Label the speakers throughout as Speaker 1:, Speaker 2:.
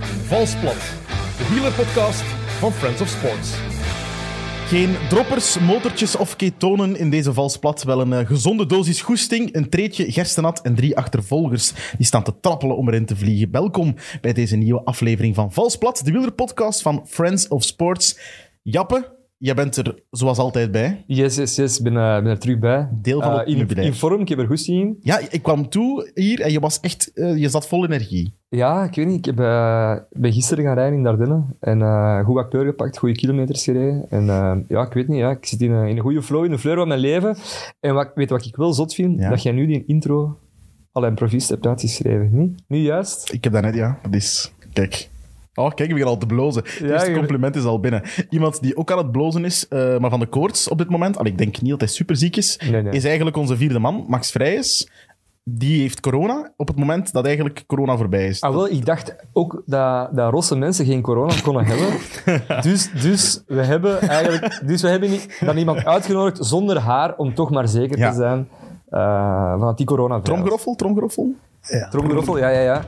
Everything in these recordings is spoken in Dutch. Speaker 1: Valsplat, de wielerpodcast van Friends of Sports.
Speaker 2: Geen droppers, motortjes of ketonen in deze vals plat. Wel een eh, gezonde dosis goesting, een treetje gerstenat en drie achtervolgers die staan te trappelen om erin te vliegen. Welkom bij deze nieuwe aflevering van Vals Plat, de wielerpodcast van Friends of Sports. Jappe, jij bent er zoals altijd bij.
Speaker 3: Yes, yes, yes. Ik ben, eh, ben er terug bij.
Speaker 2: Deel van
Speaker 3: Eh,
Speaker 2: het
Speaker 3: in,
Speaker 2: clubbedrijf.
Speaker 3: in vorm, ik heb er goed in.
Speaker 2: Ja, ik kwam toe hier en je was echt, eh, je zat vol energie.
Speaker 3: Ja, ik weet niet. Ik heb, eh, ben gisteren gaan rijden in Dardenne. En eh, goed wat kleur gepakt, goede kilometers gereden. En eh, ja, ik weet niet. Ja, ik zit in een, in een goede flow, in de fleur van mijn leven. En wat, weet wat ik wel zot vind?
Speaker 2: Ja.
Speaker 3: Dat jij nu die intro al improvist hebt uitgeschreven. Niet? Nu juist?
Speaker 2: Ik heb dat net, ja, dat is, kijk. Oh, kijk, ik begin al te blozen. Het
Speaker 3: Ja,
Speaker 2: eerste
Speaker 3: je-
Speaker 2: compliment is al binnen. Iemand die ook aan het blozen is, eh, maar van de koorts op dit moment, al ik denk niet dat hij superziek is,
Speaker 3: Nee, nee.
Speaker 2: is eigenlijk onze vierde man, Max Vrijs. Die heeft corona op het moment dat eigenlijk corona voorbij is.
Speaker 3: Ah, wel, ik dacht ook dat, dat rosse mensen geen corona konden hebben. Dus, dus we hebben eigenlijk dus we hebben niet, dan iemand uitgenodigd zonder haar om toch maar zeker
Speaker 2: Ja.
Speaker 3: te zijn eh, van dat die corona
Speaker 2: Tromgeroffel, tromgeroffel.
Speaker 3: Tromgeroffel, ja, ja, ja.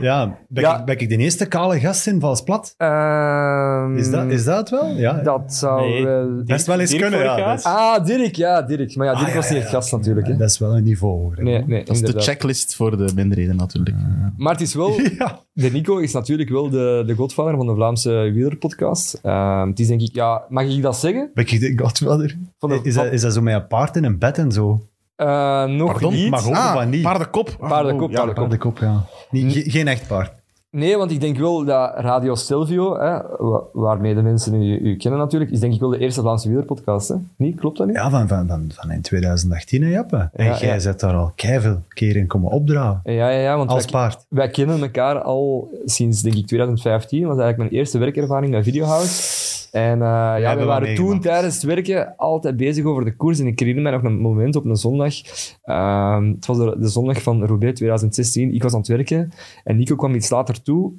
Speaker 4: Ja, ben,
Speaker 3: Ja.
Speaker 4: Ik, ben ik de eerste kale gast in Valsplat?
Speaker 3: Ehm,
Speaker 4: Is, dat, is dat het wel? Ja.
Speaker 3: dat zou wel...
Speaker 4: Best wel eens kunnen, ja. Dat is,
Speaker 3: Ah, Dirk, ja, Dirk. Maar ja, Dirk
Speaker 4: Ah, ja,
Speaker 3: was niet
Speaker 4: ja,
Speaker 3: echt gast natuurlijk. Hè.
Speaker 4: dat is wel een niveau hoor.
Speaker 3: Nee, nee,
Speaker 2: Dat is de
Speaker 3: inderdaad.
Speaker 2: checklist voor de minderheden natuurlijk.
Speaker 3: Maar het is wel...
Speaker 4: Ja.
Speaker 3: De Nico is natuurlijk wel de, de godvader van de Vlaamse wielerpodcast. Ehm het is denk ik... Ja, mag ik dat zeggen?
Speaker 4: Ben ik de Godfather?
Speaker 3: Van de-
Speaker 4: Is dat, is dat zo met een paard in een bed en zo?
Speaker 3: Eh, nog
Speaker 2: Pardon, Ah,
Speaker 3: niet.
Speaker 4: maar gewoon van niet.
Speaker 2: Paardenkop. Ah,
Speaker 3: Paardenkop,
Speaker 2: oh,
Speaker 3: paardenkop.
Speaker 4: Paard de kop, ja.
Speaker 3: Hm.
Speaker 4: Niet, ge- geen echt paard.
Speaker 3: Nee, want ik denk wel dat Radio Stelvio, hè, wa- waarmee de mensen u, u kennen natuurlijk, is denk ik wel de eerste Vlaamse wielerpodcast. Hè? Niet? Klopt dat niet?
Speaker 4: Ja, van, van, van, van in 2018, hè, Jappe. En
Speaker 3: Ja,
Speaker 4: jij
Speaker 3: ja.
Speaker 4: zet daar al keiveel keer in komen opdragen.
Speaker 3: Ja, ja, ja want
Speaker 4: Als
Speaker 3: wij-
Speaker 4: paard.
Speaker 3: Wij kennen elkaar al sinds, denk ik, 2015. was eigenlijk mijn eerste werkervaring bij Videohouse. En eh, ja, we
Speaker 4: hebben wat
Speaker 3: waren toen
Speaker 4: meegemaakt.
Speaker 3: tijdens het werken altijd bezig over de koers. En ik herinner mij nog een moment op een zondag. Ehm, het was de, de zondag van Roubaix 2016. Ik was aan het werken en Nico kwam iets later toe.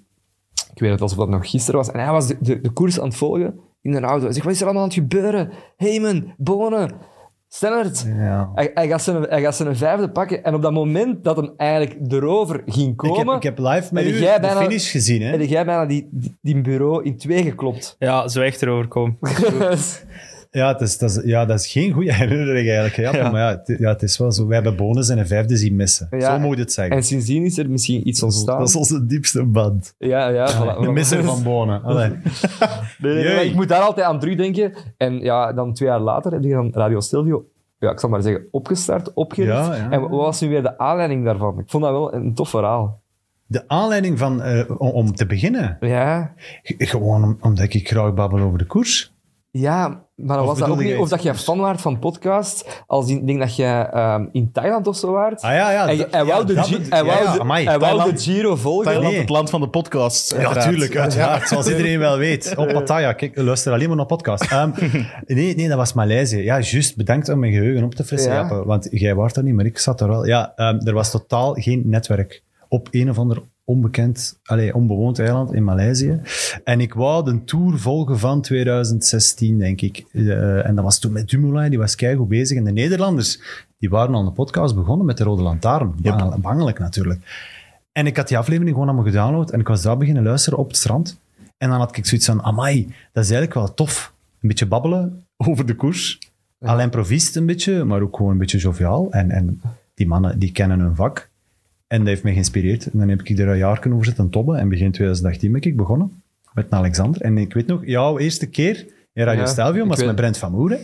Speaker 3: Ik weet het alsof dat nog gisteren was. En hij was de, de, de koers aan het volgen in een auto. Hij zegt, wat is er allemaal aan het gebeuren? Heyman, Bonen, Stennert.
Speaker 4: Ja.
Speaker 3: Hij, hij, gaat zijn, hij gaat zijn vijfde pakken. En op dat moment dat hem eigenlijk erover ging
Speaker 4: Ik
Speaker 3: komen...
Speaker 4: heb, ik heb live met
Speaker 3: En
Speaker 4: u
Speaker 3: jij
Speaker 4: de
Speaker 3: bijna-
Speaker 4: finish gezien, hè.
Speaker 3: En heb jij bijna die, die, die bureau in twee geklopt. Dus,
Speaker 5: Ja, zo echt erover komen.
Speaker 4: Ja, het is, dat is, ja, dat is geen goede herinnering eigenlijk. hè, Jappe. Maar ja het, ja, het is wel zo. We hebben bonus en een vijfde zien missen.
Speaker 3: Ja.
Speaker 4: Zo moet je het zeggen.
Speaker 3: en sindsdien is er misschien iets ontstaan.
Speaker 4: Dat is onze diepste band.
Speaker 3: Ja, ja, voilà.
Speaker 4: De misser van Bonen. Allee.
Speaker 3: Nee, nee, nee, maar ik moet daar altijd aan terugdenken. En ja, dan twee jaar later heb je dan Radio Stelvio, ja, ik zal maar zeggen, opgestart, opgericht.
Speaker 4: Ja, ja.
Speaker 3: En wat was nu weer de aanleiding daarvan? Ik vond dat wel een tof verhaal.
Speaker 4: De aanleiding van, eh, om, om te beginnen,
Speaker 3: Ja,
Speaker 4: g- gewoon om- omdat ik graag babbel over de koers.
Speaker 3: ja maar dan
Speaker 4: Of
Speaker 3: was dat
Speaker 4: bedoelde
Speaker 3: ook niet...
Speaker 4: jij
Speaker 3: Of dat je fan waard van podcast, als in, ik denk dat je ehm, in Thailand of zo waart.
Speaker 4: Ah ja, ja.
Speaker 3: En je-
Speaker 4: dat-
Speaker 3: Hij wou de
Speaker 4: dat
Speaker 3: Gi-
Speaker 4: bedo-
Speaker 3: hij
Speaker 4: ja, ja,
Speaker 3: wou de-
Speaker 4: amai,
Speaker 3: hij wou de
Speaker 4: Thailand.
Speaker 3: Giro volgen.
Speaker 2: Thailand,
Speaker 4: Nee.
Speaker 2: het land van de podcasts.
Speaker 4: Ja,
Speaker 2: uiteraard.
Speaker 4: tuurlijk, uiteraard. Zoals iedereen wel weet. Op Pattaya, kijk, luister alleen maar naar podcasts. Ehm, nee, nee, dat was Maleisië. Ja, juist. Bedankt om mijn geheugen op te frissen.
Speaker 3: Ja.
Speaker 4: Jappe, want jij was er niet, maar ik zat er wel. Ja, ehm, er was totaal geen netwerk op een of ander onbekend, allee, onbewoond eiland in Maleisië. En ik wou een tour volgen van 2016, denk ik. Eh, en dat was toen met Dumoulin, die was keigoed bezig. En de Nederlanders, die waren aan de podcast begonnen met de Rode Lantaarn. Bang- Bangelijk natuurlijk. En ik had die aflevering gewoon allemaal gedownload en ik was daar beginnen luisteren op het strand. En dan had ik zoiets van, amai, dat is eigenlijk wel tof. Een beetje babbelen over de koers. Alleen provist een beetje, maar ook gewoon een beetje joviaal. En, en die mannen, die kennen hun vak. En dat heeft mij geïnspireerd. En dan heb ik er een jaar over zitten tobben. En begin 2018 ben ik begonnen met een Alexander. En ik weet nog, jouw eerste keer in Radio
Speaker 3: Ja,
Speaker 4: Stelvio
Speaker 3: ik
Speaker 4: was
Speaker 3: weet-
Speaker 4: met Brent van Moeren.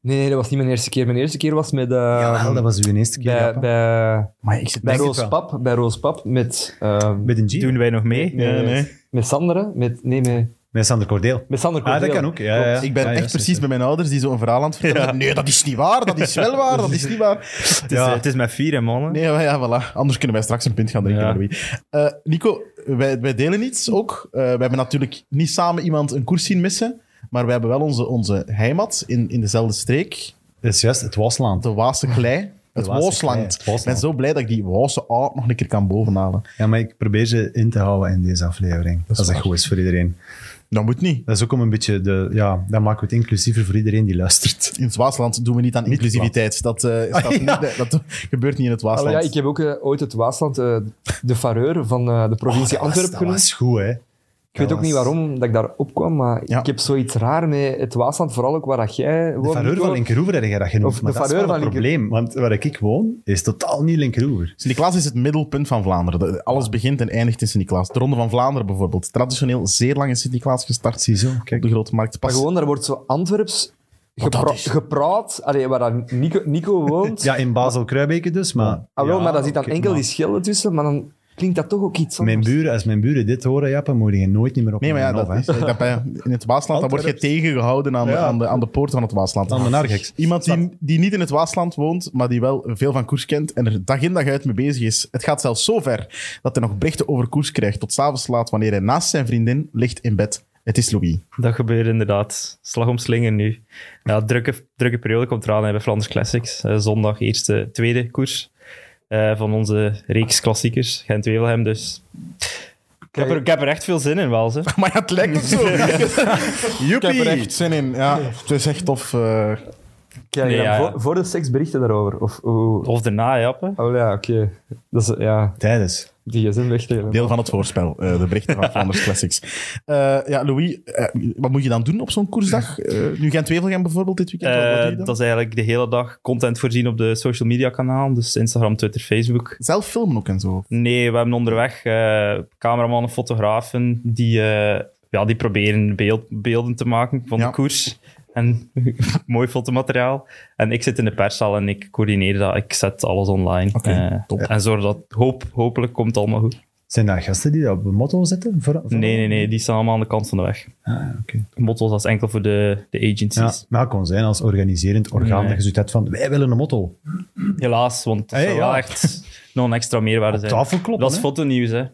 Speaker 3: Nee, nee, dat was niet mijn eerste keer. Mijn eerste keer was met... eh,
Speaker 4: Jawel, dat was uw eerste keer.
Speaker 3: bij,
Speaker 4: Jappe.
Speaker 3: bij,
Speaker 2: Maar ik zit
Speaker 3: bij,
Speaker 4: denk het
Speaker 3: Roos
Speaker 4: wel.
Speaker 3: Pap, bij Roos Pap met, ehm,
Speaker 4: Met een G.
Speaker 5: Doen wij nog mee?
Speaker 2: Ja, nee.
Speaker 3: met Sander. hè? Met, nee, met,
Speaker 4: Met Sander Cordeel.
Speaker 3: met Sander
Speaker 4: Ah, dat
Speaker 3: Cordeel.
Speaker 4: kan ook. Ja, ja. Ah,
Speaker 2: Ik ben
Speaker 4: Ja,
Speaker 2: echt
Speaker 4: ja,
Speaker 2: precies bij mijn ouders die zo'n verhaal aan het vertellen. zijn. Nee, dat is niet waar, dat is wel waar, dat is niet waar.
Speaker 5: Het is, eh,
Speaker 4: Ja.
Speaker 5: het is met vier, hè, mannen.
Speaker 2: Nee, maar ja, voilà. Anders kunnen wij straks een pint gaan drinken.
Speaker 5: Ja.
Speaker 2: Louis. Eh, Nico, wij, wij delen iets ook. Eh, we hebben natuurlijk niet samen iemand een koers zien missen, maar we hebben wel onze, onze heimat in, in dezelfde streek,
Speaker 4: Dat is juist, het Wasland.
Speaker 2: de Waase klei. Het
Speaker 4: Waase
Speaker 2: Waasland.
Speaker 4: klei, het Waasland.
Speaker 2: Ik ben zo blij dat ik die Waase A nog een keer kan bovenhalen.
Speaker 4: Ja, maar ik probeer ze in te houden in deze aflevering. Als dat
Speaker 2: waar.
Speaker 4: goed is voor iedereen.
Speaker 2: Dat moet niet.
Speaker 4: Dat is ook om een beetje de... Ja, dan maken we het inclusiever voor iedereen die luistert.
Speaker 2: In het Waasland doen we niet aan inclusiviteit. Dat, eh, staat
Speaker 4: Ah, ja.
Speaker 2: niet- dat gebeurt niet in het
Speaker 3: Allee,
Speaker 2: Waasland.
Speaker 3: ja, ik heb ook eh, ooit het Waasland eh, de fareur van eh, de provincie
Speaker 4: Oh, dat was-
Speaker 3: Antwerpen
Speaker 4: Dat
Speaker 3: genoemd.
Speaker 4: was goed, hè.
Speaker 3: Ik weet ook
Speaker 2: was-
Speaker 3: niet waarom dat ik daar opkwam, maar
Speaker 2: Ja.
Speaker 3: ik heb zoiets raar met het Waasland, vooral ook waar dat jij
Speaker 4: De
Speaker 3: woont.
Speaker 4: fareur
Speaker 3: Nico.
Speaker 4: van Linkeroever heb jij dat
Speaker 3: Of
Speaker 4: genoemd, maar
Speaker 3: de
Speaker 4: dat is wel
Speaker 3: fareur
Speaker 4: een
Speaker 3: van Linker-
Speaker 4: probleem. Want waar ik woon, is totaal niet Linkeroever.
Speaker 2: Sint-Niklaas is het middelpunt van Vlaanderen. De- Alles begint en eindigt in Sint-Niklaas. De Ronde van Vlaanderen bijvoorbeeld. Traditioneel zeer lang in Sint-Niklaas gestart.
Speaker 4: Ziezo,
Speaker 2: Op
Speaker 4: kijk.
Speaker 2: de Grote Markt.
Speaker 3: Maar
Speaker 2: Pas-
Speaker 3: gewoon, daar wordt zo Antwerps
Speaker 2: dat
Speaker 3: gepra-
Speaker 2: is-
Speaker 3: gepraat, allee, waar dan Nico, Nico woont.
Speaker 4: Ja, in Basel-Kruibeke dus, maar...
Speaker 3: ah, wel,
Speaker 4: Ja,
Speaker 3: maar daar zit dan
Speaker 4: oké,
Speaker 3: enkel
Speaker 4: maar
Speaker 3: die schillen tussen, maar dan klinkt dat toch ook iets anders.
Speaker 4: Mijn buren, als mijn buren dit horen, jappen, moet je nooit niet meer op
Speaker 2: Nee, maar ja,
Speaker 4: en af,
Speaker 2: dat
Speaker 4: hè.
Speaker 2: is, dat bij- in het Waasland dan word je tegengehouden aan, de-
Speaker 4: Ja.
Speaker 2: aan, de, aan de poort van het Waasland.
Speaker 4: Aan de Nargex.
Speaker 2: Iemand die, die niet in het Waasland woont, maar die wel veel van koers kent en er dag in dag uit mee bezig is. Het gaat zelfs zo ver dat hij nog berichten over koers krijgt tot s'avonds laat wanneer hij naast zijn vriendin ligt in bed. Het is Louis.
Speaker 5: Dat gebeurt inderdaad. Slag om slingen nu. Ja, drukke, drukke periode komt eraan hè, bij Flanders Classics. Eh, zondag eerste, tweede koers eh, van onze reeks klassiekers. Gent-Wevelhem dus. Ik heb, er, ik heb er echt veel zin in wel, ze.
Speaker 2: Maar ja, het lijkt ook zo. Joepie. Ik heb er echt zin in. Ja, het is echt tof. eh.
Speaker 3: Krijg je
Speaker 5: Nee,
Speaker 3: dan
Speaker 5: ja, ja.
Speaker 3: voor, voor de seks berichten daarover? Of, hoe-
Speaker 5: Of daarna, jappen.
Speaker 3: oh ja, oké. Dat is, ja,
Speaker 4: Tijdens.
Speaker 3: die gsm wegleggen.
Speaker 2: Deel van het voorspel, eh, de berichten van Flanders Classics. Eh, ja, Louis, eh, wat moet je dan doen op zo'n koersdag? Eh, nu Gent-Wevelgem bijvoorbeeld dit weekend. wat- wat doe je
Speaker 5: Eh,
Speaker 2: dan?
Speaker 5: dat is eigenlijk de hele dag content voorzien op de social media kanaal. Dus Instagram, Twitter, Facebook.
Speaker 2: Zelf filmen ook en zo.
Speaker 5: Nee, we hebben onderweg eh cameramannen, fotografen die, eh, ja, die proberen beeld, beelden te maken van
Speaker 2: Ja.
Speaker 5: de koers. En mooi fotomateriaal. En ik zit in de perszaal en ik coördineer dat. Ik zet alles online.
Speaker 2: Oké,
Speaker 5: Eh,
Speaker 2: top.
Speaker 5: En zorg dat, hoop, hopelijk komt het allemaal goed.
Speaker 4: Zijn daar gasten die dat op een motto zitten? Voor, voor-
Speaker 5: Nee, nee, nee, die staan allemaal aan de kant van de weg.
Speaker 4: Ah, oké.
Speaker 5: Motto's als enkel voor de, de
Speaker 4: Ja,
Speaker 5: agencies.
Speaker 4: maar het kon zijn als organiserend orgaan
Speaker 5: Nee.
Speaker 4: dat je zoiets hebt van, wij willen een motto.
Speaker 5: Helaas, want het
Speaker 4: Hey,
Speaker 5: zou
Speaker 4: ja.
Speaker 5: wel echt nog een extra meerwaarde zijn.
Speaker 4: Tafel kloppen,
Speaker 5: Dat is
Speaker 4: hè?
Speaker 5: fotonieuws, hè.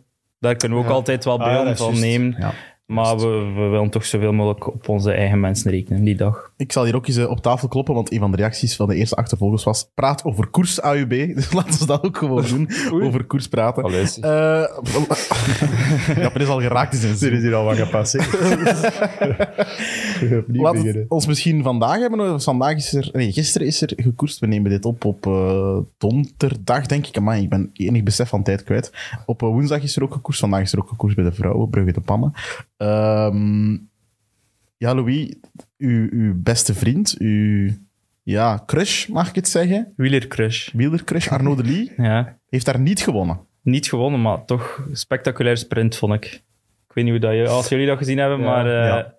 Speaker 5: Daar kunnen we ook altijd wel
Speaker 4: Ah, ja,
Speaker 5: beelden
Speaker 4: dat is
Speaker 5: van
Speaker 4: juist.
Speaker 5: nemen.
Speaker 4: Ja.
Speaker 5: Maar we, we willen toch zoveel mogelijk op onze eigen mensen rekenen die dag.
Speaker 2: Ik zal hier ook eens eh, op tafel kloppen, want een van de reacties van de eerste achtervolgers was: praat over koers AUB. Dus laten we dat ook gewoon doen: over koers praten.
Speaker 3: Allee,
Speaker 2: Eh ja, maar is al geraakt in zijn
Speaker 4: Er
Speaker 2: zin.
Speaker 4: is hier al wat gepasseerd.
Speaker 2: Laat het ons misschien vandaag hebben. want Vandaag is er, nee, gisteren is er gekoerst. We nemen dit op op eh, donderdag, denk ik. Amai, ik ben enig besef van tijd kwijt. Op eh, woensdag is er ook gekoerst. Vandaag is er ook gekoerst bij de vrouwen, Brugge de Pannen. Ehm, ja, Louis, uw, uw beste vriend, uw ja, crush, mag ik het zeggen?
Speaker 5: Wielercrush.
Speaker 2: Wielercrush, Arnaud de Lee,
Speaker 5: Ja.
Speaker 2: heeft daar niet gewonnen.
Speaker 5: Niet gewonnen, maar toch een spectaculair sprint, vond ik. Ik weet niet hoe dat je, als jullie dat gezien hebben,
Speaker 3: Ja.
Speaker 5: maar eh,
Speaker 4: Ja.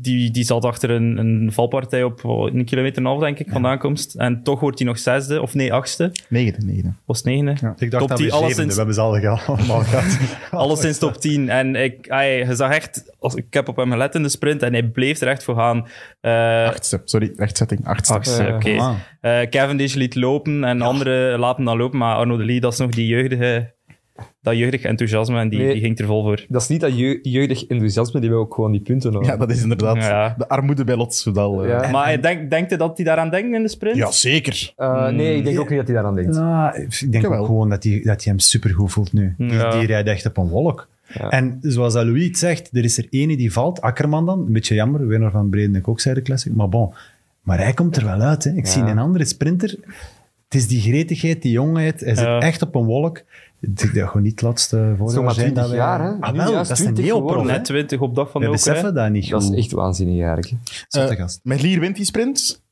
Speaker 5: die, die zat achter een, een valpartij op oh, een kilometer en een half, denk ik, van aankomst. En toch wordt hij nog zesde, of nee, achtste.
Speaker 2: Negende, negende.
Speaker 5: Was het negende?
Speaker 4: Ik dacht
Speaker 5: top
Speaker 4: dat we
Speaker 5: 10,
Speaker 4: zevende, we
Speaker 5: alleszins,
Speaker 4: hebben ze al ge- allemaal gehad.
Speaker 5: alleszins top 10. En ik, hij, je zag echt, als, ik heb op hem gelet in de sprint en hij bleef er echt voor gaan. Eh,
Speaker 2: Achtste, sorry, rechtzetting, achtste.
Speaker 5: Achtste,
Speaker 3: Ja.
Speaker 5: oké.
Speaker 4: Ah.
Speaker 5: Eh, Cavendish liet lopen en anderen laten dan lopen, maar Arno de Lee, dat is nog die jeugdige, dat jeugdig enthousiasme en die,
Speaker 3: Nee.
Speaker 5: die ging er vol voor.
Speaker 3: Dat is niet dat je, jeugdig enthousiasme, die wil ook gewoon die punten houden.
Speaker 2: Ja, dat is inderdaad
Speaker 5: Ja.
Speaker 2: de armoede bij Lot Soudal. eh.
Speaker 3: Ja.
Speaker 5: maar denk, denkt hij dat hij daaraan denkt in de sprint?
Speaker 2: ja, zeker.
Speaker 3: Eh, nee, ik denk ook niet dat hij daaraan denkt.
Speaker 4: Nou, ik denk
Speaker 2: Jawel.
Speaker 4: ook gewoon dat hij dat die hem supergoed voelt nu. Die,
Speaker 5: Ja.
Speaker 4: die rijdt echt op een wolk. En zoals dat Louis het zegt, er is er ene die valt, Akkerman dan, een beetje jammer, winnaar van Breden Kokzijde Classic, maar bon. Maar hij komt er wel uit. Hè. Ik zie een andere sprinter. Het is die gretigheid, die jongheid. Hij zit
Speaker 5: Ja.
Speaker 4: echt op een wolk. Ik denk dat gewoon niet het laatste
Speaker 3: is
Speaker 4: voorjaar
Speaker 3: nog maar
Speaker 4: zijn
Speaker 3: 20
Speaker 4: dat wij-
Speaker 3: jaar, hè.
Speaker 4: Ah,
Speaker 3: Nu
Speaker 4: wel,
Speaker 3: juist
Speaker 4: dat is een
Speaker 3: 20
Speaker 4: neoprof.
Speaker 3: geworden,
Speaker 4: hè.
Speaker 5: Net 20 op dag van
Speaker 4: We
Speaker 5: de
Speaker 4: beseffen dat niet
Speaker 3: Dat
Speaker 4: goed.
Speaker 3: is echt waanzinnig eigenlijk. hè.
Speaker 4: Zotte
Speaker 2: Eh,
Speaker 4: gast.
Speaker 2: Met Lier wint die sprint.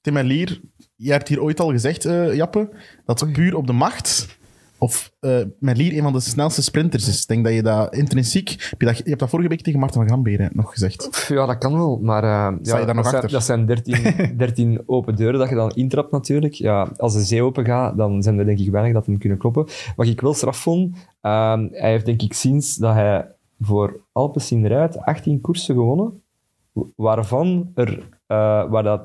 Speaker 2: Tim en Lier, jij hebt hier ooit al gezegd, eh, Jappe, dat puur op de macht. Of eh met Lier een van de snelste sprinters is. Ik denk dat je dat intrinsiek. Heb je, dat, je hebt dat vorige week tegen Marten van Gamberen nog gezegd.
Speaker 3: Pff, Ja, dat kan wel, maar eh,
Speaker 2: Sta
Speaker 3: ja,
Speaker 2: je daar nog
Speaker 3: dat, zijn,
Speaker 2: achter?
Speaker 3: dat zijn 13, 13 open deuren dat je dan intrapt natuurlijk. Ja, als de zee open gaat, dan zijn er denk ik weinig dat hem kunnen kloppen. Wat ik wel straf vond, ehm, hij heeft denk ik sinds dat hij voor Alpecin rijdt 18 koersen gewonnen, wa- waarvan er, eh, waar dat,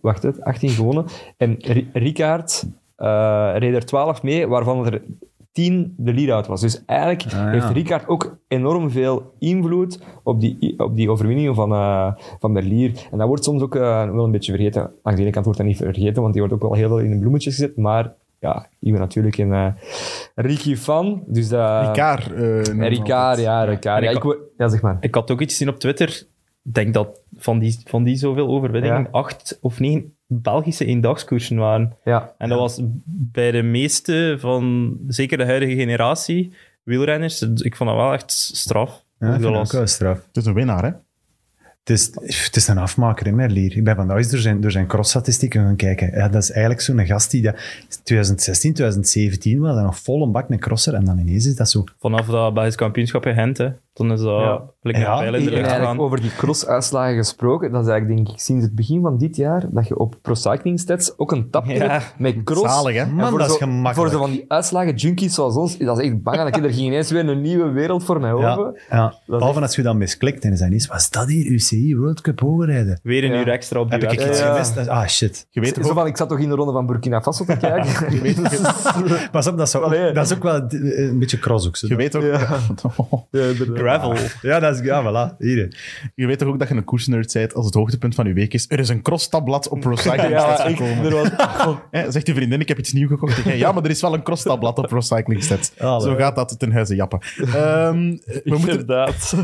Speaker 3: wacht het, 18 gewonnen. En Ri- Ricard eh, reed er 12 mee, waarvan er 10 de lead-out was. Dus eigenlijk
Speaker 4: ja.
Speaker 2: Ah,
Speaker 3: heeft Ricard ook enorm veel invloed op die, op die overwinningen van, eh, van Berlier. En dat wordt soms ook eh, wel een beetje vergeten. Aan de ene kant wordt dat niet vergeten, want die wordt ook wel heel veel in de bloemetjes gezet. Maar ja, ik ben natuurlijk een eh Ricky fan. Dus, eh,
Speaker 2: Ricard. eh, noemen we
Speaker 3: Ricard,
Speaker 2: altijd.
Speaker 3: ja, Ricard. Ja, ik, word- ja, zeg maar.
Speaker 5: Ik had ook iets gezien op Twitter. Ik denk dat van die, van die zoveel overwinningen
Speaker 3: Ja.
Speaker 5: acht of negen Belgische eendagskoersen waren.
Speaker 3: Ja.
Speaker 5: En dat was bij de meeste van, zeker de huidige generatie, wielrenners. Ik vond dat wel echt straf.
Speaker 4: Ja, ik vind
Speaker 5: Ongelost.
Speaker 4: dat ook straf.
Speaker 2: Het is een winnaar, hè?
Speaker 4: Het is, het is een afmaker in Merlier. Ik ben vandaag eens door zijn, door zijn cross-statistieken gaan kijken. Ja, dat is eigenlijk zo'n gast die dat, 2016, 2017 was dat nog vol een bak een crosser en dan ineens is dat zo.
Speaker 5: Vanaf dat Belgisch kampioenschap in Gent, hè, toen is dat
Speaker 3: Ja.
Speaker 5: lekker
Speaker 4: Ja,
Speaker 5: pijl in de
Speaker 3: En
Speaker 5: lucht
Speaker 3: eigenlijk
Speaker 5: gegaan.
Speaker 3: over die cross-uitslagen gesproken, dat is eigenlijk denk ik sinds het begin van dit jaar dat je op Pro Cycling Stats ook een tab hebt
Speaker 5: Ja.
Speaker 3: met cross.
Speaker 2: Zalig, hè?
Speaker 3: En
Speaker 4: Man,
Speaker 3: voor
Speaker 4: dat is
Speaker 3: zo-
Speaker 4: gemakkelijk.
Speaker 3: Voor zo van die uitslagen junkies zoals ons, dat is echt bang. Dat er ging ineens weer een nieuwe wereld voor mij
Speaker 4: Ja,
Speaker 3: open.
Speaker 4: ja.
Speaker 3: Dat is
Speaker 4: Behalve als je dan misklikt en dan is dat ineens, wat is dat hier, UCI World Cup hoogrijden?
Speaker 5: Weer een
Speaker 3: Ja.
Speaker 5: uur extra op die
Speaker 4: Heb ik
Speaker 5: wedstrijd.
Speaker 4: iets
Speaker 3: Ja.
Speaker 4: gemist? Ah, shit.
Speaker 2: Je weet,
Speaker 3: zo
Speaker 2: ook-
Speaker 3: van, ik zat toch in de ronde van Burkina Faso te kijken?
Speaker 4: Pas op, dat is, ook,
Speaker 3: Allee.
Speaker 4: dat is ook wel eh, een beetje cross ook. zo.
Speaker 2: je weet ook...
Speaker 3: Ja, inderdaad.
Speaker 5: Gravel.
Speaker 4: Ja, dat is, ja, voilà. Hier.
Speaker 2: Je weet toch ook dat je een koersnerd bent als het hoogtepunt van je week is. Er is een crosstabblad op Procycling
Speaker 3: Ja,
Speaker 2: Stats
Speaker 3: echt,
Speaker 2: gekomen.
Speaker 3: er was-
Speaker 2: Hè, zegt je vriendin, ik heb iets nieuws gekocht. Ik zeg, ja, maar er is wel een crosstabblad op Procycling Stats.
Speaker 4: Allee.
Speaker 2: Zo gaat dat ten huize jappen. Ehm, we moeten...
Speaker 5: Inderdaad.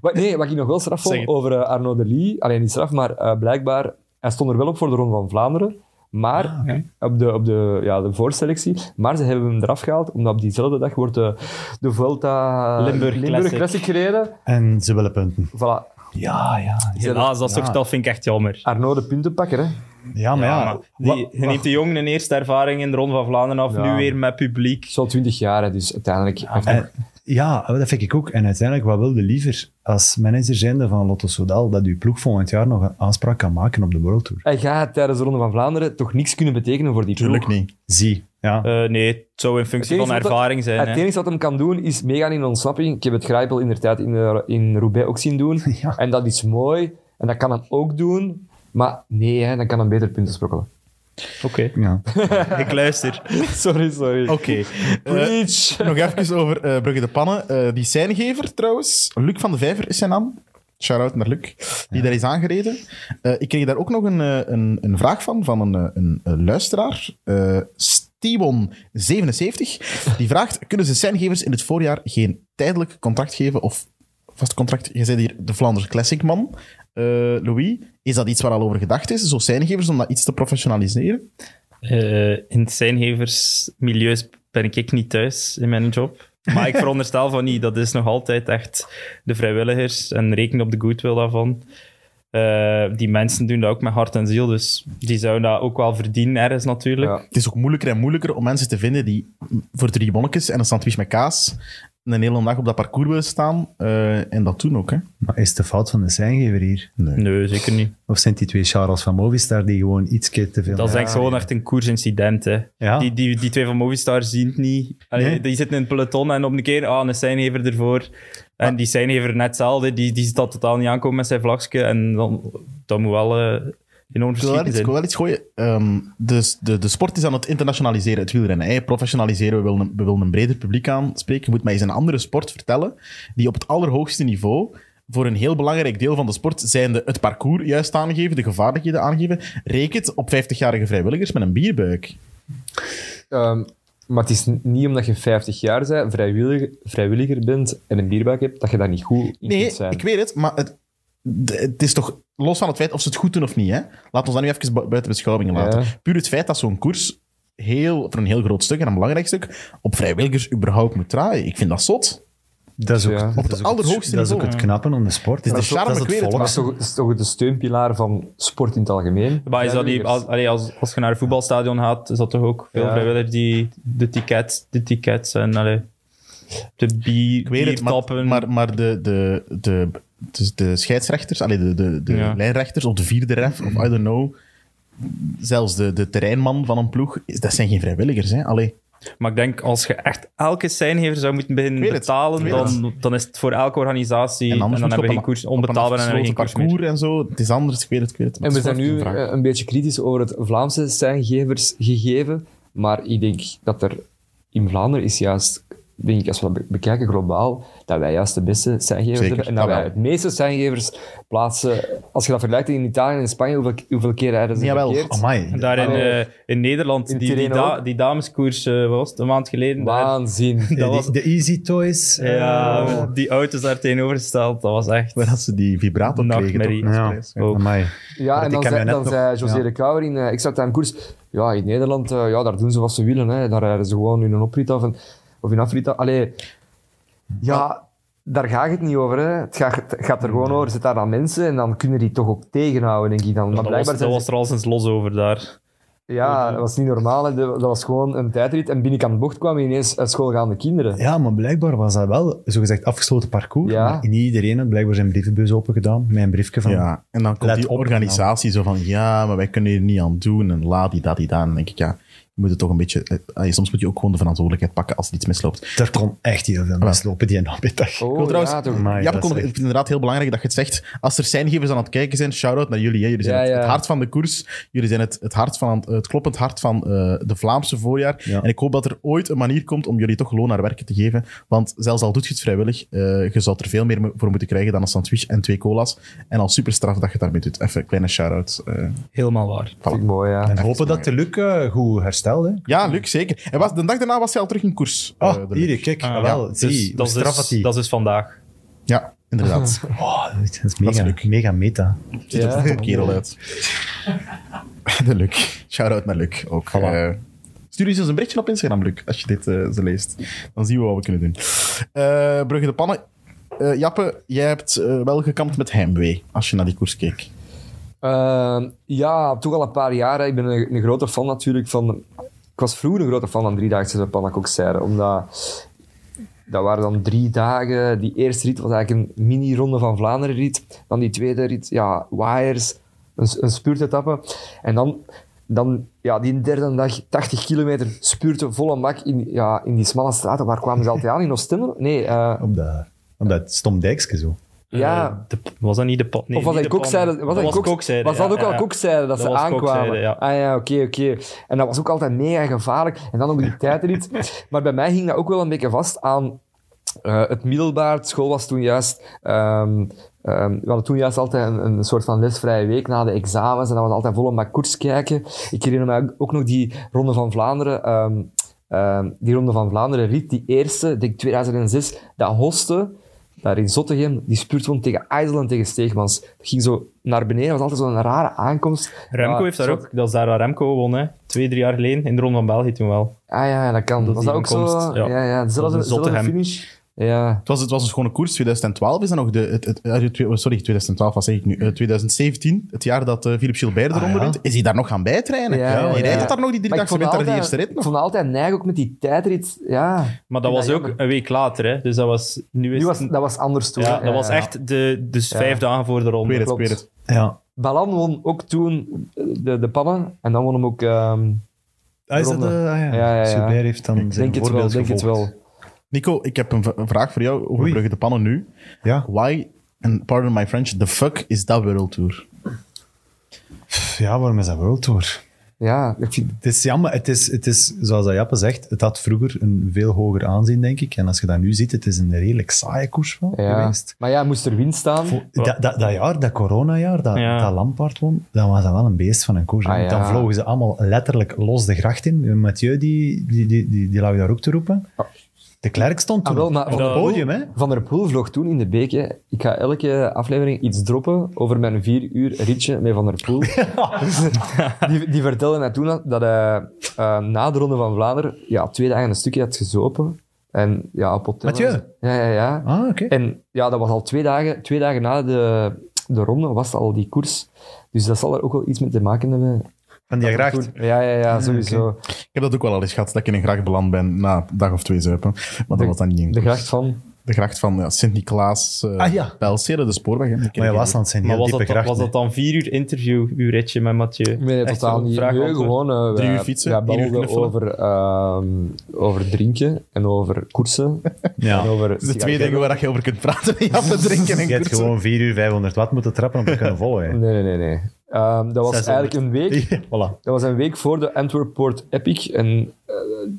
Speaker 3: Wat, nee, wat ik nog wel straf
Speaker 2: Zeg
Speaker 3: vond
Speaker 2: het.
Speaker 3: over eh, Arnaud de Lee. Alleen niet straf, maar eh, blijkbaar... Hij stond er wel op voor de Ronde van Vlaanderen. Maar op, de, op de, ja, de voorselectie. Maar ze hebben hem eraf gehaald, omdat op diezelfde dag wordt de, de Vuelta
Speaker 5: Limburg Classic.
Speaker 3: gereden.
Speaker 4: En ze willen punten.
Speaker 3: Voilà,
Speaker 4: Ja, ja.
Speaker 5: Helaas, dat, soort, dat vind ik echt jammer.
Speaker 3: Arnaud de puntenpakker. Hè.
Speaker 4: Ja, maar ja.
Speaker 5: Ja, maar die, je neemt de jongen een eerste ervaring in de Ronde van Vlaanderen af,
Speaker 3: Ja.
Speaker 5: nu weer met publiek.
Speaker 3: Zo'n 20 jaar, hè, dus uiteindelijk...
Speaker 4: En- ja, dat vind ik ook. En uiteindelijk, wat wilde liever als manager zijnde van Lotto Soudal dat uw ploeg volgend jaar nog een aanspraak kan maken op de World Tour?
Speaker 3: Hij gaat tijdens de Ronde van Vlaanderen toch niks kunnen betekenen voor die
Speaker 2: Tuurlijk
Speaker 3: ploeg.
Speaker 2: niet.
Speaker 4: Zie. Ja.
Speaker 5: Eh, nee, het zou in
Speaker 3: Het
Speaker 5: functie
Speaker 3: enige
Speaker 5: van
Speaker 3: wat-
Speaker 5: ervaring zijn.
Speaker 3: Het
Speaker 5: hè.
Speaker 3: enige wat hem kan doen is meegaan in ontsnapping. Ik heb het Grijpel in de tijd in, de- in Roubaix ook zien doen.
Speaker 4: Ja.
Speaker 3: En dat is mooi. En dat kan hem ook doen. Maar nee, hè, dan kan hem beter punten sprokkelen.
Speaker 5: Oké,
Speaker 4: ja.
Speaker 5: ik luister.
Speaker 3: Sorry, sorry.
Speaker 2: Oké. Eh,
Speaker 3: Preach.
Speaker 2: nog even over eh, Brugge de Pannen. Eh, die seingever trouwens, Luc van de Vijver is zijn naam. Shout-out naar Luc, die daar is aangereden. Eh, ik kreeg daar ook nog een, eh, een, een vraag van, van een, eh, een, eh, luisteraar. eh Stibon77. Die vraagt, kunnen ze seingevers in het voorjaar geen tijdelijk contract geven of vast contract? Je zei hier de Vlaanders Classic man, eh, Louis. Is dat iets waar al over gedacht is? Zo seingevers om dat iets te professionaliseren?
Speaker 5: Eh, in het zijngeversmilieus ben ik niet thuis in mijn job. Maar ik veronderstel van niet. Dat is nog altijd echt de vrijwilligers en reken op de goodwill daarvan. Eh, die mensen doen dat ook met hart en ziel, dus die zouden dat ook wel verdienen ergens natuurlijk.
Speaker 3: Ja.
Speaker 2: Het is ook moeilijker en moeilijker om mensen te vinden die voor drie bonnetjes en een sandwich met kaas een hele dag op dat parcours willen staan eh, en dat doen ook. Hè?
Speaker 4: Maar is het de fout van de seingever hier?
Speaker 5: Nee, zeker niet.
Speaker 4: Of zijn die twee Charles van Movistar die gewoon iets keer te veel...
Speaker 5: Dat is
Speaker 4: Ja.
Speaker 5: echt gewoon echt een koersincident. Hè.
Speaker 4: Ja.
Speaker 5: Die, die, die twee van Movistar zien het niet. Allee,
Speaker 4: Nee.
Speaker 5: Die zitten in het peloton en op een keer ah, een seinhever ervoor. En die seinhever net hetzelfde. Die, die ziet dat totaal niet aankomen met zijn vlagje. En dan, dat moet wel eh enorm
Speaker 2: Ik wil wel iets,
Speaker 5: verschieten
Speaker 2: ik
Speaker 5: zijn.
Speaker 2: wil wel iets gooien. Ehm, dus de, de sport is aan het internationaliseren, het wielrennen. Hè? Professionaliseren, we willen, een- we willen een breder publiek aanspreken. Je moet mij eens een andere sport vertellen die op het allerhoogste niveau voor een heel belangrijk deel van de sport zijnde het parcours juist aangeven, de gevaarlijkheden aangeven, rekent op 50-jarige vrijwilligers met een bierbuik.
Speaker 3: Ehm, maar het is n- niet omdat je 50 jaar bent, vrijwilliger, vrijwilliger bent en een bierbuik hebt, dat je daar niet goed in
Speaker 2: Nee,
Speaker 3: kunt zijn.
Speaker 2: ik weet het, maar het, de- het is toch los van het feit of ze het goed doen of niet. Hè? Laat ons dat nu even bu- buiten beschouwing laten.
Speaker 3: Ja.
Speaker 2: Puur het feit dat zo'n koers heel, voor een heel groot stuk en een belangrijk stuk op vrijwilligers überhaupt moet draaien. Ik vind dat zot.
Speaker 4: Dat is ook,
Speaker 3: Ja. Op
Speaker 4: dat
Speaker 2: het
Speaker 4: is ook
Speaker 2: allerhoogste
Speaker 4: Dat is ook
Speaker 2: niveau.
Speaker 4: het knappen om de sport.
Speaker 2: is de
Speaker 4: Dat
Speaker 2: charme,
Speaker 4: dat is
Speaker 2: ik weet het,
Speaker 4: volk.
Speaker 3: Maar dat is, toch, dat is toch de steunpilaar van sport in het algemeen?
Speaker 5: Maar is dat niet,
Speaker 3: Vrijwilligers.
Speaker 5: als, allee, als, als je naar een voetbalstadion gaat, is dat toch ook veel
Speaker 3: Ja.
Speaker 5: vrijwilligers die de tickets, de tickets en allee, de bier,
Speaker 2: Ik weet het, maar,
Speaker 5: biertappen.
Speaker 2: maar, maar de, de, de, de, de scheidsrechters, allee, de, de, de
Speaker 5: Ja.
Speaker 2: lijnrechters of de vierde ref, of I don't know, zelfs de, de terreinman van een ploeg, is- dat zijn geen vrijwilligers. Hè? Allee,
Speaker 5: Maar ik denk, als je echt elke seingever zou moeten beginnen
Speaker 2: Ik weet het,
Speaker 5: betalen,
Speaker 2: ik weet
Speaker 5: dan, dan is het voor elke organisatie. En, dan
Speaker 2: moet je
Speaker 5: hebben we
Speaker 2: op
Speaker 5: geen
Speaker 2: een-
Speaker 5: koers,
Speaker 2: op een
Speaker 5: onbetaalbaar en hebben we geen
Speaker 2: afgesloten
Speaker 5: koers meer.
Speaker 2: parcours en zo. Het is anders, ik weet het, ik weet het. maar
Speaker 3: En we
Speaker 2: het is
Speaker 3: zijn
Speaker 2: wel
Speaker 3: nu
Speaker 2: een vraag.
Speaker 3: eh, een beetje kritisch over het Vlaamse seingevers gegeven. Maar ik denk dat er in Vlaanderen is juist, denk ik, als we dat be- bekijken globaal, dat wij juist de beste seingevers
Speaker 2: Zeker,
Speaker 3: hebben. En dat
Speaker 2: dat
Speaker 3: wij
Speaker 2: wel.
Speaker 3: het meeste seingevers plaatsen. Als je dat vergelijkt in Italië en in Spanje, hoeveel, hoeveel keer rijden ze
Speaker 2: Jawel.
Speaker 3: verkeerd?
Speaker 4: Amai.
Speaker 5: En daar in,
Speaker 3: Allee.
Speaker 5: eh, in Nederland,
Speaker 3: In
Speaker 5: die, die,
Speaker 3: Tirreno
Speaker 5: da-
Speaker 3: ook.
Speaker 5: die dameskoers, eh, wat was het, een maand geleden? daar-
Speaker 3: Waanzin.
Speaker 5: dat
Speaker 4: De-
Speaker 5: was-
Speaker 4: De Easy Toys. eh,
Speaker 5: ja, die auto's daar tegenovergesteld, dat was echt...
Speaker 2: Maar dat ze die vibrator kregen.
Speaker 5: Nachtmerrie.
Speaker 2: toch? Dat is
Speaker 4: Ja.
Speaker 2: prijs,
Speaker 5: Ook.
Speaker 4: Amai.
Speaker 3: Ja,
Speaker 4: die
Speaker 3: en dan
Speaker 4: kennen
Speaker 3: zei,
Speaker 4: we net
Speaker 3: dan
Speaker 4: nog.
Speaker 3: zei José
Speaker 4: Ja.
Speaker 3: de Kouwer in uh, Extra Time Koers... Ja, in Nederland, eh, ja, daar doen ze wat ze willen. Hè. Daar rijden ze gewoon in een oprit af en, of in afrit af. Allee, ja... daar gaat het niet over. Hè. Het, gaat, het gaat er gewoon over, zit daar dan mensen en dan kunnen die toch ook tegenhouden, denk ik dan. Maar
Speaker 5: dat was,
Speaker 3: blijkbaar
Speaker 5: dat
Speaker 3: zijn ze-
Speaker 5: was er al sinds los over daar.
Speaker 3: Ja, dat was niet normaal. hè. Dat was gewoon een tijdrit en binnenkant de bocht kwamen ineens uit school gaande kinderen.
Speaker 4: Ja, maar blijkbaar was dat wel zogezegd afgesloten parcours.
Speaker 3: Ja.
Speaker 4: Maar niet iedereen had blijkbaar zijn brievenbus open gedaan. Mijn briefje van...
Speaker 2: Ja, en dan komt
Speaker 4: Let
Speaker 2: die
Speaker 4: op,
Speaker 2: organisatie zo van, ja, maar wij kunnen hier niet aan doen en la die dat die dan. Dan denk ik, ja, je moet het toch een beetje... eh, allee, soms moet je ook gewoon de verantwoordelijkheid pakken als er iets misloopt.
Speaker 4: Er kon echt heel veel mensen lopen die een namiddag.
Speaker 3: Oh,
Speaker 2: Ik wil trouwens-
Speaker 3: ja, toch.
Speaker 4: Amai,
Speaker 2: ja,
Speaker 4: Ah, dat
Speaker 2: ik
Speaker 4: is
Speaker 2: vond het
Speaker 4: echt-
Speaker 2: inderdaad heel belangrijk dat je het zegt. Als er seingevers aan het kijken zijn, shout-out naar jullie. Hè. Jullie zijn
Speaker 3: Ja,
Speaker 2: het,
Speaker 3: ja.
Speaker 2: het hart van de koers. Jullie zijn het, het, hart van, het kloppend hart van eh, de Vlaamse voorjaar.
Speaker 4: Ja.
Speaker 2: En ik hoop dat er ooit een manier komt om jullie toch loon naar werken te geven. Want zelfs al doet je het vrijwillig, eh, je zou er veel meer mo- voor moeten krijgen dan een sandwich en twee cola's. En al superstraf dat je daarmee doet. Even een kleine shout-out. eh.
Speaker 5: Helemaal waar.
Speaker 3: Vind ik mooi, ja.
Speaker 4: En hopen dat de Luc eh, goed herstelde.
Speaker 2: Ja, Luc, zeker. En was, de dag daarna was hij al terug in koers. eh,
Speaker 4: Oh,
Speaker 2: de Luc.
Speaker 4: hier, kijk.
Speaker 5: Ah,
Speaker 4: Ah, wel,
Speaker 5: dus
Speaker 4: zie, hoe
Speaker 5: dat, is
Speaker 4: straf
Speaker 5: dus,
Speaker 4: had hij.
Speaker 5: dat is dus vandaag.
Speaker 2: Ja, inderdaad.
Speaker 4: Oh, dat is mega,
Speaker 2: Luc.
Speaker 4: mega meta.
Speaker 2: Ziet er
Speaker 3: Ja.
Speaker 2: toch een kerel uit. De Luc. Shout-out naar Luc ook. Eh, stuur eens een berichtje op Instagram, Luc, als je dit eh, zo leest. Dan zien we wat we kunnen doen. Eh, Brugge de Pannen. Eh, Jappe, jij hebt eh, wel gekampt met heimwee als je naar die koers keek.
Speaker 3: Ehm, ja, toch al een paar jaar. hè. Ik ben een, een grote fan natuurlijk van... Ik was vroeger een grote fan van Driedaagse van Panakokseire, omdat... Dat waren dan drie dagen. Die eerste rit was eigenlijk een mini-ronde van Vlaanderen rit. Dan die tweede rit, ja, wires, een, een spurtetappe. En dan, dan ja, die derde dag, 80 kilometer, spurten volle mak in, ja, in die smalle straten. Waar kwamen ze altijd aan? In Oostende? Nee, eh,
Speaker 4: Op dat, op dat stom dijkske zo.
Speaker 3: ja...
Speaker 5: Eh, de- was dat niet de pad? Nee,
Speaker 3: of was
Speaker 5: niet
Speaker 3: dat
Speaker 5: de
Speaker 3: kokzijde?
Speaker 5: pan.
Speaker 3: Was dat,
Speaker 5: was
Speaker 3: koks-
Speaker 5: kokzijde,
Speaker 3: was dat
Speaker 5: ja,
Speaker 3: ook al
Speaker 5: ja.
Speaker 3: kokzijde, dat,
Speaker 5: Dat
Speaker 3: ze
Speaker 5: was
Speaker 3: aankwamen?
Speaker 5: kokzijde, ja.
Speaker 3: Ah ja, oké, oké. En dat was ook altijd mega gevaarlijk. En dan ook die tijdrit. maar bij mij ging dat ook wel een beetje vast aan eh, het middelbaar. Het school was toen juist... ehm, ehm, we hadden toen juist altijd een, een soort van lesvrije week na de examens. En dat was altijd vol maar koers kijken. Ik herinner me ook nog die Ronde van Vlaanderen... ehm, ehm, die Ronde van Vlaanderen riet, die eerste, denk ik 2006, dat hoste daar in Zottegem, die spuurt gewoon tegen IJssel en tegen Steegmans. Dat ging zo naar beneden, dat was altijd zo'n rare aankomst.
Speaker 5: Remco
Speaker 3: Ja,
Speaker 5: heeft daar
Speaker 3: zo-
Speaker 5: ook, dat is daar waar Remco won, hè. twee, drie jaar geleden, in de Ronde van België toen wel.
Speaker 3: Ah ja, ja, dat kan.
Speaker 5: Dat
Speaker 3: was
Speaker 5: die
Speaker 3: dat ook zo?
Speaker 5: aankomst,
Speaker 3: Ja,
Speaker 5: ja.
Speaker 3: ja,
Speaker 5: Dat was
Speaker 3: dezelfde
Speaker 5: in
Speaker 3: dezelfde
Speaker 5: Zottegem.
Speaker 3: finish. Ja,
Speaker 2: Het was, het was een schone koers. 2012 is dan nog de... Het, het- eh, tw- sorry, 2012, wat zeg ik nu? Eh, 2017, het jaar dat eh Philippe Gilbert eronder
Speaker 4: ja.
Speaker 2: reed. Is hij daar nog gaan bijtrainen?
Speaker 3: Ah, Ja, ja,
Speaker 2: hij
Speaker 3: ja.
Speaker 2: rijdt het daar nog die drie
Speaker 3: Maar
Speaker 2: dagen
Speaker 3: ik vond
Speaker 2: winter
Speaker 3: altijd-
Speaker 2: die eerste rit
Speaker 3: ik
Speaker 2: nog.
Speaker 3: vond altijd neig ook met die tijdrit. Ja,
Speaker 5: Maar dat
Speaker 3: Ja,
Speaker 5: was ook
Speaker 3: jammer.
Speaker 5: een week later, hè. dus dat was... Nu is
Speaker 3: nu was,
Speaker 5: het-
Speaker 3: dat was anders toen.
Speaker 5: ja,
Speaker 3: Ja,
Speaker 5: dat was echt de, dus vijf dagen voor de
Speaker 2: Ik weet
Speaker 5: Ronde.
Speaker 2: het, ik
Speaker 3: klopt.
Speaker 2: weet het.
Speaker 4: Ja.
Speaker 3: Balan won ook toen eh, de, de pannen en dan won hem ook... ehm,
Speaker 4: Ah, is dat,
Speaker 3: Ronde.
Speaker 4: eh, ah, ja.
Speaker 3: Ja, ja, ja.
Speaker 4: Gilbert heeft dan zijn
Speaker 3: denk het wel,
Speaker 4: voorbeeld
Speaker 3: denk het
Speaker 4: gevolgd.
Speaker 3: wel.
Speaker 2: Nico, ik heb een, v- een vraag voor jou over
Speaker 4: Oei.
Speaker 2: Brugge de Pannen nu.
Speaker 4: Ja.
Speaker 2: Why, and pardon my French, the fuck is dat World Tour?
Speaker 4: Pff, ja, waarom is dat World Tour?
Speaker 3: Ja, ik vind-
Speaker 4: Het is jammer, het is, het is, zoals dat Jappe zegt, het had vroeger een veel hoger aanzien, denk ik. En als je dat nu ziet, het is een redelijk saaie koers wel
Speaker 3: ja.
Speaker 4: geweest.
Speaker 3: Maar ja, moest er winst staan.
Speaker 4: Vo- Dat, dat, dat jaar, dat coronajaar, dat,
Speaker 5: Ja.
Speaker 4: dat Lampaard won, dat was dat wel een beest van een koers. hè.
Speaker 3: Ah,
Speaker 4: Want Dan
Speaker 3: ja.
Speaker 4: vlogen ze allemaal letterlijk los de gracht in. Mathieu, die, die, die, die, die lag daar ook te roepen. De Klerk stond
Speaker 3: Ah,
Speaker 4: toen
Speaker 3: wel, maar-
Speaker 4: op het
Speaker 5: Dat-
Speaker 4: podium, hè.
Speaker 3: Van der Poel vloog toen in de beek. hè. Ik ga elke aflevering iets droppen over mijn vier uur ritje met Van der Poel. die, die vertelde mij toen dat- dat hij eh, na de Ronde van Vlaanderen ja, twee dagen een stukje had gezopen. En ja, op hotel.
Speaker 4: Mathieu?
Speaker 3: Ja, ja, ja.
Speaker 4: Ah, oké.
Speaker 3: En ja, dat was al twee dagen, twee dagen na de, de ronde was al die koers. Dus dat zal er ook wel iets mee te maken hebben.
Speaker 4: Van die gracht.
Speaker 3: Ja, ja,
Speaker 2: Ah,
Speaker 3: ja, sowieso.
Speaker 2: Ik heb dat ook wel al eens gehad, dat ik in een gracht beland ben na een dag of twee zuipen. Maar dat was dan niet in
Speaker 3: De gracht van...
Speaker 2: de gracht van ja, Sint-Nicolaas, eh
Speaker 4: Ah, ja.
Speaker 2: Pijlseren, de spoorweg. hè. Ik
Speaker 4: Maar
Speaker 2: ken
Speaker 4: ja,
Speaker 2: die ook.
Speaker 4: Wasland zijn
Speaker 5: Maar
Speaker 4: heel
Speaker 5: was dat,
Speaker 4: diepe
Speaker 5: dan-
Speaker 4: grachten.
Speaker 5: was dat dan vier uur interview, uw ritje met Mathieu?
Speaker 3: Nee, nee,
Speaker 5: Echt
Speaker 3: totaal
Speaker 5: zo'n
Speaker 3: niet.
Speaker 5: vraag,
Speaker 3: Nee,
Speaker 5: antwoord.
Speaker 3: gewoon, eh,
Speaker 2: Drie
Speaker 3: wij-
Speaker 2: uur fietsen,
Speaker 3: wij
Speaker 2: één uur
Speaker 3: babbelden
Speaker 2: knuffelen.
Speaker 3: over, ehm, over drinken en over koersen.
Speaker 4: Ja.
Speaker 3: En over
Speaker 2: Dat zijn twee dingen
Speaker 3: sigaretten.
Speaker 2: waar je over kunt praten. Ja, te drinken en
Speaker 4: Je hebt
Speaker 2: koersen.
Speaker 4: gewoon 4 uur 500 watt moeten trappen om te kunnen volgen. hè.
Speaker 3: Nee, nee, nee. nee. Ehm, dat was
Speaker 5: 600.
Speaker 3: eigenlijk een week,
Speaker 4: Ja, voilà.
Speaker 3: dat was een week voor de Antwerp Port Epic en eh,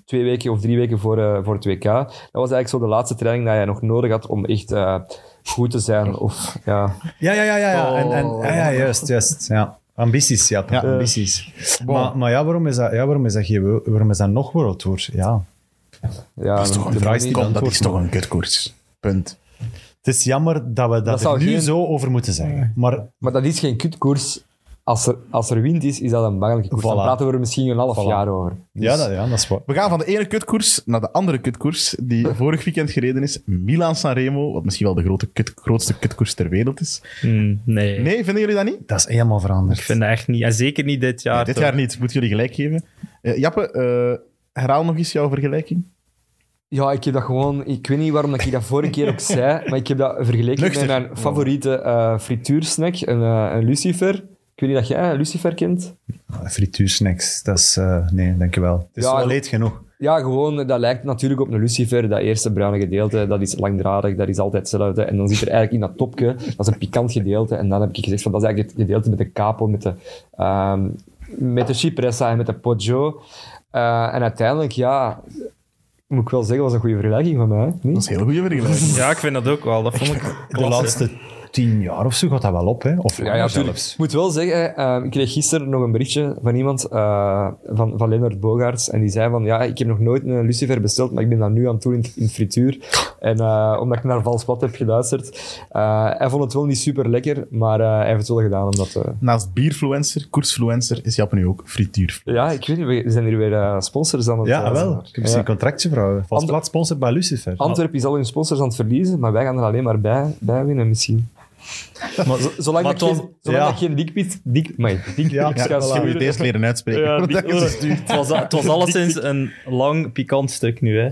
Speaker 3: twee weken of drie weken voor, eh, voor het WK. Dat was eigenlijk zo de laatste training die jij nog nodig had om echt eh, goed te zijn. Of, ja.
Speaker 4: Ja, ja, ja, ja. ja. En, en,
Speaker 3: Oh.
Speaker 4: ja, ja juist, juist. Ja. Ambities, ja, ambities. Maar, maar ja, waarom is dat, ja, waarom is dat, geen wo- waarom is dat nog World Tour? Ja.
Speaker 3: ja
Speaker 2: Dat is toch
Speaker 3: de
Speaker 2: een vraag,
Speaker 3: manier-
Speaker 2: kom, dat is toch een kutkoers. Punt.
Speaker 4: Het is jammer dat we dat,
Speaker 3: Dat
Speaker 4: er
Speaker 3: zou
Speaker 4: nu
Speaker 3: geen-
Speaker 4: zo over moeten zeggen. Maar
Speaker 3: Maar dat is geen kutkoers. Als er, als er wind is, is dat een bangelijke koers. Dan
Speaker 4: Voilà.
Speaker 3: praten we er misschien een half
Speaker 4: Voilà.
Speaker 3: jaar over.
Speaker 4: Ja, dat, ja, dat is waar.
Speaker 2: We gaan van de ene kutkoers naar de andere kutkoers die vorig weekend gereden is. Milaan-Sanremo, wat misschien wel de grote kut, grootste kutkoers ter wereld is.
Speaker 5: Mm, nee.
Speaker 2: Nee, vinden jullie dat niet?
Speaker 4: Dat is helemaal veranderd.
Speaker 5: Ik vind dat echt niet. En zeker niet dit jaar.
Speaker 2: Nee, dit
Speaker 5: toch?
Speaker 2: jaar niet. Moet jullie gelijk geven. Eh, Jappe, eh, herhaal nog eens jouw vergelijking.
Speaker 3: Ja, ik heb dat gewoon... Ik weet niet waarom dat ik dat vorige keer ook zei, maar ik heb dat vergeleken
Speaker 2: Nuchter.
Speaker 3: met mijn favoriete eh, frituursnack, een, eh, een lucifer. Ik weet niet dat jij een lucifer kent.
Speaker 4: Ah, Frituursnacks, dat is... eh, nee, dankjewel. Het is
Speaker 3: Ja,
Speaker 4: wel
Speaker 3: en-
Speaker 4: leed genoeg.
Speaker 3: Ja, gewoon, eh, dat lijkt natuurlijk op een lucifer. Dat eerste bruine gedeelte, dat is langdradig, dat is altijd hetzelfde. En dan zit er eigenlijk in dat topje, dat is een pikant gedeelte. En dan heb ik gezegd, van, dat is eigenlijk het gedeelte met de capo, met de, ehm, met de cipressa en met de poggio. Eh, en uiteindelijk, ja... Moet ik wel zeggen, was een goede vergelijking van mij.
Speaker 2: Dat
Speaker 3: Niet?
Speaker 2: is een hele goede vergelijking.
Speaker 5: Ja, ik vind dat ook wel. Dat vond ik klasse.
Speaker 4: De laatste tien jaar of zo gaat dat wel op, hè? Of
Speaker 3: Ja, ja,
Speaker 4: langer
Speaker 3: tuurlijk.
Speaker 4: zelfs.
Speaker 3: Ik moet wel zeggen, eh, ik kreeg gisteren nog een berichtje van iemand, eh, van, van Leonard Bogaerts, en die zei van, ja, ik heb nog nooit een lucifer besteld, maar ik ben dat nu aan het doen in, in frituur. En eh, omdat ik naar Valsplat heb geluisterd. eh, hij vond het wel niet super lekker, maar eh, hij heeft het wel gedaan omdat... eh,
Speaker 2: Naast bierfluencer, koersfluencer, is Jappe nu ook frituur.
Speaker 3: ja, ik weet niet, we zijn hier weer eh, sponsors aan het...
Speaker 4: Ja,
Speaker 3: eh,
Speaker 4: wel. Ik heb
Speaker 3: ja.
Speaker 4: misschien een contractje, vrouw. Vast
Speaker 3: Ander-
Speaker 4: plaats sponsor bij Lucifer.
Speaker 3: Antwerpen is al hun sponsors aan het verliezen, maar wij gaan er alleen maar bij, bij winnen misschien. Maar, zolang
Speaker 5: maar
Speaker 3: dat geen,
Speaker 5: Tom,
Speaker 3: zolang
Speaker 4: ja.
Speaker 3: dat geen dikpit... Dik, maar dik,
Speaker 4: Ja,
Speaker 2: Ja, dat
Speaker 3: ga
Speaker 2: gaan
Speaker 3: sturen.
Speaker 2: jullie deze leren uitspreken.
Speaker 5: Ja, die-
Speaker 2: Dat is-
Speaker 5: het, was, het was alleszins een lang, pikant stuk nu. Hè.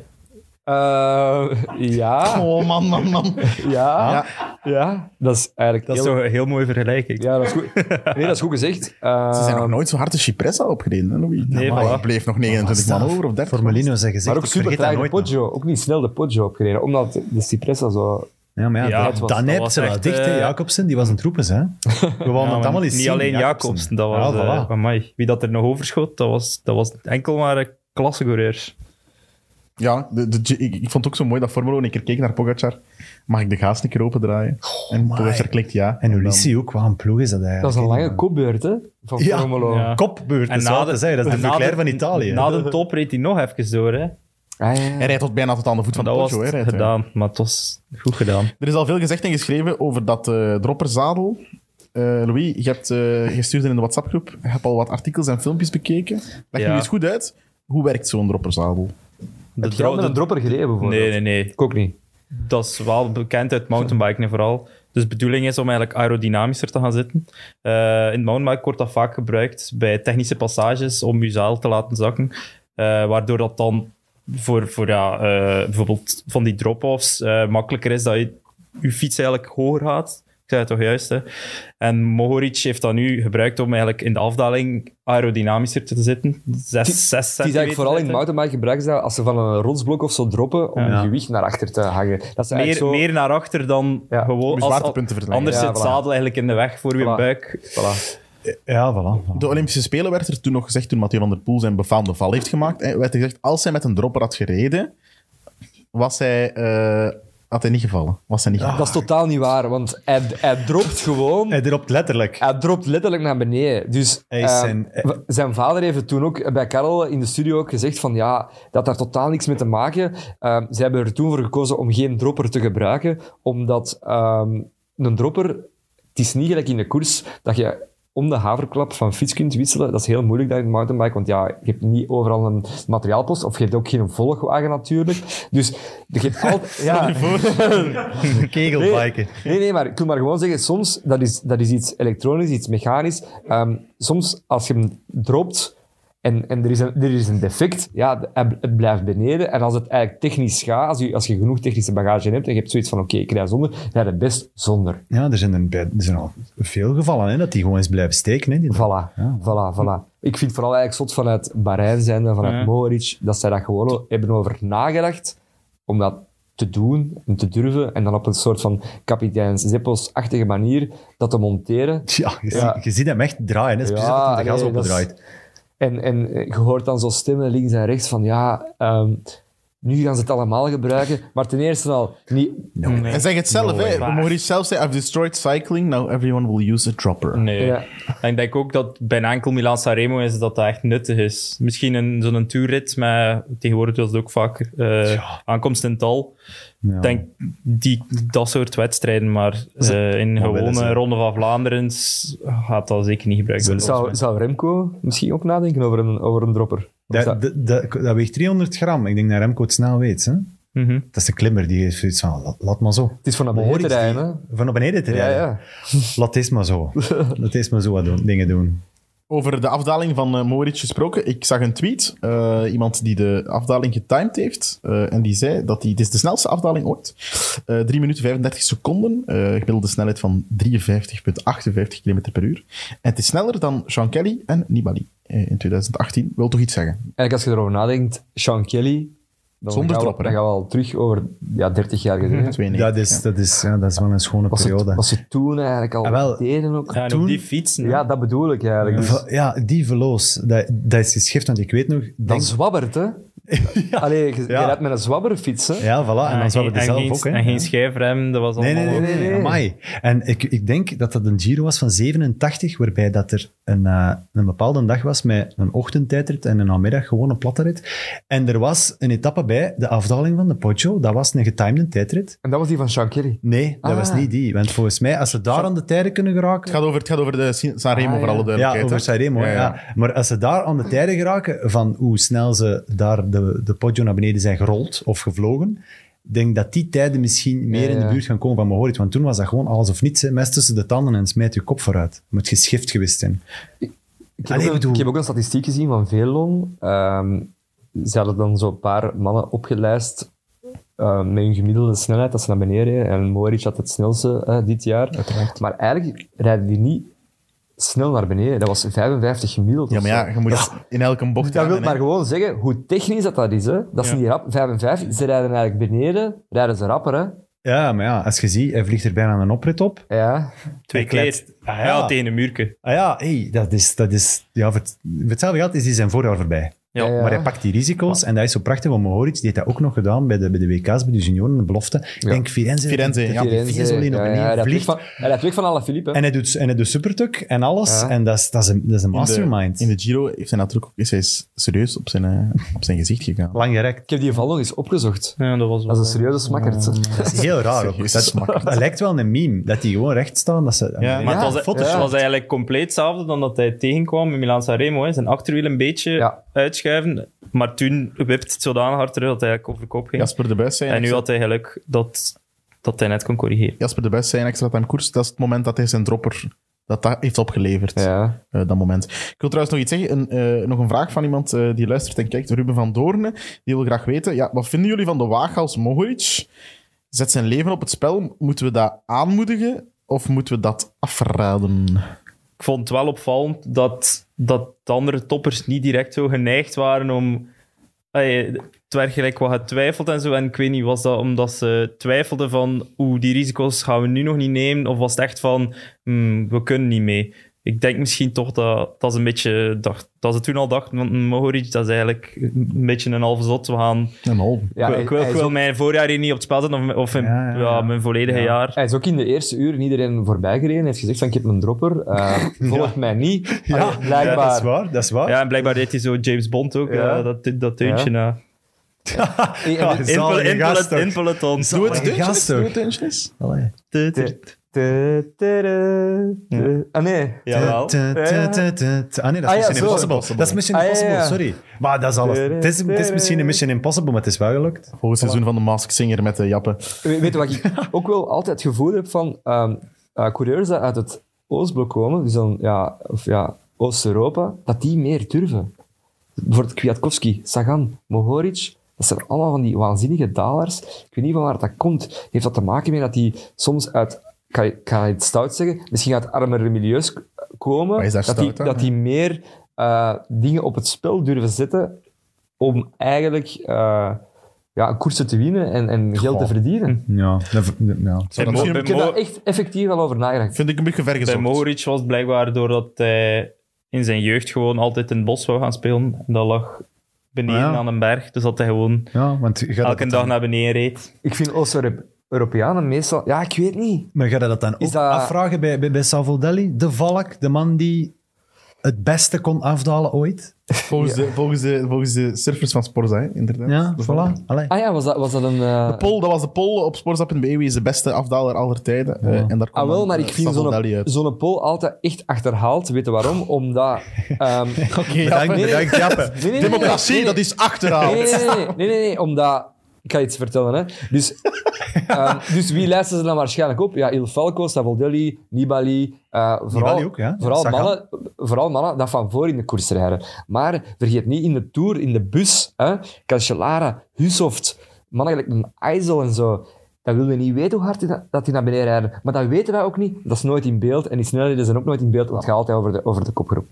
Speaker 3: Eh, ja.
Speaker 2: Oh man, man, man.
Speaker 3: Ja, ja, dat is eigenlijk
Speaker 5: Dat is
Speaker 3: heel...
Speaker 5: toch een heel mooie vergelijking.
Speaker 3: Ja, dat is goed. Nee, dat is goed gezegd. Eh,
Speaker 2: Ze zijn nog nooit zo hard als Cipressa opgereden, hè, Louis?
Speaker 5: Nee,
Speaker 2: maar
Speaker 5: voilà.
Speaker 2: er bleef nog 29 man over of 30.
Speaker 4: Voor Molino zijn gezicht.
Speaker 3: maar ook
Speaker 4: ik vergeet
Speaker 3: super
Speaker 4: dat
Speaker 3: traag de
Speaker 4: nooit nog.
Speaker 3: Poggio. Ook niet snel de Poggio opgereden, omdat de Cipressa zo...
Speaker 4: Ja, maar ja,
Speaker 5: Ja,
Speaker 4: dat,
Speaker 5: dat was-
Speaker 4: dan
Speaker 5: dat
Speaker 4: hebt
Speaker 5: was
Speaker 4: ze wel
Speaker 5: echt,
Speaker 4: dicht, hè.
Speaker 5: eh,
Speaker 4: Jacobsen, die was een troepens, hè. We wouden
Speaker 5: Ja,
Speaker 4: het
Speaker 5: maar
Speaker 4: allemaal eens
Speaker 5: niet
Speaker 4: zien,
Speaker 5: alleen Jacobsen. Dat was,
Speaker 4: Ja,
Speaker 5: eh,
Speaker 4: voilà.
Speaker 5: amai. Wie dat er nog overschoot, dat was, dat was enkel maar eh, een klassecoureur.
Speaker 2: Ja, de, de, ik, ik vond het ook zo mooi dat Formule 1 een keer keek naar Pogacar. Mag ik de gaas een keer opendraaien? en
Speaker 4: my.
Speaker 2: Pogacar klikt ja.
Speaker 4: En Ulissi ook, wat een ploeg is dat eigenlijk.
Speaker 3: Dat is een lange
Speaker 4: kop.
Speaker 3: kopbeurt, hè? Van
Speaker 4: Ja.
Speaker 3: Formolo.
Speaker 5: Ja.
Speaker 4: kopbeurt. En na de, dat is de
Speaker 5: en na
Speaker 4: Leclerc van Italië.
Speaker 5: Na de top reed hij nog even door. Hè.
Speaker 3: Ah, ja, ja.
Speaker 2: Hij rijdt tot bijna tot aan de voet van
Speaker 5: Dat was
Speaker 2: Poggio. hè,
Speaker 5: het
Speaker 2: rijdt hij.
Speaker 5: gedaan, maar het was goed gedaan.
Speaker 2: Er is al veel gezegd en geschreven over dat eh, dropperzadel. Eh, Louis, je hebt eh, gestuurd in de WhatsApp-groep. Je hebt al wat artikels en filmpjes bekeken. Leg
Speaker 5: Ja.
Speaker 2: nu eens goed uit. Hoe werkt zo'n dropperzadel?
Speaker 5: De
Speaker 3: Heb jij al
Speaker 5: dro-
Speaker 3: met een
Speaker 5: de-
Speaker 3: dropper gereden, bijvoorbeeld?
Speaker 5: Nee, nee, nee.
Speaker 3: Ik ook niet.
Speaker 5: Dat is wel bekend uit mountainbiken vooral. Dus de bedoeling is om eigenlijk aerodynamischer te gaan zitten. Eh, in het mountainbike wordt dat vaak gebruikt bij technische passages om je zadel te laten zakken. Eh, waardoor dat dan voor, voor ja, eh, bijvoorbeeld van die drop-offs eh, makkelijker is dat je, je fiets eigenlijk hoger gaat. Ik zei het toch juist, hè? En Mohoric heeft dat nu gebruikt om eigenlijk in de afdaling aerodynamischer te zitten. Zes, zes
Speaker 3: Het is eigenlijk vooral in
Speaker 5: centimeter.
Speaker 3: mountainbike gebruikt ze dat als ze van een rotsblok of zo droppen om
Speaker 4: Ja.
Speaker 3: hun gewicht naar achter te hangen. Dat is
Speaker 5: meer,
Speaker 3: eigenlijk zo...
Speaker 5: meer naar achter dan
Speaker 3: Ja,
Speaker 5: gewoon.
Speaker 2: om je
Speaker 5: als-
Speaker 2: zwaartepunten te verleggen.
Speaker 5: anders
Speaker 3: Ja,
Speaker 5: zit het
Speaker 3: voilà.
Speaker 5: zadel eigenlijk in de weg voor je
Speaker 3: Voilà.
Speaker 5: buik.
Speaker 3: Voilà.
Speaker 4: Ja, voilà. voilà.
Speaker 2: De Olympische Spelen werd er toen nog gezegd, toen Mathieu van der Poel zijn befaamde val heeft gemaakt, eh, werd er gezegd, als hij met een dropper had gereden, was hij, eh, had hij niet gevallen. Was hij
Speaker 5: Ah,
Speaker 2: niet gevallen.
Speaker 3: Dat is totaal niet waar, want hij, hij dropt gewoon...
Speaker 4: Hij dropt letterlijk.
Speaker 3: Hij dropt letterlijk naar beneden. Dus
Speaker 4: Hij is
Speaker 3: ehm,
Speaker 4: zijn- eh,
Speaker 3: w- zijn vader heeft het toen ook bij Karel in de studio ook gezegd van ja, dat daar totaal niks mee te maken. Ehm ze hebben er toen voor gekozen om geen dropper te gebruiken, omdat ehm, een dropper, het is niet gelijk in de koers dat je om de haverklap van fiets kunt wisselen. Dat is heel moeilijk daar in de mountainbike, want ja, je hebt niet overal een materiaalpost of je hebt ook geen volgwagen natuurlijk. Dus je hebt altijd... Ja.
Speaker 4: Kegelbiken.
Speaker 3: Nee, nee, maar ik wil maar gewoon zeggen, soms, dat is, dat is iets elektronisch, iets mechanisch. Ehm, soms, als je hem dropt en, en er, is een, er is een defect, ja, de- hij bl- het blijft beneden. En als het eigenlijk technisch gaat, als je, als je genoeg technische bagage hebt en je hebt zoiets van, oké, ik rij zonder, rij je best zonder.
Speaker 4: Ja, er zijn, er, er zijn al veel gevallen hè, dat die gewoon eens blijven steken. Hè, die
Speaker 3: Voilà, voilà, voilà. Ik vind vooral eigenlijk zot vanuit Bahrein zijnde, vanuit
Speaker 5: Ja.
Speaker 3: Mohoric, dat zij daar gewoon hebben over nagedacht om dat te doen en te durven en dan op een soort van kapitein Zeppels-achtige manier dat te monteren.
Speaker 4: Ja, je,
Speaker 3: Ja.
Speaker 4: Ziet, je ziet hem echt draaien. Hè, speciaal
Speaker 3: Ja,
Speaker 4: dat hij de gas
Speaker 3: nee, dat is-
Speaker 4: opdraait.
Speaker 3: En, en je hoort dan zo stemmen links en rechts van ja, ehm, Nu gaan ze het allemaal gebruiken. Maar ten eerste al, niet,
Speaker 2: Hij zegt het zelf, hè. Maurice zelf zei, I've destroyed cycling, now everyone will use a dropper.
Speaker 5: Nee.
Speaker 3: Ja.
Speaker 5: En ik denk ook dat bij een enkel Milan Sanremo is dat dat echt nuttig is. Misschien een, zo'n toerrit, maar tegenwoordig was het ook vaak eh, aankomst in het dal. Ik denk die, dat soort wedstrijden, maar eh, in
Speaker 4: willen
Speaker 5: gewone
Speaker 4: ze-
Speaker 5: Ronde van Vlaanderen s- gaat dat zeker niet gebruikt worden.
Speaker 3: zou,
Speaker 5: volgens
Speaker 3: zou Remco misschien ook nadenken over een, over een dropper? Of
Speaker 4: Dat,
Speaker 3: zou-
Speaker 4: dat, dat, dat weegt 300 gram. Ik denk dat Remco het snel weet. Hè?
Speaker 5: mij. Mhm.
Speaker 4: Dat is de klimmer die heeft zoiets van, laat, laat maar zo.
Speaker 3: het is van naar
Speaker 4: Maar hoor
Speaker 3: beneden te
Speaker 4: eens
Speaker 3: rijden. hè?
Speaker 4: Van naar beneden te
Speaker 3: Ja,
Speaker 4: rijden.
Speaker 3: ja.
Speaker 4: Laat eens maar zo. laat eens maar zo wat doen, dingen doen.
Speaker 2: Over de afdaling van eh Moritz gesproken. Ik zag een tweet. eh, iemand die de afdaling getimed heeft. eh, en die zei dat die, dit is de snelste afdaling ooit. Eh 3 minuten 35 seconden. eh gemiddelde snelheid van 53,58 km per uur. En het is sneller dan Sean Kelly en Nibali eh, in 2018. Wil toch iets zeggen?
Speaker 3: Eigenlijk als je erover nadenkt, Sean Kelly... Dan
Speaker 2: Zonder
Speaker 3: gaan we,
Speaker 2: dropper, hè?
Speaker 3: Dan gaan we al terug over ja, 30 jaar geleden.
Speaker 4: Dat is, dat, is, ja, dat is wel een schone
Speaker 3: Was het,
Speaker 4: periode.
Speaker 3: was het toen eigenlijk al
Speaker 4: Ah, wel.
Speaker 3: deden ook?
Speaker 5: Ja, en
Speaker 4: Toen-
Speaker 5: op die fiets. nee.
Speaker 3: Ja, dat bedoel ik eigenlijk. Dus
Speaker 4: Va- ja, die verloos. Dat, dat is geschift, want ik weet nog...
Speaker 3: Dan
Speaker 4: Denk,
Speaker 3: zwabbert, hè? Allee, je, je
Speaker 4: Ja.
Speaker 3: rijdt met een zwabberfiets, hè?
Speaker 4: ja, voilà. en dan zouden we
Speaker 5: Ah, en
Speaker 4: het zelf
Speaker 5: geen,
Speaker 4: ook. Hè.
Speaker 5: En geen schijfrem, dat was
Speaker 4: Nee, nee,
Speaker 5: allemaal...
Speaker 4: nee. nee,
Speaker 3: Nee, nee.
Speaker 4: Amai. En ik, ik denk dat dat een Giro was van 87, waarbij dat er een, eh, een bepaalde dag was met een ochtendtijdrit en een namiddag gewoon een platte rit. En er was een etappe bij, de afdaling van de Poggio, dat was een getimede tijdrit.
Speaker 3: En dat was die van Sean Kelly.
Speaker 4: Nee, dat
Speaker 3: Ah.
Speaker 4: was niet die. Want volgens mij, als ze daar aan de tijden kunnen geraken...
Speaker 2: Het gaat over, het gaat over de Sin- Sanremo,
Speaker 3: Ah,
Speaker 2: voor alle
Speaker 3: ja.
Speaker 2: duidelijkheid.
Speaker 4: Ja,
Speaker 2: hè.
Speaker 4: over Sanremo.
Speaker 2: eh, Ja,
Speaker 4: Ja,
Speaker 2: ja.
Speaker 4: Maar als ze daar aan de tijden geraken, van hoe snel ze daar de, de podio naar beneden zijn gerold of gevlogen, denk dat die tijden misschien meer in
Speaker 3: ja.
Speaker 4: de buurt gaan komen van Mahorit. Want toen was dat gewoon alles of niets. hè. Mes tussen de tanden en smijt je kop vooruit. Met geschift geweest zijn.
Speaker 3: Ik heb,
Speaker 4: Allee,
Speaker 3: ook, een-
Speaker 4: bedoel-
Speaker 3: ik heb ook een statistiek gezien van Velon. Ehm ze hadden dan zo'n paar mannen opgelijst ehm, met hun gemiddelde snelheid dat ze naar beneden reden. En Moritz had het snelste eh, dit jaar. Maar eigenlijk rijden die niet snel naar beneden. Dat was 55 gemiddeld.
Speaker 2: Ja,
Speaker 3: of
Speaker 2: maar
Speaker 3: zo.
Speaker 2: ja, je moet het in elke bocht
Speaker 3: Dat wil
Speaker 2: rijden,
Speaker 3: maar
Speaker 2: hè.
Speaker 3: gewoon zeggen hoe technisch dat, dat is. Hè? Dat is
Speaker 5: Ja.
Speaker 3: niet rap. 55, ze rijden eigenlijk beneden, rijden ze rapper. Hè?
Speaker 4: Ja, maar ja, als je ziet, hij vliegt er bijna een oprit op.
Speaker 3: Ja.
Speaker 5: Twee
Speaker 4: Hij kletst.
Speaker 5: keer.
Speaker 4: Ah,
Speaker 5: ja.
Speaker 4: ja.
Speaker 5: tegen een muurke.
Speaker 4: Ah ja, hey, dat is... Dat is ja, voor, het- voor hetzelfde geld is hij zijn voorjaar voorbij.
Speaker 5: Ja,
Speaker 3: ja.
Speaker 4: Maar hij pakt die risico's en dat is zo prachtig. Want Mohoric die heeft dat ook nog gedaan bij de, bij de WK's, bij de junioren, de belofte. Ik denk Firenze.
Speaker 2: Firenze,
Speaker 4: dat
Speaker 2: ja.
Speaker 4: die
Speaker 3: Firenze,
Speaker 4: Vezelin
Speaker 3: ja,
Speaker 4: op en
Speaker 3: ja,
Speaker 4: neer
Speaker 3: hij rijdt weg
Speaker 4: vliegt.
Speaker 3: van- Hij rijdt weg van alle Philippe.
Speaker 4: En hij doet, en hij doet supertuk en alles.
Speaker 3: Ja.
Speaker 4: En dat is, dat is een, dat is een
Speaker 2: In de-
Speaker 4: mastermind.
Speaker 2: In de Giro heeft hij natuurlijk ook, is hij serieus op zijn, eh, op zijn gezicht gegaan.
Speaker 4: Lang gerekt.
Speaker 3: Ik heb die val nog eens opgezocht.
Speaker 5: Ja, dat was wel...
Speaker 3: Dat is een serieuze smakkerd.
Speaker 4: Dat is heel raar ook.
Speaker 2: Serieus,
Speaker 4: Dat,
Speaker 2: smakkend.
Speaker 4: dat lijkt wel een meme. Dat die gewoon recht staan. Dat ze,
Speaker 2: Ja,
Speaker 5: Maar
Speaker 3: Ja,
Speaker 5: het, was,
Speaker 4: foto's.
Speaker 5: het was eigenlijk compleet hetzelfde dan dat hij tegenkwam in Milan Sanremo. Hè. Zijn achterwiel een beetje
Speaker 3: Ja.
Speaker 5: uitschuiven, maar toen wipt het zodanig hard terug dat hij eigenlijk over kop ging.
Speaker 2: Jasper de Buis zei...
Speaker 5: en nu
Speaker 2: ik-
Speaker 5: had hij geluk dat, dat hij net kon corrigeren.
Speaker 2: Jasper de Best zei in extra time koers, dat is het moment dat hij zijn dropper dat dat heeft opgeleverd.
Speaker 3: Ja.
Speaker 2: eh, dat moment. Ik wil trouwens nog iets zeggen. Een, eh, nog een vraag van iemand eh, die luistert en kijkt. Ruben van Doorne. Die wil graag weten. Ja, wat vinden jullie van de waag als Mohoric? Zet zijn leven op het spel. Moeten we dat aanmoedigen? Of moeten we dat afraden?
Speaker 5: Ik vond het wel opvallend dat, dat de andere toppers niet direct zo geneigd waren om... Ey, het werd gelijk wat getwijfeld en zo. En ik weet niet, was dat omdat ze twijfelden van hoe die risico's gaan we nu nog niet nemen? Of was het echt van, hmm, we kunnen niet mee? Ik denk misschien toch dat, dat ze een beetje dacht, dat ze toen al dachten, want Mohoric, dat is eigenlijk een beetje een halve zot. We gaan,
Speaker 2: Een half.
Speaker 3: Ja,
Speaker 5: ik, wil-
Speaker 3: hij,
Speaker 5: ik wil,
Speaker 3: hij
Speaker 5: ik
Speaker 3: is
Speaker 5: wil
Speaker 3: ook,
Speaker 5: mijn voorjaar hier niet op het spel zetten, of, of in-
Speaker 4: Ja,
Speaker 5: ja,
Speaker 4: ja, ja.
Speaker 5: mijn volledige jaar.
Speaker 3: hij is ook in de eerste uur iedereen voorbij gereden. Hij heeft gezegd van, ik heb een dropper. eh volg mij niet. Allee,
Speaker 4: Ja,
Speaker 3: blijkbaar.
Speaker 4: dat is waar. Dat is waar.
Speaker 5: Ja, en blijkbaar deed hij zo James Bond ook,
Speaker 3: Ja.
Speaker 5: ja. dat, dat deuntje na.
Speaker 3: Eh, en dit-
Speaker 5: In,
Speaker 4: Zalige
Speaker 5: pele- in,
Speaker 4: gast
Speaker 5: pele-
Speaker 4: ook.
Speaker 5: in peloton.
Speaker 2: Doe het
Speaker 4: Zalige
Speaker 2: deuntjes.
Speaker 4: gast
Speaker 2: Doe
Speaker 4: ook.
Speaker 2: het deuntjes.
Speaker 4: Allee.
Speaker 5: Du- du-
Speaker 3: Te- te- te- te- Ah, nee.
Speaker 5: Jawel.
Speaker 4: Tu, tu,
Speaker 3: Ja.
Speaker 4: tu, tu, tu. Ah nee, dat
Speaker 3: Ah
Speaker 4: is
Speaker 3: ja,
Speaker 4: Mission
Speaker 3: zo.
Speaker 4: Impossible. Dat is Mission
Speaker 3: Ah ja,
Speaker 4: Impossible,
Speaker 3: ja.
Speaker 4: sorry. Maar dat is alles. Het is, het is misschien een Mission Impossible, maar het is wel gelukt.
Speaker 2: Volgens seizoen van de Mask Singer met de jappen.
Speaker 3: We- Weet je wat ik ook wel altijd het gevoel heb van ehm, eh, coureurs die uit het Oostblok komen, dus dan, ja, of ja, Oost-Europa, dat die meer durven. Bijvoorbeeld Kwiatkowski, Sagan, Mohoric, dat zijn allemaal van die waanzinnige dalers. Ik weet niet van waar dat komt. Heeft dat te maken mee dat die soms uit, kan je, kan je het stout zeggen, misschien uit armere milieus k- komen,
Speaker 2: Maar is dat
Speaker 3: dat, die,
Speaker 2: stout dan?
Speaker 3: dat die meer eh, dingen op het spel durven zetten om eigenlijk eh, ja, koersen te winnen en, en geld te verdienen.
Speaker 4: Ja, dat, ja.
Speaker 5: Bij Mo-
Speaker 2: Misschien
Speaker 5: bij
Speaker 2: een
Speaker 3: Ik heb
Speaker 5: Mo-
Speaker 3: daar echt effectief al over nagedacht.
Speaker 2: Vind ik een beetje
Speaker 5: bij
Speaker 2: vergezocht.
Speaker 5: Mohoric was het blijkbaar doordat hij in zijn jeugd gewoon altijd in het bos wou gaan spelen. En dat lag beneden
Speaker 4: Ah, ja.
Speaker 5: aan een berg. Dus dat hij gewoon
Speaker 4: Ja, want je gaat
Speaker 5: elke
Speaker 4: dat
Speaker 5: dag
Speaker 4: dan-
Speaker 5: naar beneden reed.
Speaker 3: Ik vind Oost-Europeanen meestal... Ja, ik weet niet.
Speaker 4: Maar ga je dat dan ook
Speaker 3: Is dat-
Speaker 4: afvragen bij, bij, bij Salvoldelli? De valk, de man die het beste kon afdalen ooit.
Speaker 2: Volgens, de, volgens, de, volgens de surfers van Sporza, hè, inderdaad.
Speaker 4: Ja,
Speaker 2: De Valk.
Speaker 4: voilà. Allee.
Speaker 3: Ah ja, was dat, was dat een... eh,
Speaker 2: De poll, dat was de poll op sporza.be. Wie is de beste afdaler aller tijden? Eh, en daar
Speaker 3: Ah
Speaker 2: kwam
Speaker 3: wel,
Speaker 2: dan,
Speaker 3: maar
Speaker 2: eh,
Speaker 3: ik vind
Speaker 2: Savoldelli
Speaker 3: zo'n
Speaker 2: uit.
Speaker 3: zo'n poll altijd echt achterhaald. Weet je waarom? Omdat... ehm,
Speaker 4: Bedankt,
Speaker 3: nee, nee.
Speaker 4: bedankt, Jappe.
Speaker 3: nee, nee, nee,
Speaker 2: Democratie,
Speaker 3: nee, nee.
Speaker 2: dat is achterhaald.
Speaker 3: Nee, nee, nee, nee, nee, nee, nee, omdat... Ik ga je iets vertellen, hè. Dus, ehm, dus wie lijsten ze dan waarschijnlijk op? Ja, Il Falco, Savoldelli, Nibali. eh, vooral,
Speaker 4: Nibali ook, ja.
Speaker 3: Vooral
Speaker 4: Sagan.
Speaker 3: mannen, vooral mannen dat van voor in de koers rijden. Maar vergeet niet, in de Tour, in de bus, hè, Cancellara, Husoft, mannen gelijk een IJssel en zo. Dat wil je niet weten hoe hard die na- dat die naar beneden rijden. Maar dat weten wij ook niet. Dat is nooit in beeld. En die snelheden zijn ook nooit in beeld, want het gaat altijd over de, over de kopgroep.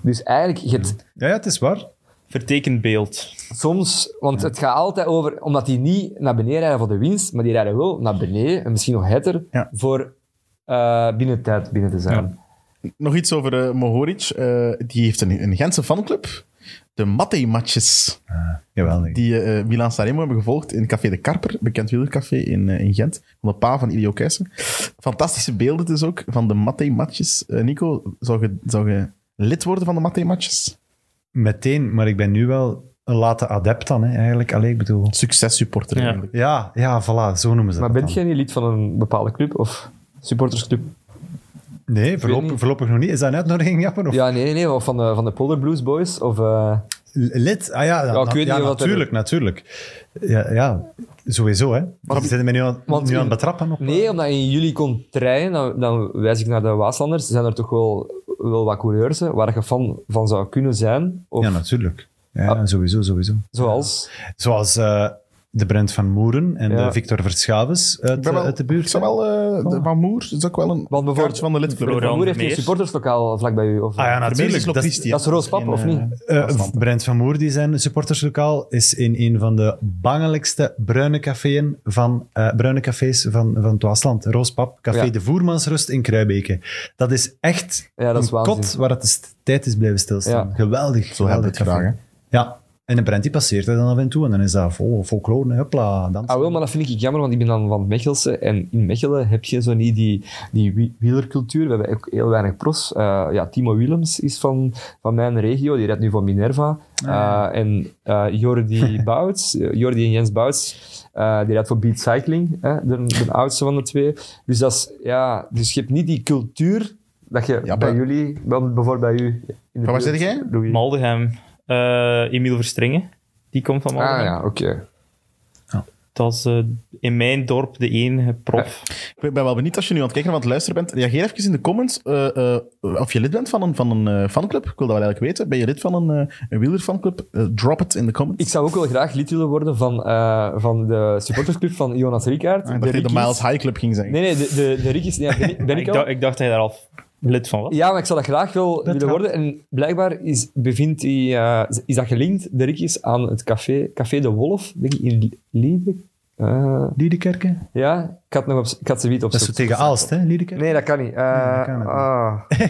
Speaker 3: Dus eigenlijk, je hebt
Speaker 4: Ja, ja, het is waar.
Speaker 5: Vertekend beeld.
Speaker 3: Soms, want het gaat altijd over, omdat die niet naar beneden rijden voor de winst, maar die rijden wel naar beneden en misschien nog hetter
Speaker 2: Ja.
Speaker 3: voor eh binnen tijd binnen te zijn.
Speaker 2: Nog iets over eh, Mohoric. Eh, die heeft een, een Gentse fanclub. De Mattei-matches.
Speaker 4: Jawel. Die...
Speaker 2: die eh Milan Sanremo hebben gevolgd in Café de Karper, bekend wielercafé in, eh, in Gent, van de pa van Ilio Keijsen. Fantastische beelden dus ook van de Mattei-matches. Eh, Nico, zou je, zou je lid worden van de Mattei-matches?
Speaker 4: Meteen, maar ik ben nu wel een late adept dan, hè, eigenlijk. Allee, ik bedoel...
Speaker 2: Successupporter
Speaker 5: Ja.
Speaker 2: eigenlijk.
Speaker 4: Ja, ja, voilà, zo noemen ze
Speaker 3: Maar
Speaker 4: dat
Speaker 3: bent
Speaker 4: dan.
Speaker 3: jij niet lid van een bepaalde club of supportersclub?
Speaker 4: Nee,
Speaker 3: weet
Speaker 4: voorlopig,
Speaker 3: niet.
Speaker 4: voorlopig nog niet. Is dat een uitnodiging, Jappen? Of...
Speaker 3: Ja, nee, nee, nee, of van de, van de Polder Blues Boys. Of, eh,
Speaker 4: Lid? Ah ja,
Speaker 3: ik weet
Speaker 4: ja,
Speaker 3: niet wat er-
Speaker 4: natuurlijk, natuurlijk. Ja, ja, sowieso, hè. Maar zitten we nu aan,
Speaker 3: Want
Speaker 4: nu aan het
Speaker 3: in-
Speaker 4: betrappen? Op...
Speaker 3: nee, omdat in juli kon treinen, dan, dan wijs ik naar de Waaslanders. Zijn er toch wel, wel wat coureurs hè, waar je fan van zou kunnen zijn? Of,
Speaker 4: Ja, natuurlijk. Ja,
Speaker 3: Ah.
Speaker 4: sowieso, sowieso.
Speaker 3: Zoals?
Speaker 4: Zoals eh, de Brent van Moeren en
Speaker 3: Ja.
Speaker 4: de Victor Verschaves uit,
Speaker 2: Ik ben wel-
Speaker 4: uit de buurt. Oh.
Speaker 2: Ik zou wel... eh, de Van Moer is ook wel een
Speaker 3: Want bijvoorbeeld-
Speaker 2: kaartje van de
Speaker 5: Florian
Speaker 2: lidclub.
Speaker 3: Mijn moeder heeft een
Speaker 5: Vermeers.
Speaker 3: supporterslokaal vlak bij u.
Speaker 4: Ah
Speaker 3: Of,
Speaker 4: ja,
Speaker 2: Vermeer
Speaker 4: natuurlijk.
Speaker 2: is
Speaker 4: Dat is-
Speaker 2: logist, ja.
Speaker 3: dat is Roos Pap,
Speaker 2: Geen,
Speaker 3: of
Speaker 2: eh,
Speaker 3: niet?
Speaker 4: eh,
Speaker 2: afstand.
Speaker 4: Brent van Moer, die zijn supporterslokaal, is in een van de bangelijkste bruine, caféen van, eh, bruine cafés van, van het Waasland. Roospap, Café
Speaker 3: Ja.
Speaker 4: de Voermansrust in Kruibeke. Dat is echt
Speaker 3: Ja, dat is
Speaker 4: een
Speaker 3: waanzin.
Speaker 4: kot waar het de st- tijd is blijven stilstaan.
Speaker 3: Ja.
Speaker 4: Geweldig.
Speaker 2: Zo hebben
Speaker 4: geweldig
Speaker 2: we het graag, hè.
Speaker 4: café. Ja, en de Brent die passeert er dan af en toe en dan is dat vol folklore, hupla, dansen.
Speaker 3: Ah, wel, maar dat vind ik jammer, want ik ben dan van het Mechelse. En in Mechelen heb je zo niet die, die wie- wielercultuur. We hebben ook heel weinig pros. Eh, ja, Timo Willems is van, van mijn regio. Die rijdt nu voor
Speaker 2: Ah,
Speaker 3: Minerva. Eh, en eh, Jordi Bouts, eh, Jordi en Jens Bouts, eh, die rijdt voor Beat Cycling. hè, de, de oudste van de twee. Dus, dat is, ja, dus je hebt niet die cultuur dat je
Speaker 2: Ja,
Speaker 3: bij
Speaker 2: maar-
Speaker 3: jullie, wel, bijvoorbeeld bij u. In de
Speaker 2: Van waar
Speaker 3: buurt,
Speaker 2: zit jij?
Speaker 3: Louis.
Speaker 5: Maldegem. eh Emiel Verstringen. Die komt van Maldegem.
Speaker 3: Ah ja, oké.
Speaker 5: Dat is eh, in mijn dorp de enige prof.
Speaker 2: Ik ben wel benieuwd als je nu aan het kijken of aan het luisteren bent. Reageer even in de comments eh, eh, of je lid bent van een, van een eh, fanclub. Ik wil dat wel eigenlijk weten. Ben je lid van een, eh een wielerfanclub? Eh, drop it in de comments.
Speaker 3: Ik zou ook wel graag lid willen worden van, eh, van de supportersclub van Jonas Rickaert.
Speaker 2: Ah, ik dacht dat je de
Speaker 3: Rickies.
Speaker 2: Miles High Club ging zeggen.
Speaker 3: Nee, nee, de, de, de Rickies. Nee, ben, ik- ben ik
Speaker 5: ik,
Speaker 3: al?
Speaker 5: dacht, ik dacht dat hij daar al lid van was.
Speaker 3: Ja, maar ik zou dat graag wel willen
Speaker 4: gaat.
Speaker 3: worden. En blijkbaar is, bevindt die, eh, is dat gelinkt, de Rickies, aan het café, café De Wolf, denk ik, in Lieden. Eh,
Speaker 4: Liedekerke?
Speaker 3: ja, ik had, nog op, ik had ze niet
Speaker 4: Dat is zo
Speaker 3: opzoeken.
Speaker 4: tegen Aalst, hè, Liedekerke?
Speaker 3: Nee, dat kan niet. Eh,
Speaker 4: Nee, dat kan niet.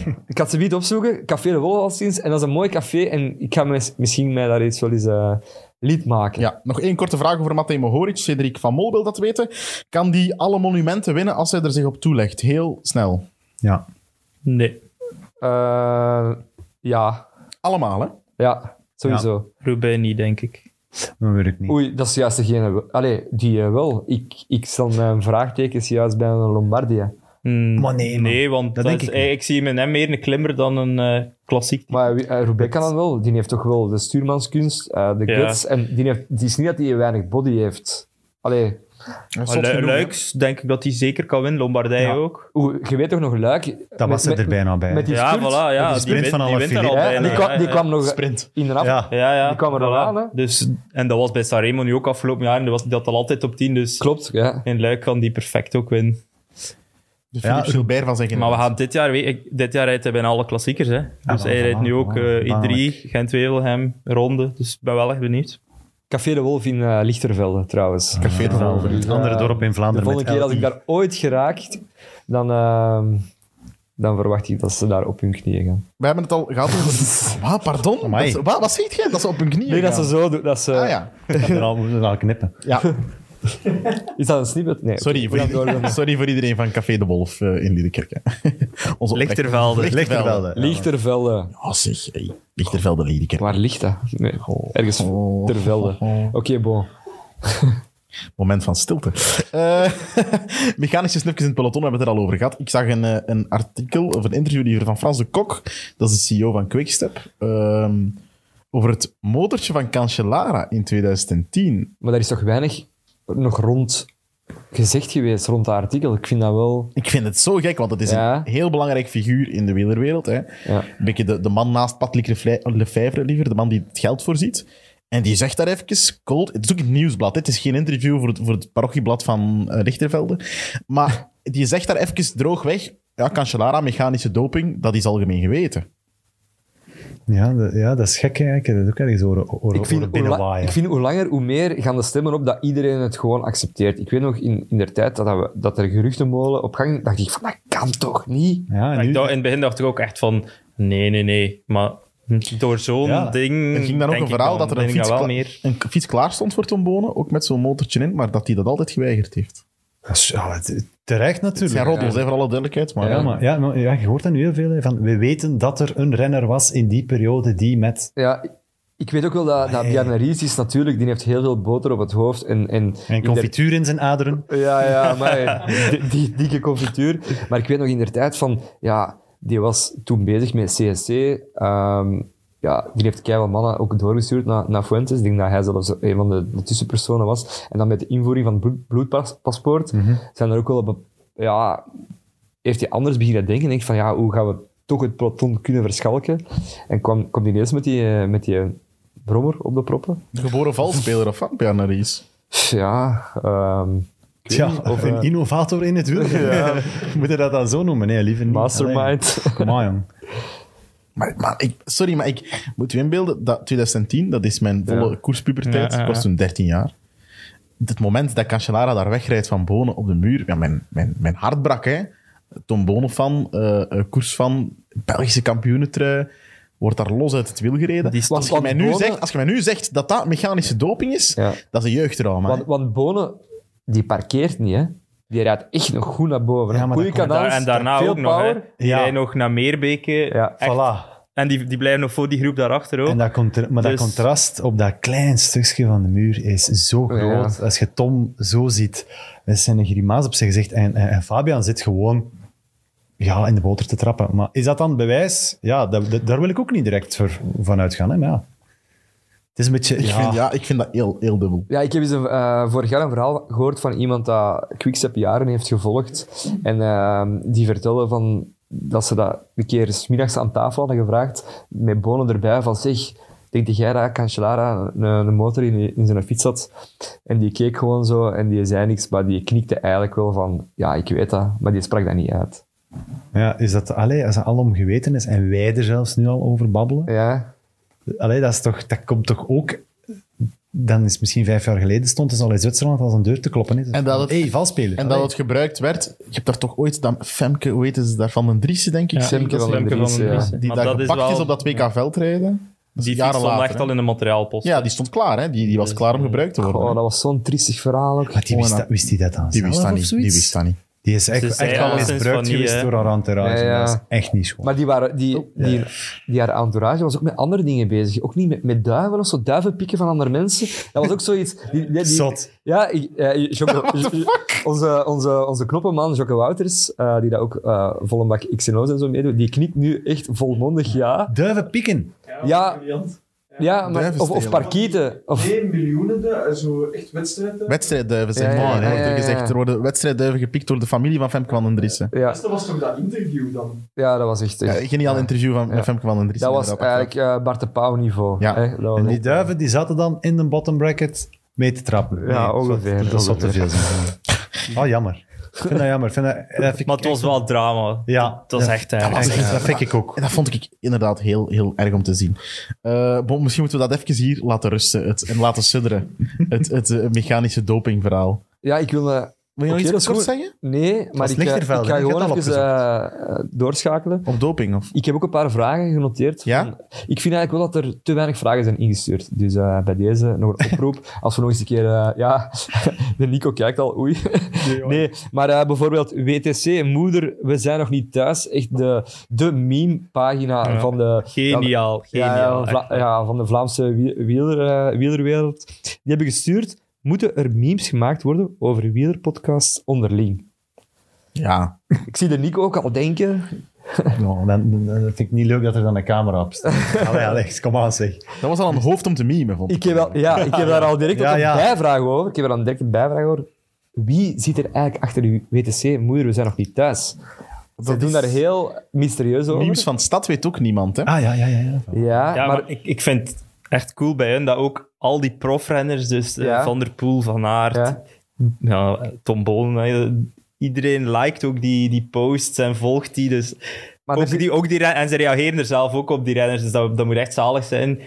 Speaker 3: ah. ik had ze niet opzoeken. Café De Wolf al sinds. En dat is een mooi café. En ik ga mis- misschien mij daar eens wel eens eh lied maken.
Speaker 2: Ja, nog één korte vraag over Matej Mohoric. Cedric van Mol wil dat weten. Kan die alle monumenten winnen als hij er zich op toelegt? Heel snel.
Speaker 4: Ja.
Speaker 5: Nee.
Speaker 3: Eh, ja.
Speaker 2: Allemaal, hè?
Speaker 3: Ja, sowieso.
Speaker 5: Roubaix niet, denk ik.
Speaker 4: Dat weet ik niet.
Speaker 3: Oei, dat is juist degene... wel- Allee, die eh, wel. Ik, ik stel mijn vraagtekens juist bij een Lombardia.
Speaker 5: Mm,
Speaker 4: Maar nee, man.
Speaker 5: Nee, want
Speaker 4: Dat
Speaker 5: dat
Speaker 4: denk
Speaker 5: is- eh,
Speaker 4: ik niet.
Speaker 5: ik, zie hem in hem meer een klimmer dan een eh, klassiek.
Speaker 3: Maar eh, wie- eh, Roubaix kan dan wel. Die heeft toch wel de stuurmanskunst, eh, de
Speaker 5: Ja.
Speaker 3: guts. En die, heeft, die is niet dat hij weinig body heeft. Allee,
Speaker 2: Dat is
Speaker 5: Maar
Speaker 2: zot
Speaker 5: Lu-
Speaker 2: genoeg, hè?
Speaker 5: Luiks denk ik dat hij zeker kan winnen. Lombardij
Speaker 4: Ja.
Speaker 5: ook.
Speaker 3: oei, je weet toch nog Luik?
Speaker 4: Dat was
Speaker 3: met-
Speaker 4: er bijna bij.
Speaker 3: met die-
Speaker 5: Ja,
Speaker 3: stuurt-
Speaker 5: voilà. Ja,
Speaker 4: die sprint
Speaker 5: wint-
Speaker 4: van
Speaker 5: die wint daar
Speaker 4: Alaphilippe.
Speaker 5: al
Speaker 3: hè,
Speaker 5: bijna.
Speaker 3: die, kwam,
Speaker 5: Ja,
Speaker 3: die
Speaker 5: ja.
Speaker 3: kwam nog
Speaker 2: Sprint.
Speaker 3: in de af.
Speaker 4: Ja.
Speaker 5: Ja, ja.
Speaker 3: Die kwam er al aan, hè.
Speaker 5: Dus, en dat was bij Sanremo nu ook afgelopen jaar. En dat was dat al altijd op 10. Dus
Speaker 3: Klopt, ja.
Speaker 5: in Luik kan die perfect ook winnen.
Speaker 2: De Philippe
Speaker 4: Ja,
Speaker 2: Gilbert van zijn
Speaker 5: Maar we
Speaker 2: generatie.
Speaker 5: gaan dit jaar... we- ik- Dit jaar rijdt hij bijna alle klassiekers. Hè. Dus
Speaker 4: wel,
Speaker 5: hij rijdt nu
Speaker 4: voilà,
Speaker 5: ook
Speaker 4: voilà,
Speaker 5: eh
Speaker 4: belangrijk.
Speaker 5: E3, Gent-Wevelgem, Ronde. Dus ik ben wel echt benieuwd.
Speaker 3: Café de Wolf in eh, Lichtervelde, trouwens.
Speaker 2: Café de Valver.
Speaker 4: Een andere dorp in
Speaker 3: De
Speaker 4: Vlaanderen.
Speaker 3: volgende
Speaker 4: met
Speaker 3: keer als ik
Speaker 4: LI.
Speaker 3: daar ooit geraakt, dan, ehm, dan verwacht ik dat ze daar op hun knieën gaan.
Speaker 2: We hebben het al gehad over... Wat, pardon?
Speaker 4: Amai.
Speaker 2: Dat- Wat, wat ziet jij dat ze op hun knieën
Speaker 3: Nee, dat ze
Speaker 2: gaan.
Speaker 3: zo doet. Dat ze,
Speaker 2: Ah ja.
Speaker 4: er al, moeten we al knippen.
Speaker 2: ja.
Speaker 3: Is dat een snippet? Nee.
Speaker 2: Sorry, voor iedereen, sorry voor iedereen van Café de Wolf eh, in Liedekerk. hè. Onze
Speaker 5: Lichtervelde.
Speaker 2: oprechte-
Speaker 4: Lichtervelde.
Speaker 2: Lichtervelde.
Speaker 3: Lichtervelde.
Speaker 2: Ah, zeg, hey. Lichtervelde, Liedekerk.
Speaker 3: Waar ligt dat? Nee, ergens
Speaker 2: Oh.
Speaker 3: Tervelde.
Speaker 2: Oh.
Speaker 3: Oké, bon.
Speaker 2: Moment van stilte. Eh, mechanische snufjes in het peloton, we hebben het er al over gehad. Ik zag een, eh, een artikel, of een interview liever, van Frans de Kok, dat is de CEO van Quickstep, ehm, over het motortje van Cancellara in 2010.
Speaker 3: Maar daar is toch weinig nog rond gezegd geweest, rond dat artikel. Ik vind dat wel...
Speaker 2: Ik vind het zo gek, want het is
Speaker 3: Ja.
Speaker 2: een heel belangrijk figuur in de wielerwereld. Hè.
Speaker 3: Ja.
Speaker 2: Een beetje de, de man naast Pat Lefevre, liever, de man die het geld voorziet. En die zegt daar even, cold, het is ook het nieuwsblad, hè. het is geen interview voor het, voor het parochieblad van eh, Lichtervelde. Maar die zegt daar even droogweg, ja, Cancellara, mechanische doping, dat is algemeen geweten.
Speaker 4: Ja, dat, ja, dat is gek hè. Ik heb dat ook ergens horen, horen,
Speaker 3: Ik vind,
Speaker 4: horen
Speaker 3: hoe la-
Speaker 4: binnenwaaien.
Speaker 3: ik vind hoe langer, hoe meer gaan de stemmen op dat iedereen het gewoon accepteert. Ik weet nog in, in de tijd dat, dat, we, dat er geruchtenmolen op gang dacht ik van dat kan toch niet?
Speaker 4: Ja,
Speaker 5: Maar
Speaker 4: en
Speaker 5: ik
Speaker 4: nu,
Speaker 5: dacht- in het begin dacht ik ook echt van, nee, nee, nee. Maar door zo'n
Speaker 4: Ja,
Speaker 5: ding...
Speaker 2: Er ging dan ook
Speaker 5: Hmm, denk
Speaker 2: een
Speaker 5: ik
Speaker 2: verhaal
Speaker 5: dan-
Speaker 2: dat er een
Speaker 5: denk ik
Speaker 2: fiets,
Speaker 5: dan wel
Speaker 2: kla-
Speaker 5: meer.
Speaker 2: een k- fiets klaar stond voor Tom Bonen, ook met zo'n motortje in, maar dat hij dat altijd geweigerd heeft.
Speaker 4: dat is- ja, het- terecht
Speaker 2: Het zijn
Speaker 4: natuurlijk.
Speaker 2: roddels, hè, voor alle duidelijkheid. Maar,
Speaker 4: Ja, maar, ja, maar- ja, je hoort dat nu heel veel. hè, Van, we weten dat er een renner was in die periode die met...
Speaker 3: Ja, ik- ik weet ook wel dat, dat Bjarne Ries is natuurlijk, die heeft heel veel boter op het hoofd en... En,
Speaker 4: En
Speaker 3: in der-
Speaker 4: confituur in zijn aderen.
Speaker 3: Ja, ja, maar die, die dikke confituur. Maar ik weet nog in de tijd van, ja, die was toen bezig met CSC. Ehm, ja, die heeft keihard mannen ook doorgestuurd naar, naar Fuentes. Ik denk dat hij zelfs een van de, de tussenpersonen was. En dan met de invoering van het bloed- bloedpaspoort zijn er ook wel, be- ja, heeft hij anders beginnen denken. Denkt van, ja, hoe gaan we toch het peloton kunnen verschalken? En kwam, kwam die ineens met die, eh, met die brommer op de proppen.
Speaker 2: Geboren valspeler of van Bjarne Ries.
Speaker 3: Ja, ehm, ik weet
Speaker 4: Ja,
Speaker 3: niet of-
Speaker 4: of een innovator in het wiel. Moet je dat dan zo noemen? Nee, liever niet.
Speaker 3: Mastermind.
Speaker 4: Allee, Kom maar, jong.
Speaker 2: Maar, maar ik, sorry, maar ik moet u inbeelden dat 2010, dat is mijn volle
Speaker 3: Ja.
Speaker 2: koerspuberteit,
Speaker 5: Ja, ja,
Speaker 2: ik was
Speaker 5: ja.
Speaker 2: toen 13 jaar. Het moment dat Cancellara daar wegrijdt van Bonen op de muur, ja, mijn, mijn, mijn hart brak. Hè. Tom Bonen van, koers van, Belgische kampioenentrui, wordt daar los uit het wiel gereden.
Speaker 5: Die stond
Speaker 2: als, je mij
Speaker 3: aan
Speaker 2: nu
Speaker 3: Bonen.
Speaker 2: zegt, als je mij nu zegt dat dat mechanische doping is,
Speaker 3: Ja.
Speaker 2: dat is een jeugdtrauma. hè.
Speaker 3: Want, want Bonen, die parkeert niet, hè. Die rijdt echt nog goed naar boven.
Speaker 4: Ja, maar
Speaker 3: Goeie
Speaker 4: dat komt-
Speaker 5: En daar-
Speaker 3: cadans,
Speaker 5: en daarna
Speaker 3: Nou, veel
Speaker 5: ook nog, hè.
Speaker 3: power.
Speaker 5: Die
Speaker 4: Ja.
Speaker 5: rijden nog naar Meerbeke.
Speaker 3: Ja,
Speaker 5: Echt.
Speaker 4: Voilà.
Speaker 5: En die, die blijven nog voor die groep daarachter ook.
Speaker 4: En dat contra- maar
Speaker 5: Dus-
Speaker 4: dat contrast op dat klein stukje van de muur is zo groot. Als je Tom zo ziet, dat zijn een grimaas op zijn gezicht. En, en, en Fabian zit gewoon ja, in de boter te trappen. Maar is dat dan bewijs? Ja, dat, dat- daar wil ik ook niet direct voor, van uitgaan. Hè? Maar ja. Het is een beetje...
Speaker 2: ik,
Speaker 4: ja,
Speaker 2: Vind, ja, ik vind dat heel, heel dubbel.
Speaker 3: Ja, ik heb eens een, eh, vorig jaar een verhaal gehoord van iemand dat Quickstep jaren heeft gevolgd. En ehm, die vertelde van dat ze dat een keer 's middags aan tafel hadden gevraagd, met bonen erbij, van zeg, denk jij dat Cancellara een, een motor in, in zijn fiets had? En die keek gewoon zo en die zei niks, maar die knikte eigenlijk wel van, ja, ik weet dat, maar die sprak dat niet uit.
Speaker 4: ja, is dat... Allee, als dat alom geweten is en wij er zelfs nu al over babbelen...
Speaker 3: Ja,
Speaker 4: Allee, dat, is toch, dat komt toch ook... Dan is misschien vijf jaar geleden stond het al in Zwitserland als een deur te kloppen. Hè. Dus
Speaker 2: En dat het-
Speaker 4: hey, valspeler.
Speaker 2: En dat het gebruikt werd, je hebt daar toch ooit, dat, Femke, hoe heet ze daarvan, een Driessen, denk ik?
Speaker 5: Ja,
Speaker 3: Femke
Speaker 5: dat is
Speaker 3: van den
Speaker 5: Femke
Speaker 3: Dries,
Speaker 5: den
Speaker 3: ja.
Speaker 5: Dries.
Speaker 2: die
Speaker 5: Maar
Speaker 2: daar
Speaker 5: dat is
Speaker 2: gepakt is,
Speaker 5: wel-
Speaker 2: op dat WK veldrijden. Dat is
Speaker 5: Die fiets
Speaker 2: jaren
Speaker 5: stond
Speaker 2: later,
Speaker 5: echt
Speaker 2: hè.
Speaker 5: al in de materiaalpost.
Speaker 2: Ja, die stond klaar, hè? Die, die was klaar om gebruikt te worden.
Speaker 3: Oh, dat was zo'n triestig verhaal ook.
Speaker 4: Maar die wist,
Speaker 2: Gewoon
Speaker 4: dat, wist die dat dan
Speaker 2: die wist
Speaker 4: zelf
Speaker 2: dat
Speaker 4: of
Speaker 2: niet. Die
Speaker 4: zoiets?
Speaker 2: wist dat niet.
Speaker 4: Die is
Speaker 5: Ze
Speaker 4: echt,
Speaker 5: zei
Speaker 4: echt al
Speaker 5: alleszins van
Speaker 4: misbruikt
Speaker 5: niet,
Speaker 4: geweest
Speaker 5: hè.
Speaker 4: door haar entourage.
Speaker 3: Ja, ja.
Speaker 4: Dat is echt niet schoon.
Speaker 3: Maar die, waren,
Speaker 2: Oh.
Speaker 3: die, die, die haar entourage was ook met andere dingen bezig. Ook niet met, met duiven of zo, duiven pikken van andere mensen. Dat was ook zoiets. Die, die, die-
Speaker 4: Zot.
Speaker 3: Ja, ik, eh, Jocke- Onze, onze, onze knoppenman, Jocke Wouters, eh, die daar ook eh volle bak XNO's en zo meedoet, die knikt nu echt volmondig ja.
Speaker 4: Duiven pikken.
Speaker 3: Ja,
Speaker 6: briljant.
Speaker 3: ja maar,
Speaker 2: Duiven
Speaker 3: of, of
Speaker 2: stelen.
Speaker 6: Kieten.
Speaker 3: parkieten. Of,
Speaker 6: Nee, miljoenen, de, zo echt wedstrijden.
Speaker 2: Wedstrijdduiven eh, zijn
Speaker 3: Ja, ja,
Speaker 2: man,
Speaker 3: ja,
Speaker 2: wordt
Speaker 3: ja,
Speaker 2: er
Speaker 3: ja.
Speaker 2: gezegd. Er worden wedstrijdduiven gepikt door de familie van Femke van den Driessen.
Speaker 3: ja,
Speaker 6: Dat was toch dat interview dan?
Speaker 3: ja, dat was echt...
Speaker 2: Ja,
Speaker 3: echt-
Speaker 2: een geniaal interview van met Femke van den Driessen.
Speaker 3: dat was
Speaker 2: inderdaad.
Speaker 3: eigenlijk eh, Bart de Pauw niveau.
Speaker 2: Ja.
Speaker 3: hè. Dat was
Speaker 4: En die
Speaker 3: echt-
Speaker 4: duiven die zaten dan in de bottom bracket mee te trappen.
Speaker 3: Ja, ongeveer,
Speaker 4: Dat zou te
Speaker 3: ongeveer.
Speaker 4: veel zijn. Oh, jammer. Ik vind dat jammer. Ik Vind dat, dat vind ik
Speaker 5: Maar het was
Speaker 4: echt-
Speaker 5: wel drama.
Speaker 4: Ja.
Speaker 5: Het was
Speaker 4: Ja.
Speaker 5: echt... eh,
Speaker 4: Dat,
Speaker 5: echt-
Speaker 4: vind- dat vind ik ook.
Speaker 2: En dat vond ik inderdaad heel, heel erg om te zien. Eh, bon, misschien moeten we dat even hier laten rusten het, en laten sudderen. het het eh, mechanische dopingverhaal.
Speaker 3: Ja, ik wil eh,
Speaker 2: Wil je
Speaker 3: Oké,
Speaker 2: nog
Speaker 3: dat
Speaker 2: iets
Speaker 3: is
Speaker 2: kort
Speaker 3: goed.
Speaker 2: zeggen?
Speaker 3: Nee, maar ik, eh, ik
Speaker 2: Lichtervelde,
Speaker 3: ga
Speaker 2: hè? Je hebt
Speaker 3: gewoon
Speaker 2: al
Speaker 3: even eh, eh, doorschakelen.
Speaker 2: Op doping? Of?
Speaker 3: Ik heb ook een paar vragen genoteerd.
Speaker 2: Ja?
Speaker 3: Van- Ik vind eigenlijk wel dat er te weinig vragen zijn ingestuurd. Dus eh, bij deze nog een oproep. Als we nog eens een keer... eh, ja, de Nico kijkt al, oei. Nee, maar eh, bijvoorbeeld WTC, moeder, we zijn nog niet thuis. Echt de, de meme-pagina
Speaker 5: Ja.
Speaker 3: van de...
Speaker 5: Geniaal,
Speaker 3: Ja,
Speaker 5: geniaal.
Speaker 3: Vla-
Speaker 5: echt.
Speaker 3: ja, van de Vlaamse wie- wieler, eh, wielerwereld. Die hebben gestuurd, moeten er memes gemaakt worden over wielerpodcasts onderling?
Speaker 2: Ja.
Speaker 3: Ik zie de Nico ook al denken.
Speaker 4: Nou, dan, dan- dan vind ik niet leuk dat er dan een camera op staat. Allee, Alex, kom aan zeg.
Speaker 2: Dat was al een hoofd om te memen, vond ik.
Speaker 3: Ik heb, wel, ja, ik heb daar al direct ook
Speaker 4: Ja,
Speaker 3: een
Speaker 4: ja.
Speaker 3: bijvraag over. Ik heb er dan direct een bijvraag over. Wie zit er eigenlijk achter uw WTC? Moeder, we zijn nog niet thuis. Ze doen daar heel mysterieus over.
Speaker 2: Nieuws van de stad weet ook niemand, hè?
Speaker 4: Ah ja, ja, ja. ja.
Speaker 3: Ja,
Speaker 5: Ja, maar,
Speaker 3: maar,
Speaker 5: ik, ik vind het echt cool bij hen dat ook al die profrenners, dus eh,
Speaker 3: Ja.
Speaker 5: Van der Poel, Van Aert,
Speaker 3: Ja.
Speaker 5: ja. Tom Bonen, eh, iedereen liked ook die, die posts en volgt die. Dus
Speaker 3: maar
Speaker 5: ook
Speaker 3: er zit-
Speaker 5: die, ook die ren- en ze reageren er zelf ook op die renners, dus dat, dat moet echt zalig zijn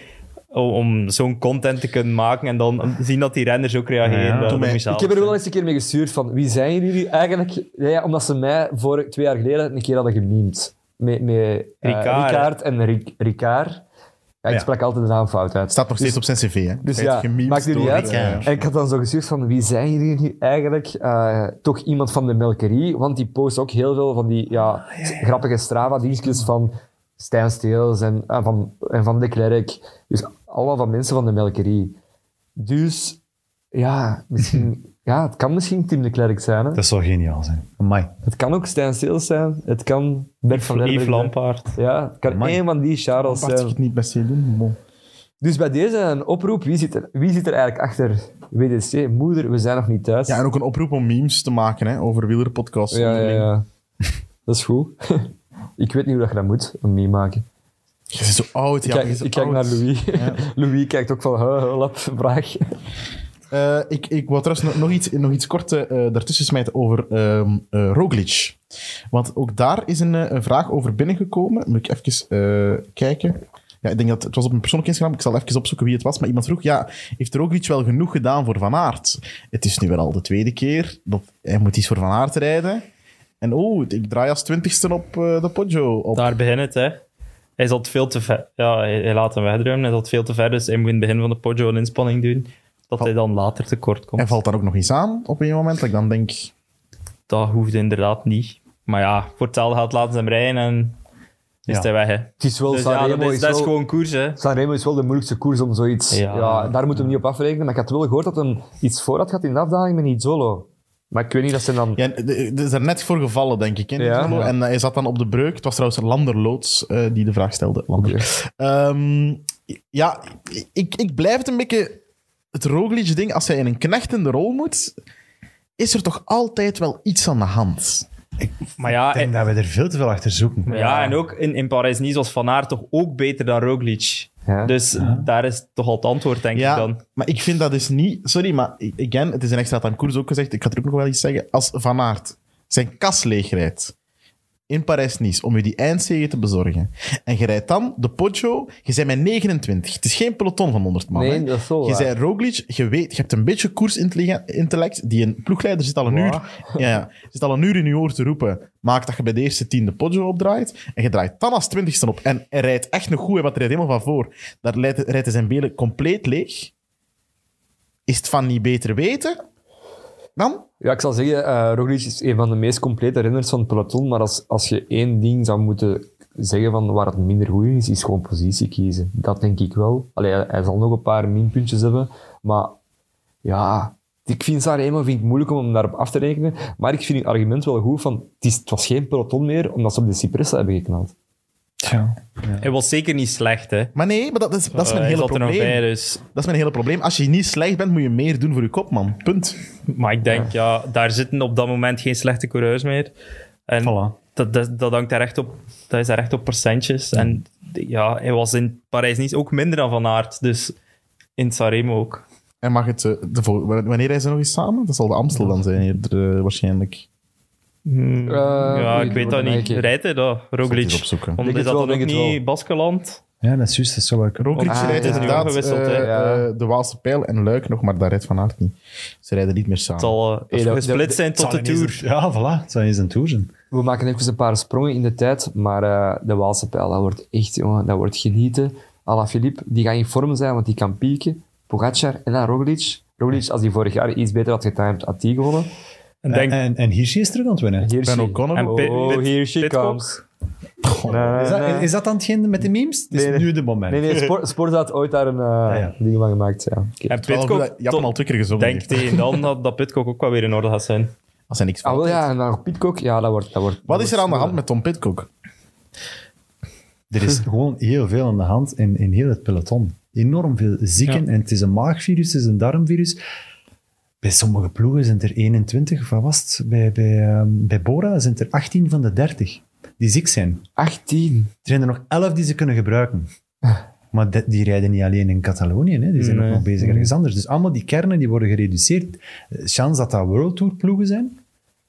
Speaker 5: om, om zo'n content te kunnen maken en dan zien dat die renners ook reageren.
Speaker 4: Ja.
Speaker 5: dat- dat
Speaker 2: Doe mij-
Speaker 5: moet zalig
Speaker 3: ik heb er wel
Speaker 5: zijn.
Speaker 3: eens een keer mee gestuurd van wie zijn jullie eigenlijk? Ja, ja, omdat ze mij voor twee jaar geleden een keer hadden gemiemd. Met, met eh,
Speaker 5: Ricard, hè?
Speaker 3: Ricard en Ric- Ricard. Ja, ik
Speaker 4: Ja.
Speaker 3: sprak altijd de naam fout uit.
Speaker 2: Staat nog steeds op zijn cv, hè?
Speaker 3: Dus
Speaker 2: Hij
Speaker 3: ja,
Speaker 2: heeft gememd
Speaker 3: maakt het niet
Speaker 2: door- eh,
Speaker 3: uit.
Speaker 2: Ja.
Speaker 3: En ik had dan zo gestuurd van, wie zijn jullie nu eigenlijk? Eh, toch iemand van de melkerie, want die post ook heel veel van die ja, grappige Strava-dienstjes van Stijn Steels en, eh, van, en van de Klerk. Dus allemaal van mensen van de melkerie. Dus ja, misschien, ja het kan misschien Tim de Klerk zijn. Hè?
Speaker 4: Dat zou geniaal zijn. Amai.
Speaker 3: Het kan ook Stijn Steels zijn. Het kan Bert van
Speaker 5: Yves
Speaker 3: Lerberg zijn.
Speaker 5: Lampaard.
Speaker 3: Ja, het kan
Speaker 4: Amai.
Speaker 3: één van die Charles
Speaker 2: Apart, ik
Speaker 3: zijn.
Speaker 2: het niet best doen. bon.
Speaker 3: Dus bij deze een oproep. Wie zit er, wie zit er eigenlijk achter WDC? Moeder, we zijn nog niet thuis.
Speaker 2: Ja, en ook een oproep om memes te maken hè, over wielerpodcasts.
Speaker 3: ja, ja, ja. Dat is goed. ik weet niet hoe dat je dat moet, een meme maken.
Speaker 2: Je bent zo oud.
Speaker 3: Ik
Speaker 2: ja, je
Speaker 3: kijk,
Speaker 2: bent zo
Speaker 3: ik kijk
Speaker 2: oud.
Speaker 3: naar Louis.
Speaker 2: Ja.
Speaker 3: Louis kijkt ook van, huh, lap, vraag.
Speaker 2: Eh, ik, ik wou trouwens nog- nog iets, nog iets kort eh, daartussen smijten over ehm eh, Roglic. Want ook daar is een, eh, een vraag over binnengekomen. Moet ik even eh, kijken. Ja, ik denk dat het was op een persoonlijk Instagram. Ik zal even opzoeken wie het was. Maar iemand vroeg, ja, heeft Roglic wel genoeg gedaan voor Van Aert? Het is nu wel al de tweede keer. Dat, hij moet iets voor Van Aert rijden. En oh, ik draai als twintigste op eh, de Poggio. Op.
Speaker 5: Daar begint het, hè. Hij zat veel te ver. Ja, hij, hij laat hem wegdruimen. Hij zat veel te ver, dus hij moet in het begin van de Poggio een inspanning doen. Dat hij dan later tekort komt.
Speaker 2: Hij valt daar ook nog eens aan op een moment. Dat ik dan denk,
Speaker 5: Dat hoeft inderdaad niet. Maar ja, voor hetzelfde gaat laten ze hem rijden en is
Speaker 4: Ja.
Speaker 5: hij weg, hè.
Speaker 3: Het is wel,
Speaker 5: Dus ja,
Speaker 3: Sanremo
Speaker 5: dat is,
Speaker 3: is
Speaker 5: dat is
Speaker 3: wel-
Speaker 5: gewoon koers, hè.
Speaker 3: Sanremo is wel de moeilijkste koers om zoiets... Ja.
Speaker 5: Ja.
Speaker 3: daar moeten we niet op afrekenen. Maar ik had wel gehoord dat hem iets voor had gehad in de afdaling met Nizzolo. Maar ik weet niet dat ze dan...
Speaker 2: Ja, er is er net voor gevallen, denk ik. Hè,
Speaker 3: Ja.
Speaker 2: Nicola?
Speaker 3: Ja.
Speaker 2: En eh, hij zat dan op de breuk. Het was trouwens Lander Loods eh, die de vraag stelde. Lander.
Speaker 3: Oké.
Speaker 2: Ehm, ja, ik, ik blijf het een beetje... Het Roglic-ding, als hij in een knechtende rol moet, is er toch altijd wel iets aan de hand.
Speaker 5: Maar ja,
Speaker 4: Ik denk
Speaker 5: en,
Speaker 4: dat we er veel te veel achter zoeken.
Speaker 5: ja, en ook in, in Parijs-Nice was Van Aert toch ook beter dan Roglic.
Speaker 3: Ja.
Speaker 5: Dus daar is toch al het antwoord, denk
Speaker 2: Ja,
Speaker 5: ik dan.
Speaker 2: maar ik vind dat dus niet... Sorry, maar again, het is een extra time koers ook gezegd. Ik ga er ook nog wel iets zeggen. Als Van Aert zijn kas leegrijdt in Parijs-Nice om je die eindzege te bezorgen, en je rijdt dan de Poggio, je bent met 29. Het is geen peloton van 100 man.
Speaker 3: nee,
Speaker 2: hè.
Speaker 3: dat is zo
Speaker 2: Je
Speaker 3: waar.
Speaker 2: zei Roglic, je weet, je hebt een beetje koersintellect. Die een ploegleider zit al een
Speaker 3: Wow.
Speaker 2: uur, ja, ja, zit al een uur in je oor te roepen. Maak dat je bij de eerste tien de Poggio opdraait. En je draait dan als twintigste op. En hij rijdt echt nog goed, hè, want hij rijdt helemaal van voor. Daar leidt- rijdt hij zijn belen compleet leeg. Is het van niet beter weten? Dan?
Speaker 3: Ja, ik zal zeggen, eh Roglic is een van de meest complete renners van het peloton. Maar als, als je één ding zou moeten zeggen van waar het minder goed in is, is gewoon positie kiezen. Dat denk ik wel. Allee, hij, hij zal nog een paar minpuntjes hebben. Maar ja, ik vind Sanremo vind ik moeilijk om hem daarop af te rekenen. Maar ik vind het argument wel goed van het, is, het was geen peloton meer omdat ze op de Cypressen hebben geknald.
Speaker 5: Hij was zeker niet slecht, hè.
Speaker 2: Maar nee, maar dat is, dat is mijn
Speaker 5: Eh, hij
Speaker 2: hele
Speaker 5: zat er nog bij,
Speaker 2: probleem.
Speaker 5: dus...
Speaker 2: Dat is mijn hele probleem. Als je niet slecht bent, moet je meer doen voor je kopman. Punt.
Speaker 5: Maar ik denk, ja, daar zitten op dat moment geen slechte coureurs meer. En
Speaker 4: Voilà.
Speaker 5: dat, dat, dat hangt daar echt op, dat is daar echt op percentjes. En ja, hij was in Parijs niet ook minder dan Van Aert. Dus in Sanremo ook.
Speaker 2: En mag het... eh, de vol- wanneer rijden ze nog eens samen? Dat zal de Amstel dan zijn, eerder, eh, waarschijnlijk.
Speaker 5: ja,
Speaker 3: oei,
Speaker 5: ik
Speaker 3: dat wordt
Speaker 5: weet dat niet.
Speaker 3: een eigen.
Speaker 5: Rijdt hij dat,
Speaker 2: Ik zal het eens
Speaker 5: Roglic?
Speaker 2: opzoeken.
Speaker 5: Want
Speaker 3: Denk
Speaker 5: is
Speaker 3: het
Speaker 5: dat
Speaker 3: wel,
Speaker 5: dan ook
Speaker 3: denk het
Speaker 5: niet Baskeland?
Speaker 4: Ja, dat is juist. Dat zou wel kunnen.
Speaker 2: Roglic
Speaker 3: Ah,
Speaker 2: rijdt
Speaker 3: ja.
Speaker 2: inderdaad
Speaker 5: Gewisseld,
Speaker 2: eh,
Speaker 5: hè.
Speaker 3: Ja.
Speaker 2: eh, de Waalse Pijl en Luik nog, maar daar rijdt Van Aert niet. Ze rijden niet meer samen.
Speaker 5: Het zal eh,
Speaker 3: Hey, dat-
Speaker 5: gesplit
Speaker 3: dat-
Speaker 5: zijn tot de
Speaker 4: Het zou
Speaker 5: Tour.
Speaker 4: ineens een- Ja, voilà. Het zou eens een tour zijn.
Speaker 3: We maken even een paar sprongen in de tijd, maar eh, de Waalse pijl, dat wordt echt, jongen, dat wordt genieten. Alaphilippe, die gaat in vorm zijn, want die kan pieken. Pogacar en dan Roglic. Roglic, als hij vorig jaar iets beter had getimed, had die gewonnen.
Speaker 5: En denk,
Speaker 4: En, en Hirschi is terug aan het winnen.
Speaker 3: Hier
Speaker 2: Ben
Speaker 3: she-
Speaker 2: O'Connor.
Speaker 5: En Pit-
Speaker 3: Oh,
Speaker 5: Pit-
Speaker 3: here she
Speaker 5: Pitcock?
Speaker 3: comes.
Speaker 4: Is dat, is dat dan hetgeen met de memes? Het is
Speaker 3: Nee, nee.
Speaker 4: nu de moment.
Speaker 3: Nee, nee, Sport, Sporza had ooit daar een eh,
Speaker 4: ja.
Speaker 3: ding van gemaakt. Ja. Oké.
Speaker 5: Ah, en
Speaker 2: Terwijl
Speaker 5: Pitcock,
Speaker 2: goed dat Japan
Speaker 5: tot-
Speaker 2: al twee keer gezongen
Speaker 5: denk
Speaker 2: heeft.
Speaker 5: tegen dan dat, dat Pitcock ook wel weer in orde gaat zijn.
Speaker 2: Als hij niks
Speaker 3: Ah,
Speaker 2: fout
Speaker 3: wel
Speaker 2: heeft.
Speaker 3: ja, en dan nog Pitcock. Ja, dat wordt... Dat wordt
Speaker 2: Wat is er aan de hand met Tom Pitcock?
Speaker 4: Er is gewoon heel veel aan de hand in, in heel het peloton. Enorm veel zieken. En het is een maagvirus, het is een darmvirus. Bij sommige ploegen zijn er 21, of wat was het? Bij, bij, ehm, bij Bora zijn er 18 van de 30 die ziek zijn.
Speaker 3: 18.
Speaker 4: Er zijn er nog 11 die ze kunnen gebruiken.
Speaker 5: Ah.
Speaker 4: Maar de- die rijden niet alleen in Catalonië, hè. die zijn ook nog bezig ergens anders. Dus allemaal die kernen die worden gereduceerd. Eh, Chance dat dat World Tour ploegen zijn.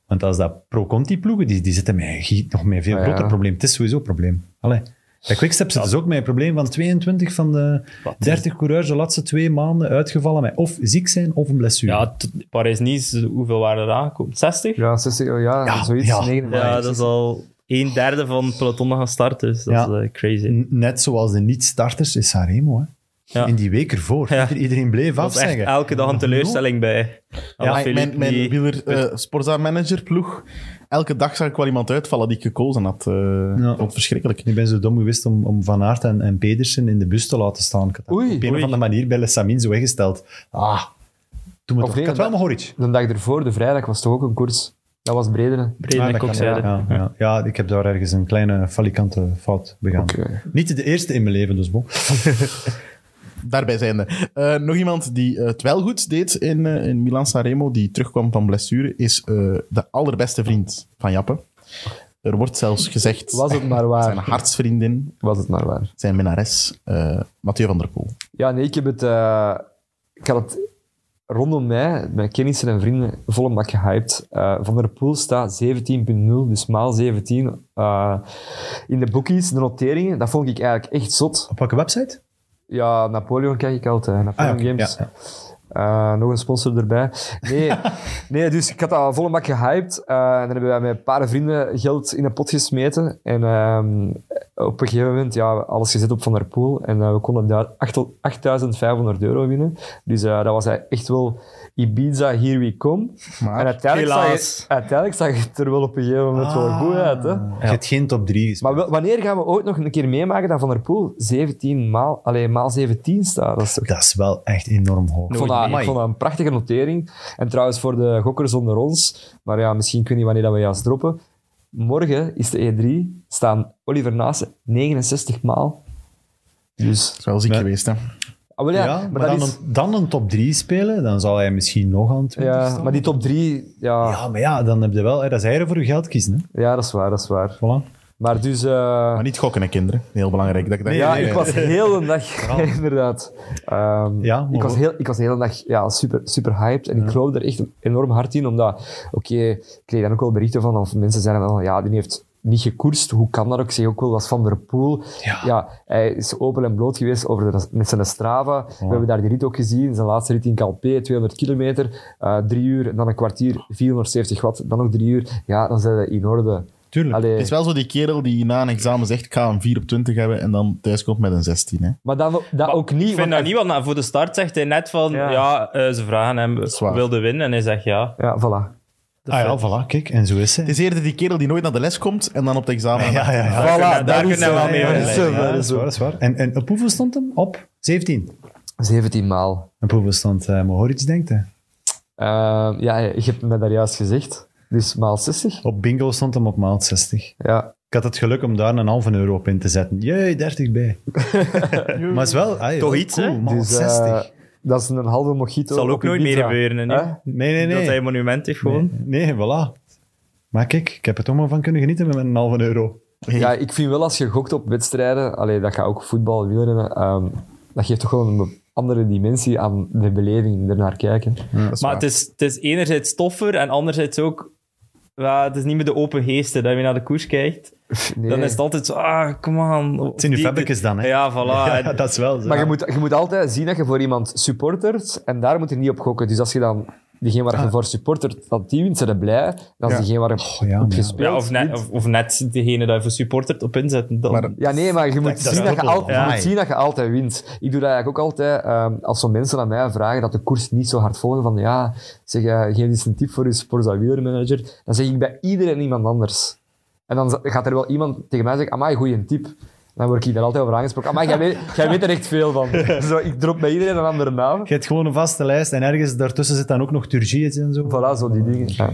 Speaker 4: Want als dat Pro Conti ploegen, die, die zitten met, een giet- nog met een veel
Speaker 3: Ah, ja.
Speaker 4: groter probleem. Het is sowieso een probleem. Allee. Bij Quickstep zitten ze ook met een probleem van 22 van de 30 coureurs de laatste twee maanden uitgevallen met of ziek zijn of een blessure.
Speaker 5: Ja, t- Parijs-Nice, hoeveel waren er aangekomen? 60?
Speaker 3: Ja, 60, ja, zoiets.
Speaker 4: ja.
Speaker 3: 59.
Speaker 5: Ja, dat is al een derde van het peloton dat gaat starten. Dus dat
Speaker 4: Ja.
Speaker 5: is eh, crazy.
Speaker 4: N- Net zoals de niet-starters is Saremo. Hè.
Speaker 5: Ja.
Speaker 4: In die week ervoor.
Speaker 5: Ja.
Speaker 4: Ieder- Iedereen bleef
Speaker 5: Er was echt
Speaker 4: afzeggen.
Speaker 5: elke dag een teleurstelling bij.
Speaker 2: Ja,
Speaker 5: Alaphilippe,
Speaker 2: Ah, mijn mijn
Speaker 5: die-
Speaker 2: wieler, eh, Sporza manager ploeg. Elke dag zag ik wel iemand uitvallen die ik gekozen had. eh
Speaker 4: Ja.
Speaker 2: Ik vond het verschrikkelijk.
Speaker 4: Ik ben zo dom geweest om, om Van Aert en, en Pedersen in de bus te laten staan. Ik had dat
Speaker 3: Oei.
Speaker 4: op een
Speaker 5: Oei.
Speaker 4: of andere manier bij Samin zo weggesteld. Ah, doe me
Speaker 3: Of
Speaker 4: toch.
Speaker 3: nee,
Speaker 4: Ik had wel Mohoric.
Speaker 3: De dag ervoor, de vrijdag, was toch ook een koers. Dat was Bredene.
Speaker 5: Breden en
Speaker 4: Ah, ja,
Speaker 5: Kokzijde.
Speaker 4: ja, ja. ja, ik heb daar ergens een kleine falikante fout begaan.
Speaker 3: Oké.
Speaker 4: Niet de eerste in mijn leven, dus bon.
Speaker 2: Daarbij zijnde. Eh nog iemand die eh, het wel goed deed in, eh, in Milan Sanremo, die terugkwam van blessure, is eh, de allerbeste vriend van Jappe. Er wordt zelfs gezegd...
Speaker 3: Was het maar waar.
Speaker 2: Zijn hartsvriendin,
Speaker 3: Was het maar waar.
Speaker 2: zijn minnares, eh, Mathieu van der Poel.
Speaker 3: Ja, nee, ik heb het... eh, ik had het rondom mij, mijn kennissen en vrienden, volle bak gehyped. Eh, Van der Poel staat 17.0, dus maal 17. eh, in de bookies, de noteringen, dat vond ik eigenlijk echt zot.
Speaker 4: Op welke website?
Speaker 3: Ja, Napoleon kijk ik altijd, hè. Napoleon
Speaker 4: Ah, ja, oké,
Speaker 3: Games.
Speaker 4: ja,
Speaker 3: Eh, nog een sponsor erbij. Nee, nee dus ik had dat volle bak gehyped. Eh, en dan hebben wij met een paar vrienden geld in een pot gesmeten. En ehm, op een gegeven moment, ja, alles gezet op Van der Poel. En eh, we konden daar 8 tot 8.500 euro winnen. Dus eh, dat was echt wel Ibiza, here we come. en uiteindelijk zag,
Speaker 5: helaas.
Speaker 3: het, uiteindelijk zag het er wel op een gegeven moment wel
Speaker 4: Ah.
Speaker 3: goed uit. Hè?
Speaker 4: Je hebt geen top 3
Speaker 3: Maar wel- wanneer gaan we ooit nog een keer meemaken dat Van der Poel 17 maal, alleen maal 17 staat? Dat is toch
Speaker 4: Dat is wel echt enorm hoog.
Speaker 3: ik vond, dat, ik
Speaker 4: Amai.
Speaker 3: vond dat een prachtige notering. En trouwens, voor de gokkers onder ons, maar ja, misschien kun je wanneer dat we juist droppen. Morgen is de E3, staan Oliver Naassen 69 maal. Dus,
Speaker 2: Is wel ziek
Speaker 4: Nee.
Speaker 2: geweest, hè.
Speaker 3: ah, wel ja,
Speaker 4: Ja,
Speaker 3: maar,
Speaker 4: maar
Speaker 3: dat
Speaker 4: dan,
Speaker 3: is,
Speaker 4: een, dan een top 3 spelen, dan zal hij misschien nog aan 20
Speaker 3: ja,
Speaker 4: staan.
Speaker 3: maar die top 3, ja, ja.
Speaker 4: Ja, maar ja, dan heb je wel... hè, Dat is eieren voor je geld kiezen, hè.
Speaker 3: dat is waar, dat is waar.
Speaker 4: Voilà.
Speaker 3: Maar dus, eh,
Speaker 2: Maar niet gokken, hè, kinderen. Heel belangrijk. Dat ik dat-
Speaker 3: ja,
Speaker 4: nee,
Speaker 3: ik
Speaker 4: nee.
Speaker 3: was heel de dag, inderdaad. Ehm,
Speaker 4: Ja, maar
Speaker 3: ik, was
Speaker 4: wel-
Speaker 3: heel, ik was de hele dag ja, super, super hyped en ik geloof er echt enorm hard in, omdat, oké, ik kreeg dan ook wel berichten van, of mensen zeiden dan, ja, die heeft niet gekoerst, hoe kan dat ook? Ik zeg ook wel, dat is Van der Poel. Ja. hij is open en bloot geweest over de, met zijn Strava. We hebben daar die rit ook gezien, zijn laatste rit in Calpe, 200 kilometer, eh, drie uur, en dan een kwartier, 470 watt, dan nog drie uur. Ja, dan zijn we in orde.
Speaker 4: Tuurlijk.
Speaker 3: Allee.
Speaker 2: Het is wel zo die kerel die na een examen zegt, ik ga een 4 op 20 hebben en dan thuis komt met een 16. Hè.
Speaker 3: Maar dat, dat
Speaker 5: Maar
Speaker 3: ook niet,
Speaker 5: Ik
Speaker 3: want
Speaker 5: vind dat niet, want na- voor de start zegt hij net van...
Speaker 3: Ja.
Speaker 5: Ja, eh, ze vragen hem,
Speaker 2: is waar.
Speaker 5: wilde winnen? En hij zegt ja.
Speaker 3: Ja, voilà.
Speaker 4: Ah ja, voilà, kijk, en zo is hij.
Speaker 2: Het is eerder die kerel die nooit naar de les komt en dan op het examen...
Speaker 4: Ja, ja, ja.
Speaker 5: Daar
Speaker 3: Voilà,
Speaker 5: kunnen- daar
Speaker 3: dat is
Speaker 5: kunnen we wel
Speaker 3: hem,
Speaker 5: mee
Speaker 3: ja,
Speaker 5: vergelijken.
Speaker 3: dat is hem.
Speaker 4: Ja, dat is waar, dat is waar. En, en op hoeveel stond hem? Op 17.
Speaker 3: 17 maal.
Speaker 4: Op hoeveel stond eh Mohoric, denkt hij?
Speaker 3: Eh, ja, je hebt me daar juist gezegd. Dus maal 60.
Speaker 4: Op bingo stond hem op maal 60.
Speaker 3: Ja.
Speaker 4: Ik had het geluk om daar een halve euro op in te zetten. Jee, 30 bij. maar het is wel... ah, ja,
Speaker 5: Toch iets, hè?
Speaker 4: Maal
Speaker 3: dus, eh,
Speaker 4: 60.
Speaker 3: dat is een halve mojito.
Speaker 5: Het zal ook
Speaker 3: op je
Speaker 5: nooit meer
Speaker 3: pizza.
Speaker 5: gebeuren. hè, nu.
Speaker 3: Hè?
Speaker 4: nee, nee, nee.
Speaker 5: Dat hij monument heeft gewoon.
Speaker 4: Nee, nee, voilà. Maar kijk, ik heb er toch maar van kunnen genieten met een halve euro.
Speaker 3: Ja, ik vind wel als je gokt op wedstrijden, allee, dat gaat ook voetbal, wielrennen, ehm, dat geeft toch wel een be- andere dimensie aan de beleving ernaar kijken.
Speaker 2: Dat is
Speaker 5: Maar
Speaker 2: waar.
Speaker 5: het is, het is enerzijds toffer en anderzijds ook ja, het is niet meer de open geesten dat je naar de koers kijkt.
Speaker 3: Nee.
Speaker 5: Dan is het altijd zo, ah, kom aan.
Speaker 4: Het zijn nu fabrikjes dan, hè?
Speaker 5: Ja, voilà. En-
Speaker 4: Ja, dat is wel zo.
Speaker 3: Maar je moet, je moet altijd zien dat je voor iemand supportert en daar moet je niet op gokken. Dus als je dan diegene waar je voor supportert, dat die wint, zijn ze blij. En als diegene waar je
Speaker 4: ja,
Speaker 3: op
Speaker 4: maar ja.
Speaker 3: gespeeld
Speaker 5: ja, of, net,
Speaker 3: wint-
Speaker 5: of, of net degene dat je voor supportert op inzet. Dan,
Speaker 2: Maar-
Speaker 3: Ja, nee, maar je moet,
Speaker 4: dat
Speaker 3: zien,
Speaker 4: is
Speaker 3: dat je
Speaker 4: ook wel
Speaker 3: al, je
Speaker 4: waar.
Speaker 3: moet zien dat je altijd wint. Ik doe dat eigenlijk ook altijd, ehm, als zo'n mensen aan mij vragen dat de koers niet zo hard volgen, van ja, zeg, eh, geef eens een tip voor je voor zo'n wielermanager, dan zeg ik bij iedereen iemand anders. En dan z- gaat er wel iemand tegen mij zeggen, amai, goeie tip. Dan word ik daar altijd over aangesproken. Amai, jij weet, jij weet er echt veel van. Zo, ik drop bij iedereen een andere naam.
Speaker 4: Je hebt gewoon een vaste lijst en ergens daartussen zit dan ook nog Turgiet en zo.
Speaker 3: Voilà, zo die dingen. Ja.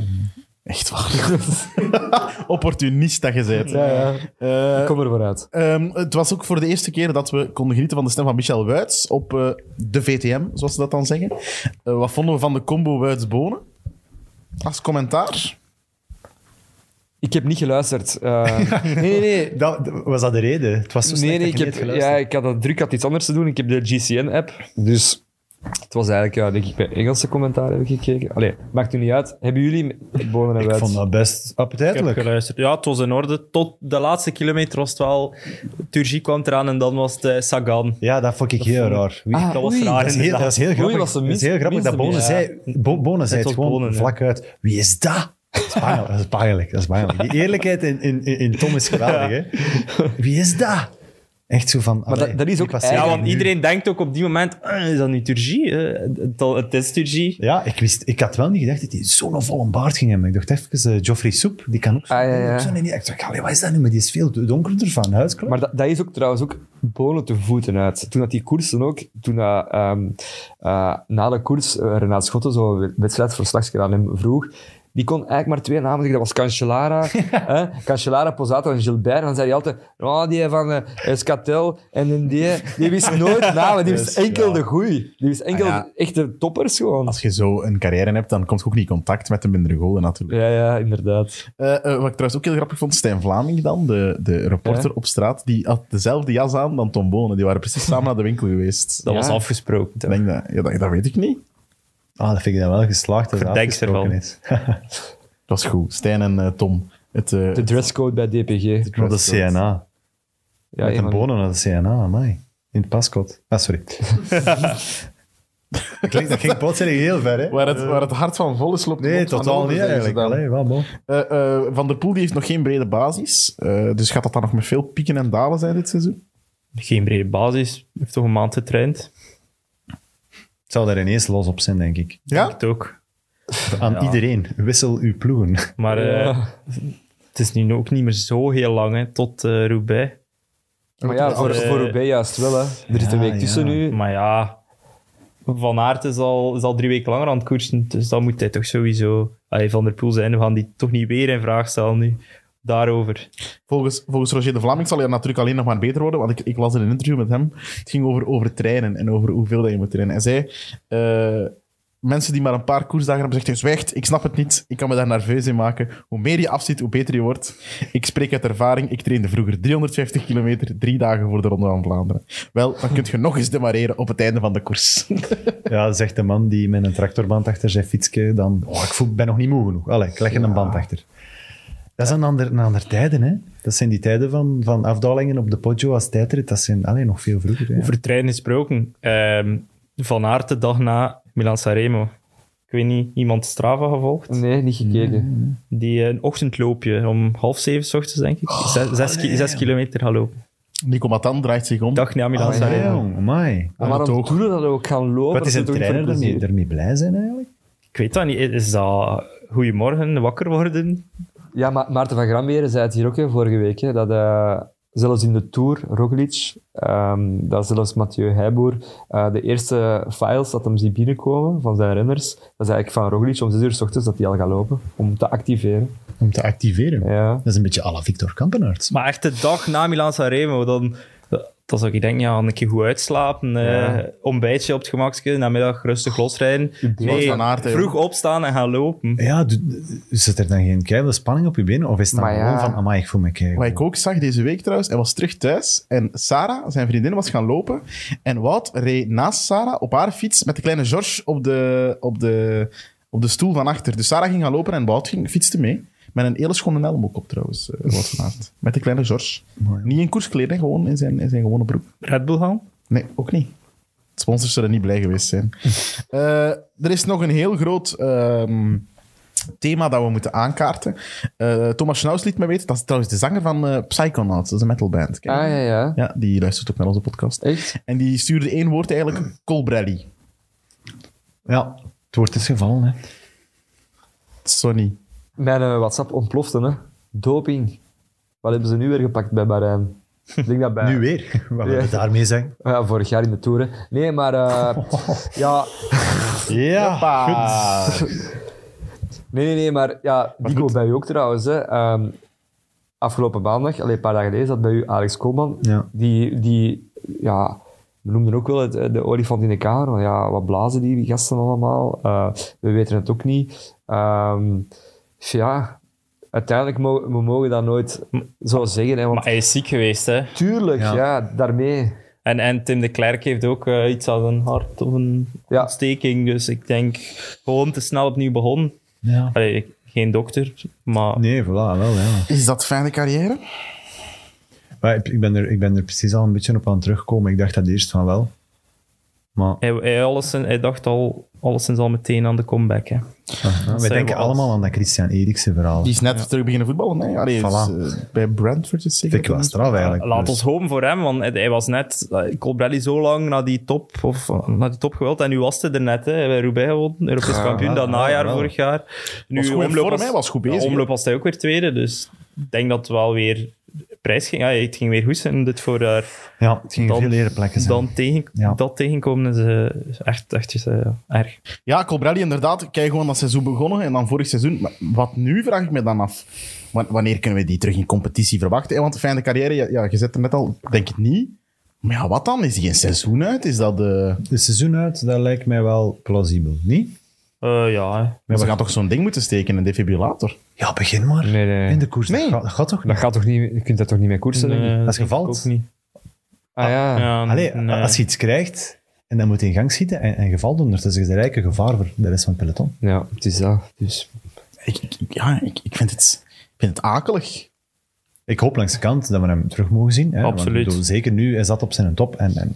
Speaker 2: Echt waar. Opportunist dat je bent.
Speaker 3: Ja, ja.
Speaker 2: Eh,
Speaker 3: Ik kom er vooruit.
Speaker 2: Ehm, het was ook voor de eerste keer dat we konden genieten van de stem van Michel Wuits op eh, de VTM, zoals ze dat dan zeggen. Eh, wat vonden we van de combo Wuits-Bonen? Als commentaar?
Speaker 3: Ik heb niet geluisterd. Eh, nee, nee, nee.
Speaker 4: Dat, was dat de reden? Het was zo slecht
Speaker 3: Nee, nee,
Speaker 4: dat
Speaker 3: ik,
Speaker 4: je
Speaker 3: heb,
Speaker 4: niet hebt geluisterd.
Speaker 3: ja, ik had dat druk, ik had iets anders te doen. Ik heb de GCN-app, dus het was eigenlijk, ja, denk ik, bij Engelse commentaar heb ik gekeken. Allee, maakt nu niet uit. Hebben jullie bonen en
Speaker 4: Ik vond
Speaker 3: Wuits?
Speaker 4: dat best
Speaker 5: Ik heb
Speaker 4: appetijtelijk.
Speaker 5: geluisterd. Ja, het was in orde. Tot de laatste kilometer was het wel... Turgie kwam eraan en dan was het eh, Sagan.
Speaker 4: Ja, dat vond ik heel raar. Wie-
Speaker 3: Ah,
Speaker 5: Dat was
Speaker 3: oei.
Speaker 5: raar.
Speaker 4: dat, is heel, dat is heel grappig.
Speaker 3: was de
Speaker 4: dat is
Speaker 3: minst-
Speaker 4: heel grappig dat Bonen
Speaker 5: minste
Speaker 4: zei, Bo- Bonen zei
Speaker 5: Het
Speaker 4: het
Speaker 5: was
Speaker 4: gewoon
Speaker 5: Bonen, ja.
Speaker 4: vlak uit. Wie is dat? Dat is pijnlijk. Dat is pijnlijk. Dat is pijnlijk. Die eerlijkheid in, in, in in Tom is geweldig. Hè? Wie is dat? Echt zo van...
Speaker 3: dat-
Speaker 4: allee,
Speaker 3: dat is
Speaker 4: wie
Speaker 3: ook
Speaker 4: passeert
Speaker 5: Ja,
Speaker 3: eigenlijk
Speaker 4: hier
Speaker 5: want
Speaker 4: nu?
Speaker 5: iedereen denkt ook op die moment, eh, is dat nu Turgie? Eh, het, het is Turgie.
Speaker 4: Ja, ik, wist, ik had wel niet gedacht dat hij zo'n volle baard ging hebben. Ik dacht even, eh, Geoffrey Soep, die kan ook zo.
Speaker 3: Ah, ja, ja.
Speaker 4: ook zo niet. Ik dacht, allee, wat is dat nu? Maar die is veel donkerder van huidskleur.
Speaker 3: Maar dat, dat is ook trouwens ook bonen te voeten uit. Toen dat die koersen ook, toen dat, ehm, eh, na de koers eh, Renaat Schotten zo'n wedstrijdverslagje aan hem vroeg, die kon eigenlijk maar twee namen zeggen. Dat was Cancellara, hè? Cancellara, Posato en Gilbert. En dan zei hij altijd, oh, die van eh, Escatel en een die. Die wist nooit namen, die wist enkel de goeie. Die wist enkel
Speaker 2: Ah, ja.
Speaker 3: de echte toppers gewoon.
Speaker 2: Als je zo een carrière hebt, dan komt je ook niet in contact met de mindere golen natuurlijk.
Speaker 3: Ja, ja, inderdaad.
Speaker 2: Eh, eh, wat ik trouwens ook heel grappig vond, Stijn Vlaming dan, de, de reporter op straat, die had dezelfde jas aan dan Tom Bonen. Die waren precies samen naar de winkel geweest.
Speaker 5: Dat
Speaker 3: Ja.
Speaker 5: was afgesproken.
Speaker 2: Ik denk dat, ja, dat, dat weet ik niet.
Speaker 4: Ah, dat vind ik dan wel geslaagd. Dat
Speaker 5: Verdenk
Speaker 4: dat
Speaker 5: ze ervan.
Speaker 4: is.
Speaker 2: Dat is goed. Stijn en eh, Tom. Het, eh,
Speaker 3: De dresscode bij DPG.
Speaker 4: Naar de CNA.
Speaker 3: Ja,
Speaker 4: Met
Speaker 3: een
Speaker 4: een
Speaker 3: van-
Speaker 4: bono naar de CNA, amai. In het paskot. Ah, sorry. dat, klinkt, dat ging plotseling heel ver, hè?
Speaker 2: waar, het, waar het hart van vol is, loopt de
Speaker 4: Nee,
Speaker 2: mond van
Speaker 4: totaal
Speaker 2: anderen,
Speaker 4: niet
Speaker 2: zeggen ze
Speaker 4: eigenlijk.
Speaker 2: dan.
Speaker 4: Allee, wel, bon.
Speaker 2: Eh, eh, van der Poel die heeft nog geen brede basis. Eh, dus gaat dat dan nog met veel pieken en dalen zijn dit seizoen?
Speaker 5: Geen brede basis. Heeft toch een maand getraind.
Speaker 4: Het zou daar ineens los op zijn, denk ik.
Speaker 2: Ja?
Speaker 5: Het ook.
Speaker 4: Aan iedereen. Wissel uw ploegen.
Speaker 5: Maar eh,
Speaker 3: Ja.
Speaker 5: het is nu ook niet meer zo heel lang, hè, tot eh Roubaix.
Speaker 3: Maar ja, voor,
Speaker 5: Eh,
Speaker 3: voor Roubaix juist wel. Hè. Er zit een
Speaker 4: Ja,
Speaker 3: week tussen
Speaker 4: ja.
Speaker 3: nu.
Speaker 5: Maar ja, Van Aert is al, is al drie weken langer aan het koersen, dus dan moet hij toch sowieso... Allee, van der Poel zijn, we gaan die toch niet weer in vraag stellen nu. Daarover.
Speaker 2: Volgens, volgens Roger de Vlaming zal hij natuurlijk alleen nog maar beter worden. Want ik, ik las in een interview met hem. Het ging over, over trainen en over hoeveel dat je moet trainen. Hij zei: eh, Mensen die maar een paar koersdagen hebben gezegd: Zwijgt, ik snap het niet. Ik kan me daar nerveus in maken. Hoe meer je afziet, hoe beter je wordt. Ik spreek uit ervaring. Ik trainde vroeger 350 kilometer, drie dagen voor de Ronde van Vlaanderen. Wel, dan kun je nog eens demareren op het einde van de koers.
Speaker 4: Ja, zegt de man die met een tractorband achter zijn fietsje dan... Oh, ik voel, ben nog niet moe genoeg. Allee, ik leg er een band achter. Dat zijn ander, een ander tijden, hè. Dat zijn die tijden van, van afdalingen op de Poggio als tijdrit. Dat zijn allee, nog veel vroeger. hè.
Speaker 5: Over trein gesproken. ehm, van Aert de dag na Milan Sanremo. Ik weet niet, iemand Strava gevolgd?
Speaker 3: Nee, niet gekeken.
Speaker 5: Die eh, een ochtendloopje om half zeven 's ochtends, denk ik. zes, zes, ki- zes kilometer gaan lopen.
Speaker 2: Nico Matan draait zich om.
Speaker 5: Dag na Milan
Speaker 4: Ah,
Speaker 5: Sanremo.
Speaker 4: ja, jong, amai.
Speaker 3: Maar waarom doen we dat ook? Gaan lopen?
Speaker 4: Wat is
Speaker 3: Dat
Speaker 4: een
Speaker 3: doet ook niet
Speaker 4: trainer dus
Speaker 3: voor
Speaker 4: ermee,
Speaker 3: plezier.
Speaker 4: ermee blij zijn eigenlijk?
Speaker 5: Ik weet dat niet. Is dat goedemorgen, wakker worden?
Speaker 3: Ja, maar Maarten van Gramberen zei het hier ook hè, vorige week. Hè, dat eh, zelfs in de Tour, Roglic, ehm dat zelfs Mathieu Heijboer, eh, de eerste files dat hem ziet binnenkomen van zijn renners, dat is eigenlijk van Roglic om 6 uur s ochtends dat hij al gaat lopen. Om te activeren.
Speaker 4: Om te activeren.
Speaker 3: Ja.
Speaker 4: Dat is een beetje à la Victor Kampenaerts.
Speaker 5: Maar echt de dag na Milan Sanremo, dan... Dan zou ik denken, ja, een keer goed uitslapen, eh,
Speaker 3: Ja.
Speaker 5: ontbijtje op het gemakje, namiddag rustig losrijden. Nee,
Speaker 2: Van Aert, hè,
Speaker 5: vroeg opstaan en gaan lopen.
Speaker 4: Ja, d- d- zit er dan geen keiveel spanning op je benen? Of is het dan
Speaker 3: Maar ja.
Speaker 4: gewoon van, amai, ik voel me kei.
Speaker 2: Wat ik ook zag deze week trouwens, hij was terug thuis en Sarah, zijn vriendin, was gaan lopen. En Wout reed naast Sarah op haar fiets met de kleine George op de, op de, op de stoel van achter. Dus Sarah ging gaan lopen en Wout ging, fietste mee. Met een hele schone helm ook op trouwens, eh, was vanavond. Met de kleine George. Niet in koerskleding, gewoon in zijn, in zijn gewone broek.
Speaker 5: Red Bull gaan?
Speaker 2: Nee, ook niet. Sponsors zullen niet blij geweest zijn. Eh, er is nog een heel groot ehm, thema dat we moeten aankaarten. Eh, Thomas Schnaus liet me weten, dat is trouwens de zanger van eh, Psychonauts, dat is een metalband. Ken je
Speaker 3: Ah,
Speaker 2: die?
Speaker 3: ja, ja.
Speaker 2: Ja, die luistert ook naar onze podcast.
Speaker 3: Echt?
Speaker 2: En die stuurde één woord eigenlijk, Colbrelli.
Speaker 4: Ja, het wordt eens gevallen. Hè.
Speaker 2: Sonny.
Speaker 3: Mijn eh, WhatsApp ontplofte, hè. Doping. Wat hebben ze nu weer gepakt bij Bahrein? Ik denk dat bij...
Speaker 4: Nu weer. Wat willen we
Speaker 3: Ja.
Speaker 4: daarmee zeggen?
Speaker 3: Ja, vorig jaar in de Tour, hè. Nee, maar... eh, ja...
Speaker 4: Ja,
Speaker 3: Nee, nee, nee, maar ja, die komt bij u ook trouwens. Hè. Ehm, afgelopen maandag, alleen een paar dagen geleden, zat bij u Alex Koolman.
Speaker 4: Ja.
Speaker 3: Die, die, ja, we noemden ook wel het, de olifant in de kamer. Want ja, wat blazen die gasten allemaal? Eh, we weten het ook niet. Ehm, ja, uiteindelijk mogen we mogen dat nooit zo zeggen. Hè, want
Speaker 5: Maar hij is ziek geweest, hè.
Speaker 3: tuurlijk, ja.
Speaker 4: Ja.
Speaker 3: daarmee.
Speaker 5: En, en Tim de Klerk heeft ook eh, iets als een hart of een
Speaker 3: Ja.
Speaker 5: ontsteking. Dus ik denk gewoon te snel opnieuw begonnen.
Speaker 4: Ja.
Speaker 5: Allee, ik- geen dokter, maar
Speaker 4: Nee, voilà, wel. Ja.
Speaker 2: Is dat fijne carrière?
Speaker 4: Maar ik, ik ben er, ik ben er precies al een beetje op aan het terugkomen. Ik dacht dat eerst van wel. Maar
Speaker 5: hij, hij, alleszins- hij dacht al alleszins al meteen aan de comeback. Hè.
Speaker 4: ah, we
Speaker 5: zijn
Speaker 4: denken
Speaker 5: we als-
Speaker 4: allemaal aan dat Christian Eriksen verhaal.
Speaker 2: Die is net terug beginnen voetballen. Hè? Allee,
Speaker 4: Voilà.
Speaker 2: is, eh, bij Brentford is zeker.
Speaker 4: vind ik wel straf eigenlijk.
Speaker 5: Laat
Speaker 4: Dus-
Speaker 5: ons hopen voor hem, want hij- hij was net, eh, Colbrelli zo lang naar die top, of, eh, naar die top gewild. En nu was hij er net, hè. Bij Roubaix gewonnen, Europees kampioen, dat
Speaker 4: ja,
Speaker 5: najaar
Speaker 4: wel.
Speaker 5: vorig jaar. Nu,
Speaker 2: Was goed in vorm,
Speaker 5: was,
Speaker 2: hè, was goed bezig,
Speaker 5: ja, omloop
Speaker 2: hè.
Speaker 5: was hij ook weer tweede, dus ik denk dat het wel weer prijs ging. Ja, het ging weer goed zijn dit voorjaar.
Speaker 4: Ja, het ging
Speaker 5: Dan-
Speaker 4: veel leren plekken zijn.
Speaker 5: Dan tegen,
Speaker 4: Ja.
Speaker 5: dat tegenkomen is eh, is echt, echt is, eh, erg.
Speaker 2: Ja, Colbrelli inderdaad. Kijk gewoon dat seizoen begonnen en dan vorig seizoen. Maar Wat nu, vraag ik me dan af. Wa- Wanneer kunnen we die terug in competitie verwachten? hè? Want fijne carrière, ja, ja, je zet er net al, denk ik niet. Maar ja, wat dan? Is die een seizoen uit? Is dat eh, de...
Speaker 4: De seizoen uit, dat lijkt mij wel plausibel. Niet?
Speaker 5: Eh, ja, hè.
Speaker 2: Ze gaan toch zo'n ding moeten steken, een defibrillator?
Speaker 4: Ja, begin maar.
Speaker 3: Nee, nee.
Speaker 4: In de koers.
Speaker 2: Nee.
Speaker 4: Dat, gaat, dat gaat toch
Speaker 3: Dat
Speaker 4: niet?
Speaker 3: gaat toch niet, je kunt dat toch niet meer koersen? denk ik?
Speaker 5: Nee,
Speaker 4: als je
Speaker 5: denk ik
Speaker 4: valt.
Speaker 5: ook niet.
Speaker 3: Ah ja.
Speaker 5: Ja,
Speaker 4: Allee,
Speaker 5: nee.
Speaker 4: als je
Speaker 3: eh,
Speaker 4: iets krijgt en dan moet je in gang schieten en, en geval doen, dat is een rijke gevaar voor de rest van het peloton.
Speaker 3: Ja, het is dat. Dus
Speaker 2: Ik, ik- ja, ik, ik, vind het, ik vind het akelig.
Speaker 4: Ik hoop langs de kant dat we hem terug mogen zien. Hè, want,
Speaker 5: Absoluut.
Speaker 4: ik bedoel, zeker nu, hij zat op zijn top en, en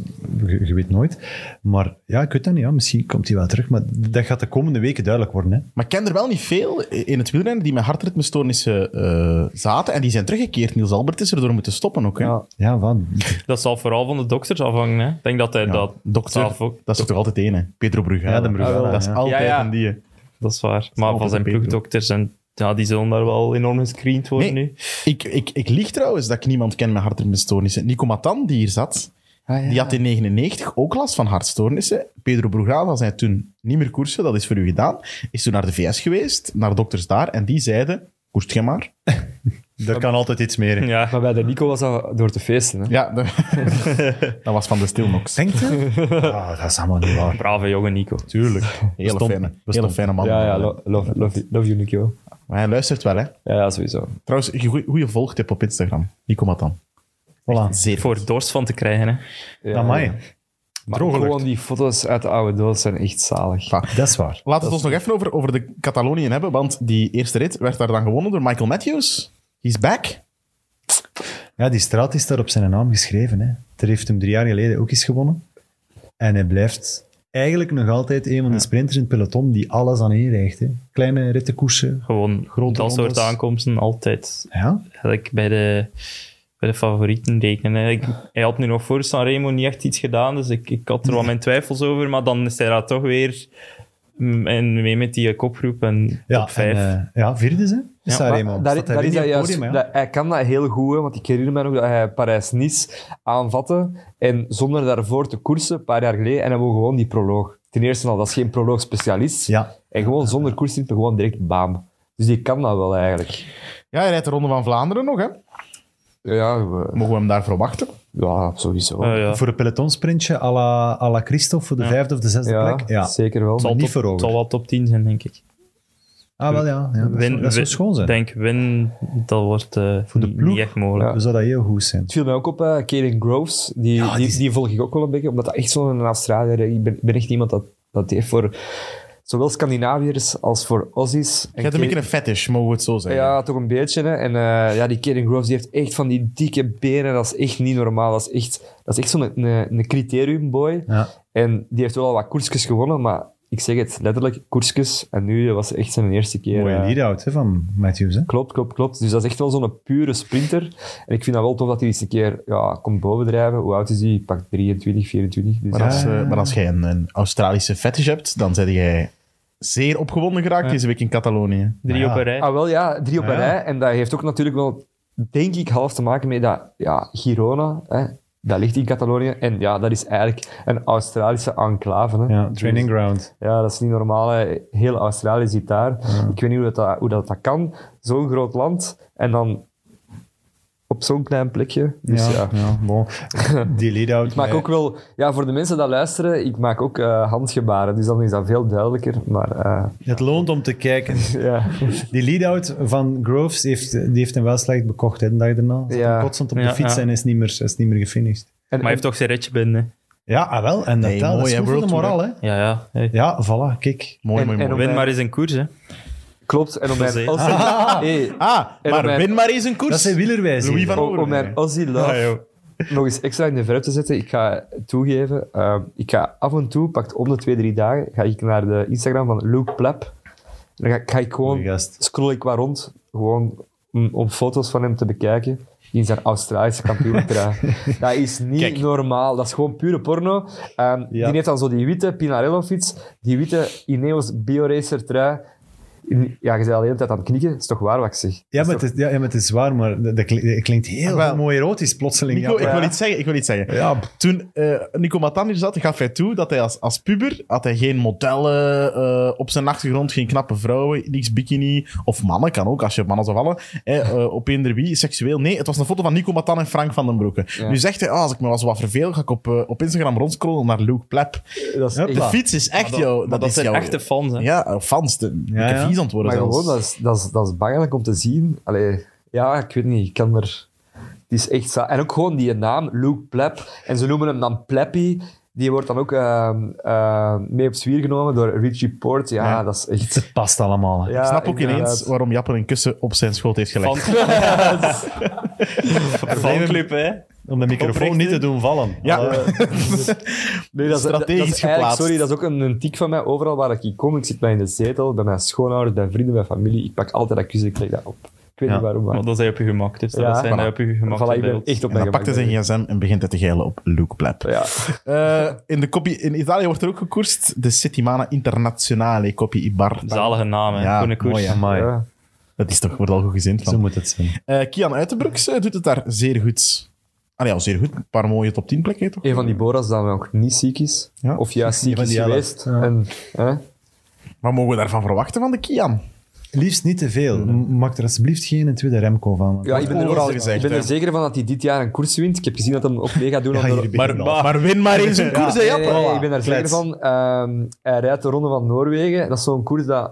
Speaker 4: je, je weet nooit. Maar ja, ik weet dat niet. Ja, misschien komt hij wel terug, maar dat gaat de komende weken duidelijk worden. Hè.
Speaker 2: Maar ik ken er wel niet veel in het wielrennen die met hartritmestoornissen eh, zaten. En die zijn teruggekeerd. Niels Albert is erdoor moeten stoppen ook. Hè?
Speaker 3: Ja.
Speaker 4: Ja, van.
Speaker 5: Dat zal vooral van de dokters afhangen. Hè. Ik denk dat hij dat
Speaker 2: dokter,
Speaker 5: zelf ook.
Speaker 2: dat is er toch altijd één, hè? Pedro Brugge.
Speaker 4: Ja, de Brugge,
Speaker 2: Dat is
Speaker 4: ja.
Speaker 2: altijd
Speaker 5: Ja, ja.
Speaker 2: een die.
Speaker 5: Dat is waar. Maar van
Speaker 2: altijd
Speaker 5: zijn
Speaker 2: een betere.
Speaker 5: ploegdokters en ja, die zullen daar wel enorm gescreend worden
Speaker 2: Nee.
Speaker 5: nu.
Speaker 2: Ik, ik, ik lieg trouwens dat ik niemand ken met hartritmestoornissen. Nico Matan, die hier zat,
Speaker 3: Ah, ja.
Speaker 2: die had in 99 ook last van hartstoornissen. Pedro Brugaal zei toen niet meer koersen, dat is voor u gedaan. Is toen naar de VS geweest, naar dokters daar, en die zeiden, koerst je maar.
Speaker 4: Er kan altijd iets meer.
Speaker 5: Ja.
Speaker 3: Maar bij de Nico was dat door te feesten. Hè?
Speaker 2: Ja, de- dat was van de Stilnox.
Speaker 4: Denk je? Ah, dat is allemaal niet waar.
Speaker 5: Brave jongen Nico.
Speaker 2: Tuurlijk. Hele
Speaker 4: Bestond-
Speaker 2: fijne, hele
Speaker 4: bestond.
Speaker 2: fijne man.
Speaker 3: Ja, ja, lo- love, love, love you, Nico.
Speaker 2: Maar hij luistert wel, hè.
Speaker 3: Ja, ja, sowieso.
Speaker 2: Trouwens, een goeie- goeie volgtip op Instagram. Nico Matan.
Speaker 4: Voilà.
Speaker 2: Zeer
Speaker 5: Voor dorst van te krijgen. Hè.
Speaker 3: Ja,
Speaker 4: Amai,
Speaker 3: Maar
Speaker 4: droge lucht.
Speaker 3: gewoon die foto's uit de oude doos zijn echt zalig.
Speaker 4: dat is waar.
Speaker 2: Laten we het ons nog even over, over de Cataloniën hebben, want die eerste rit werd daar dan gewonnen door Michael Matthews. He's back.
Speaker 4: Ja, die straat is daar op zijn naam geschreven. Hè. Er heeft hem drie jaar geleden ook eens gewonnen. En hij blijft eigenlijk nog altijd een van de sprinters in het peloton die alles aan één rijgt. Hè. Kleine rittenkoersen.
Speaker 5: Gewoon
Speaker 4: Grote
Speaker 5: dat soort
Speaker 4: rondes.
Speaker 5: aankomsten altijd.
Speaker 4: Ja,
Speaker 5: Eigenlijk bij de, bij de favorieten rekenen. hè. Ik- hij had nu nog voor Sanremo niet echt iets gedaan, dus ik, ik had er wel mijn twijfels over. Maar dan is hij daar toch weer mm, en mee met die eh, kopgroep en
Speaker 4: ja,
Speaker 5: top 5.
Speaker 4: en, eh, ja vierde ze.
Speaker 5: Ja,
Speaker 4: Is daar
Speaker 3: Maar
Speaker 4: eenmaal.
Speaker 3: daar,
Speaker 4: Staat
Speaker 3: daar is
Speaker 4: weer
Speaker 3: dat
Speaker 4: niet op het
Speaker 3: juist,
Speaker 4: podium, hè.
Speaker 3: dat- hij kan dat heel goed, hè, want ik herinner me nog dat hij Parijs-Nice aanvatte en zonder daarvoor te koersen, een paar jaar geleden, en hij won gewoon die proloog. Ten eerste al, dat is geen proloog-specialist.
Speaker 4: Ja.
Speaker 3: En gewoon zonder koersen, gewoon direct baam. Dus die kan dat wel eigenlijk.
Speaker 2: Ja, hij rijdt de Ronde van Vlaanderen nog, hè.
Speaker 3: Ja, we-
Speaker 2: Mogen we hem daarvoor wachten?
Speaker 3: ja sowieso.
Speaker 5: Eh, ja.
Speaker 4: Voor een pelotonsprintje à la, à la Christophe voor de vijfde of de zesde
Speaker 3: Ja,
Speaker 4: plek. Ja.
Speaker 3: zeker wel.
Speaker 4: Zal-
Speaker 5: Top-
Speaker 4: niet voor over.
Speaker 5: Het zal wel top 10 zijn, denk ik.
Speaker 4: Ah, wel ja. ja dat,
Speaker 5: Win-
Speaker 4: zou, dat zou
Speaker 5: win-
Speaker 4: schoon zijn.
Speaker 5: denk win, dat wordt eh,
Speaker 4: Voor de
Speaker 5: niet-
Speaker 4: ploeg?
Speaker 5: niet echt mogelijk.
Speaker 4: Dus zou dat heel goed zijn.
Speaker 3: Het viel mij ook op, eh Kaden Groves. Die,
Speaker 4: Ja,
Speaker 3: die,
Speaker 4: die is-
Speaker 3: die volg ik ook wel een beetje, omdat dat echt zo'n Australiër... Ik ben, ben echt iemand dat, dat heeft voor zowel Scandinaviërs als voor Aussies. En
Speaker 2: Je hebt een
Speaker 3: Ke-
Speaker 2: beetje een fetish, mogen we het zo zeggen.
Speaker 3: ja, toch een beetje. Hè. En eh, ja, die Kieran Groves die heeft echt van die dikke benen. Dat is echt niet normaal. Dat is echt, dat is echt zo'n een, een criteriumboy.
Speaker 4: Ja.
Speaker 3: En die heeft wel al wat koersjes gewonnen, maar ik zeg het letterlijk, koersjes. En nu was echt zijn eerste keer.
Speaker 4: Mooie
Speaker 3: eh,
Speaker 4: lead-out hè, van Matthews. Hè?
Speaker 3: Klopt, klopt, klopt. Dus dat is echt wel zo'n pure sprinter. En ik vind dat wel tof dat hij eens een keer ja, komt bovendrijven. Hoe oud is hij? Pak 23, 24. Dus
Speaker 2: Maar,
Speaker 3: ja.
Speaker 2: als, eh, maar als jij een, een Australische fetish hebt, dan ben jij zeer opgewonden geraakt deze week in Catalonië.
Speaker 5: Drie
Speaker 4: Ja.
Speaker 5: op een rij.
Speaker 3: Ah, wel ja, drie op een
Speaker 4: Ja.
Speaker 3: rij. En dat heeft ook natuurlijk wel, denk ik, half te maken met dat ja, Girona, hè, dat ligt in Catalonië. En ja, dat is eigenlijk een Australische enclave. Hè.
Speaker 4: Ja, training ground.
Speaker 3: Ja, dat is niet normaal. hè. Heel Australië zit daar. Ik weet niet hoe dat, dat, hoe dat, dat kan. Zo'n groot land en dan op zo'n klein plekje. Dus
Speaker 4: Ja,
Speaker 3: ja.
Speaker 4: ja. bon. Die lead-out.
Speaker 3: Ik maak
Speaker 4: met-
Speaker 3: ook wel, ja, voor de mensen dat luisteren, ik maak ook eh, handgebaren, dus dan is dat veel duidelijker. Maar eh,
Speaker 4: Het loont om te kijken.
Speaker 3: ja,
Speaker 4: Die lead-out van Groves heeft, die heeft hem wel slecht bekocht hè, de dag daarna. Hij
Speaker 3: Ja.
Speaker 4: ja. kotsend op de
Speaker 5: Ja,
Speaker 4: fiets
Speaker 5: ja.
Speaker 4: en is niet meer, is niet meer gefinished.
Speaker 5: Maar hij heeft toch zijn ritje binnen.
Speaker 4: Ja, ah, wel. En dat,
Speaker 2: Nee,
Speaker 4: telt. dat
Speaker 2: mooi,
Speaker 4: is
Speaker 2: hè,
Speaker 4: goed voor de
Speaker 2: World
Speaker 4: moraal. Hè?
Speaker 5: Ja, ja. Hey.
Speaker 4: Ja, voilà, kijk.
Speaker 2: Mooi,
Speaker 3: En-
Speaker 2: mooi,
Speaker 3: en
Speaker 2: mooi.
Speaker 3: om-
Speaker 5: Win maar eens een koers, hè.
Speaker 3: klopt. En om mijn
Speaker 5: José.
Speaker 3: Aussie, hey,
Speaker 2: Ah,
Speaker 3: en
Speaker 2: maar
Speaker 3: om mijn-
Speaker 2: win maar eens een koers. Ah,
Speaker 4: Dat zijn wielerwijzen.
Speaker 2: Louis van
Speaker 5: Ah,
Speaker 3: om, om mijn Aussie love nog eens extra in de verf te zetten, ik ga toegeven, eh, ik ga af en toe, pakt om de twee, drie dagen, ga ik naar de Instagram van Luke Plap. Dan ga, ga ik
Speaker 4: Goeie
Speaker 3: gewoon,
Speaker 4: gast.
Speaker 3: scroll ik wat rond, gewoon om, om foto's van hem te bekijken. Die is daar Australische kampioen Dat is niet normaal. Dat is gewoon pure porno. Ehm, Die heeft dan zo die witte Pinarello-fiets, die witte Ineos Bioracer-trui. In- Ja, je bent al de hele tijd aan het knikken. Dat is toch waar wat ik zeg?
Speaker 4: Ja, maar het is, ja, ja, maar het is waar, maar dat, dat klinkt- dat klinkt heel
Speaker 2: Wel.
Speaker 4: mooi erotisch plotseling.
Speaker 2: Nico,
Speaker 4: ja.
Speaker 2: ik wil iets zeggen. Ik wil iets zeggen. Toen eh, Nico Matan hier zat, gaf hij toe dat hij als, als puber had hij geen modellen eh, op zijn achtergrond, geen knappe vrouwen, niks bikini. Of mannen, kan ook, als je mannen zou vallen. hè, eh, op eender wie, seksueel. Nee, het was een foto van Nico Matan en Frank van den Broeke. Nu zegt hij, ah, als ik me wel eens wat verveel, ga ik op, eh, op Instagram rondscrollen naar Luke Plep.
Speaker 3: Dat is
Speaker 4: Hopla.
Speaker 3: echt-
Speaker 2: De fiets is echt jouw...
Speaker 5: Maar dat
Speaker 2: is
Speaker 5: zijn
Speaker 2: jouw,
Speaker 5: echte fans, hè.
Speaker 2: Ja, eh, fans. De,
Speaker 4: Ja,
Speaker 2: ik heb
Speaker 4: ja.
Speaker 2: vies aan het worden
Speaker 3: Maar
Speaker 2: zelfs.
Speaker 3: gewoon, dat is, dat, is, dat is bangelijk om te zien. Allee, ja, ik weet niet, ik kan er... Het is echt za- En ook gewoon die naam, Luke Plep. En ze noemen hem dan Pleppy. Die wordt dan ook ehm, ehm, mee op zwier genomen door Richie Port. Ja,
Speaker 2: Ja.
Speaker 3: dat is echt...
Speaker 4: Het past allemaal. hè.
Speaker 3: Ja,
Speaker 2: Ik snap ook
Speaker 3: inderdaad.
Speaker 2: ineens waarom Japper een kussen op zijn schoot heeft gelegd.
Speaker 5: Fanclub, hè.
Speaker 4: Om de microfoon
Speaker 5: Oprichten.
Speaker 4: niet te doen vallen.
Speaker 2: Ja.
Speaker 3: Nee, dat is, dat- dat is
Speaker 2: Strategisch
Speaker 3: eigenlijk-
Speaker 2: geplaatst.
Speaker 3: Sorry, dat is ook een, een tik van mij. Overal waar ik kom, ik zit mij in de zetel, bij mijn schoonouders, bij vrienden, bij familie. Ik pak altijd dat kussen, ik leg dat op. Ik weet
Speaker 4: Ja.
Speaker 3: niet waarom, maar...
Speaker 5: Want dan zijn je op je gemak. Dus
Speaker 3: Ja.
Speaker 5: dat zijn
Speaker 3: Voilà.
Speaker 5: hij op je gemak.
Speaker 3: Voilà, ik ben
Speaker 5: beeld.
Speaker 3: echt op
Speaker 2: En
Speaker 3: mijn
Speaker 2: dan pakt hij
Speaker 3: gemak.
Speaker 2: zijn gsm en begint hij te geilen op Luke Plep.
Speaker 3: Oh Ja.
Speaker 2: Eh, in, de kopie, in Italië wordt er ook gekoerst. De Settimana Internazionale Coppi Ibar.
Speaker 5: Zalige naam, hè.
Speaker 2: Ja,
Speaker 5: Voor een koers.
Speaker 4: Mooi, amai.
Speaker 3: ja.
Speaker 2: Dat is toch, wordt al goed gezind
Speaker 4: Zo
Speaker 2: van.
Speaker 4: moet het zijn.
Speaker 2: Eh, Kian Uitenbroeks eh, doet het daar zeer goed. Ah ja, zeer goed. Een paar mooie top 10 plekken, toch?
Speaker 3: Een van die Boras dat nog niet ziek is.
Speaker 2: Ja.
Speaker 3: Of juist ziek
Speaker 4: van
Speaker 3: is
Speaker 4: die elf.
Speaker 3: geweest.
Speaker 4: Ja.
Speaker 3: En, hè?
Speaker 2: Wat mogen we daarvan verwachten van de Kian?
Speaker 4: Liefst niet te veel. M- Maak er alsjeblieft geen een tweede Remco van. want-
Speaker 3: ja, ik ben, er,
Speaker 2: overal
Speaker 3: ook-
Speaker 2: gezegd,
Speaker 3: ik ben er
Speaker 2: hè.
Speaker 3: zeker van dat hij dit jaar een koers wint. Ik heb gezien dat hij hem ook mee gaat doen.
Speaker 4: Ja,
Speaker 3: aan de-
Speaker 4: hier ben ik al.
Speaker 2: Maar win maar eens een koers, hè,
Speaker 3: Nee, nee,
Speaker 2: Jappe.
Speaker 3: nee, ik ben daar zeker
Speaker 4: Klets.
Speaker 3: van. Ehm, hij rijdt de Ronde van Noorwegen. Dat is zo'n koers dat...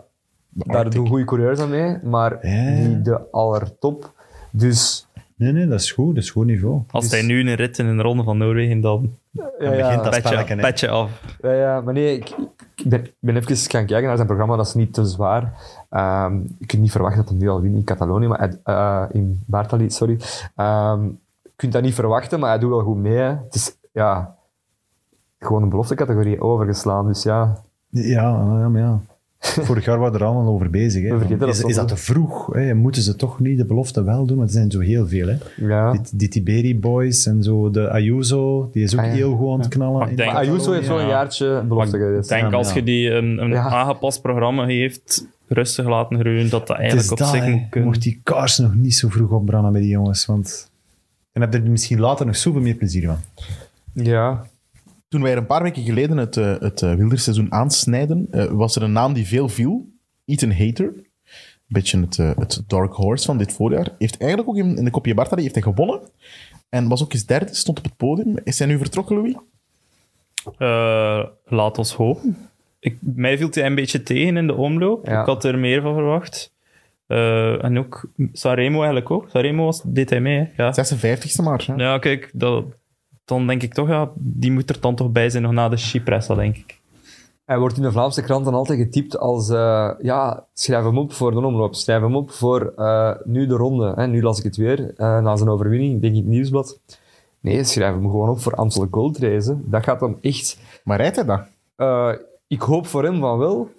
Speaker 3: Daar doen goede coureurs aan mee, maar
Speaker 4: Ja.
Speaker 3: niet de allertop. Dus...
Speaker 4: Nee, nee, dat is goed. Dat is goed niveau.
Speaker 5: Als hij nu een rit in een ronde van Noorwegen, dan
Speaker 3: Ja,
Speaker 4: begint
Speaker 3: ja,
Speaker 4: dat
Speaker 5: petje,
Speaker 4: spelletje, hè.
Speaker 5: petje af.
Speaker 3: ja, ja, maar nee, ik, ik ben, ik ben even gaan kijken naar zijn programma. Dat is niet te zwaar. Ehm je kunt niet verwachten dat hij nu al wint in Catalonië, maar hij- eh, in Bartali, sorry. Ehm, je kunt dat niet verwachten, maar hij doet wel goed mee. Hè. Het is, ja... Gewoon een beloftecategorie overgeslaan, dus ja.
Speaker 4: Ja, ja, maar ja. Vorig jaar waren we er allemaal over bezig. Hè.
Speaker 3: We vergeten dat
Speaker 4: is,
Speaker 3: soms,
Speaker 4: is dat
Speaker 3: hè.
Speaker 4: te vroeg? Hè? Moeten ze toch niet de belofte wel doen? Want er zijn zo heel veel. Hè?
Speaker 3: ja.
Speaker 4: Die, die Tiberi Boys en zo. De Ayuso, die is ook
Speaker 3: Ah, ja.
Speaker 4: heel goed aan het knallen.
Speaker 5: Maar ik
Speaker 4: in
Speaker 5: denk-
Speaker 3: Maar Ayuso heeft wel een
Speaker 5: Ja.
Speaker 3: jaartje
Speaker 5: Maar
Speaker 3: belofte
Speaker 5: ik
Speaker 3: geweest.
Speaker 5: denk, als je die een, een
Speaker 3: Ja.
Speaker 5: aangepast programma heeft, rustig laten groeien, dat dat
Speaker 4: Het is
Speaker 5: eigenlijk op
Speaker 4: dat,
Speaker 5: zich
Speaker 4: hè.
Speaker 5: moet kunnen.
Speaker 4: Mocht die kaars nog niet zo vroeg opbranden bij die jongens, want... Dan heb je er misschien later nog zoveel meer plezier van.
Speaker 3: Ja.
Speaker 2: Toen wij er een paar weken geleden het, eh, het eh, wilderseizoen aansnijden, eh, was er een naam die veel viel. Ethan Hater. Een beetje het, eh, het dark horse van dit voorjaar. Heeft eigenlijk ook in, in de kopje Bartali heeft hij gewonnen. En was ook eens derde, stond op het podium. Is hij nu vertrokken, Louis?
Speaker 5: Eh, laat ons hopen. Ik, mij viel hij een beetje tegen in de omloop.
Speaker 3: Ja.
Speaker 5: Ik had er meer van verwacht. Eh, en ook Saremo eigenlijk ook. Saremo was, deed hij mee. Hè? Ja.
Speaker 2: 56e maar. hè.
Speaker 5: ja, kijk, dat, dan denk ik toch, ja, die moet er dan toch bij zijn nog na de Chipressa, denk ik.
Speaker 3: Hij wordt in de Vlaamse kranten altijd getypt als eh, ja, schrijf hem op voor de omloop, schrijf hem op voor eh, nu de ronde. Hè. Nu las ik het weer, eh, na zijn overwinning, ik denk in het nieuwsblad. Nee, schrijf hem gewoon op voor Amstel Gold Race. hè. Dat gaat dan echt...
Speaker 2: Maar rijdt hij dat?
Speaker 3: eh, ik hoop voor hem van wel.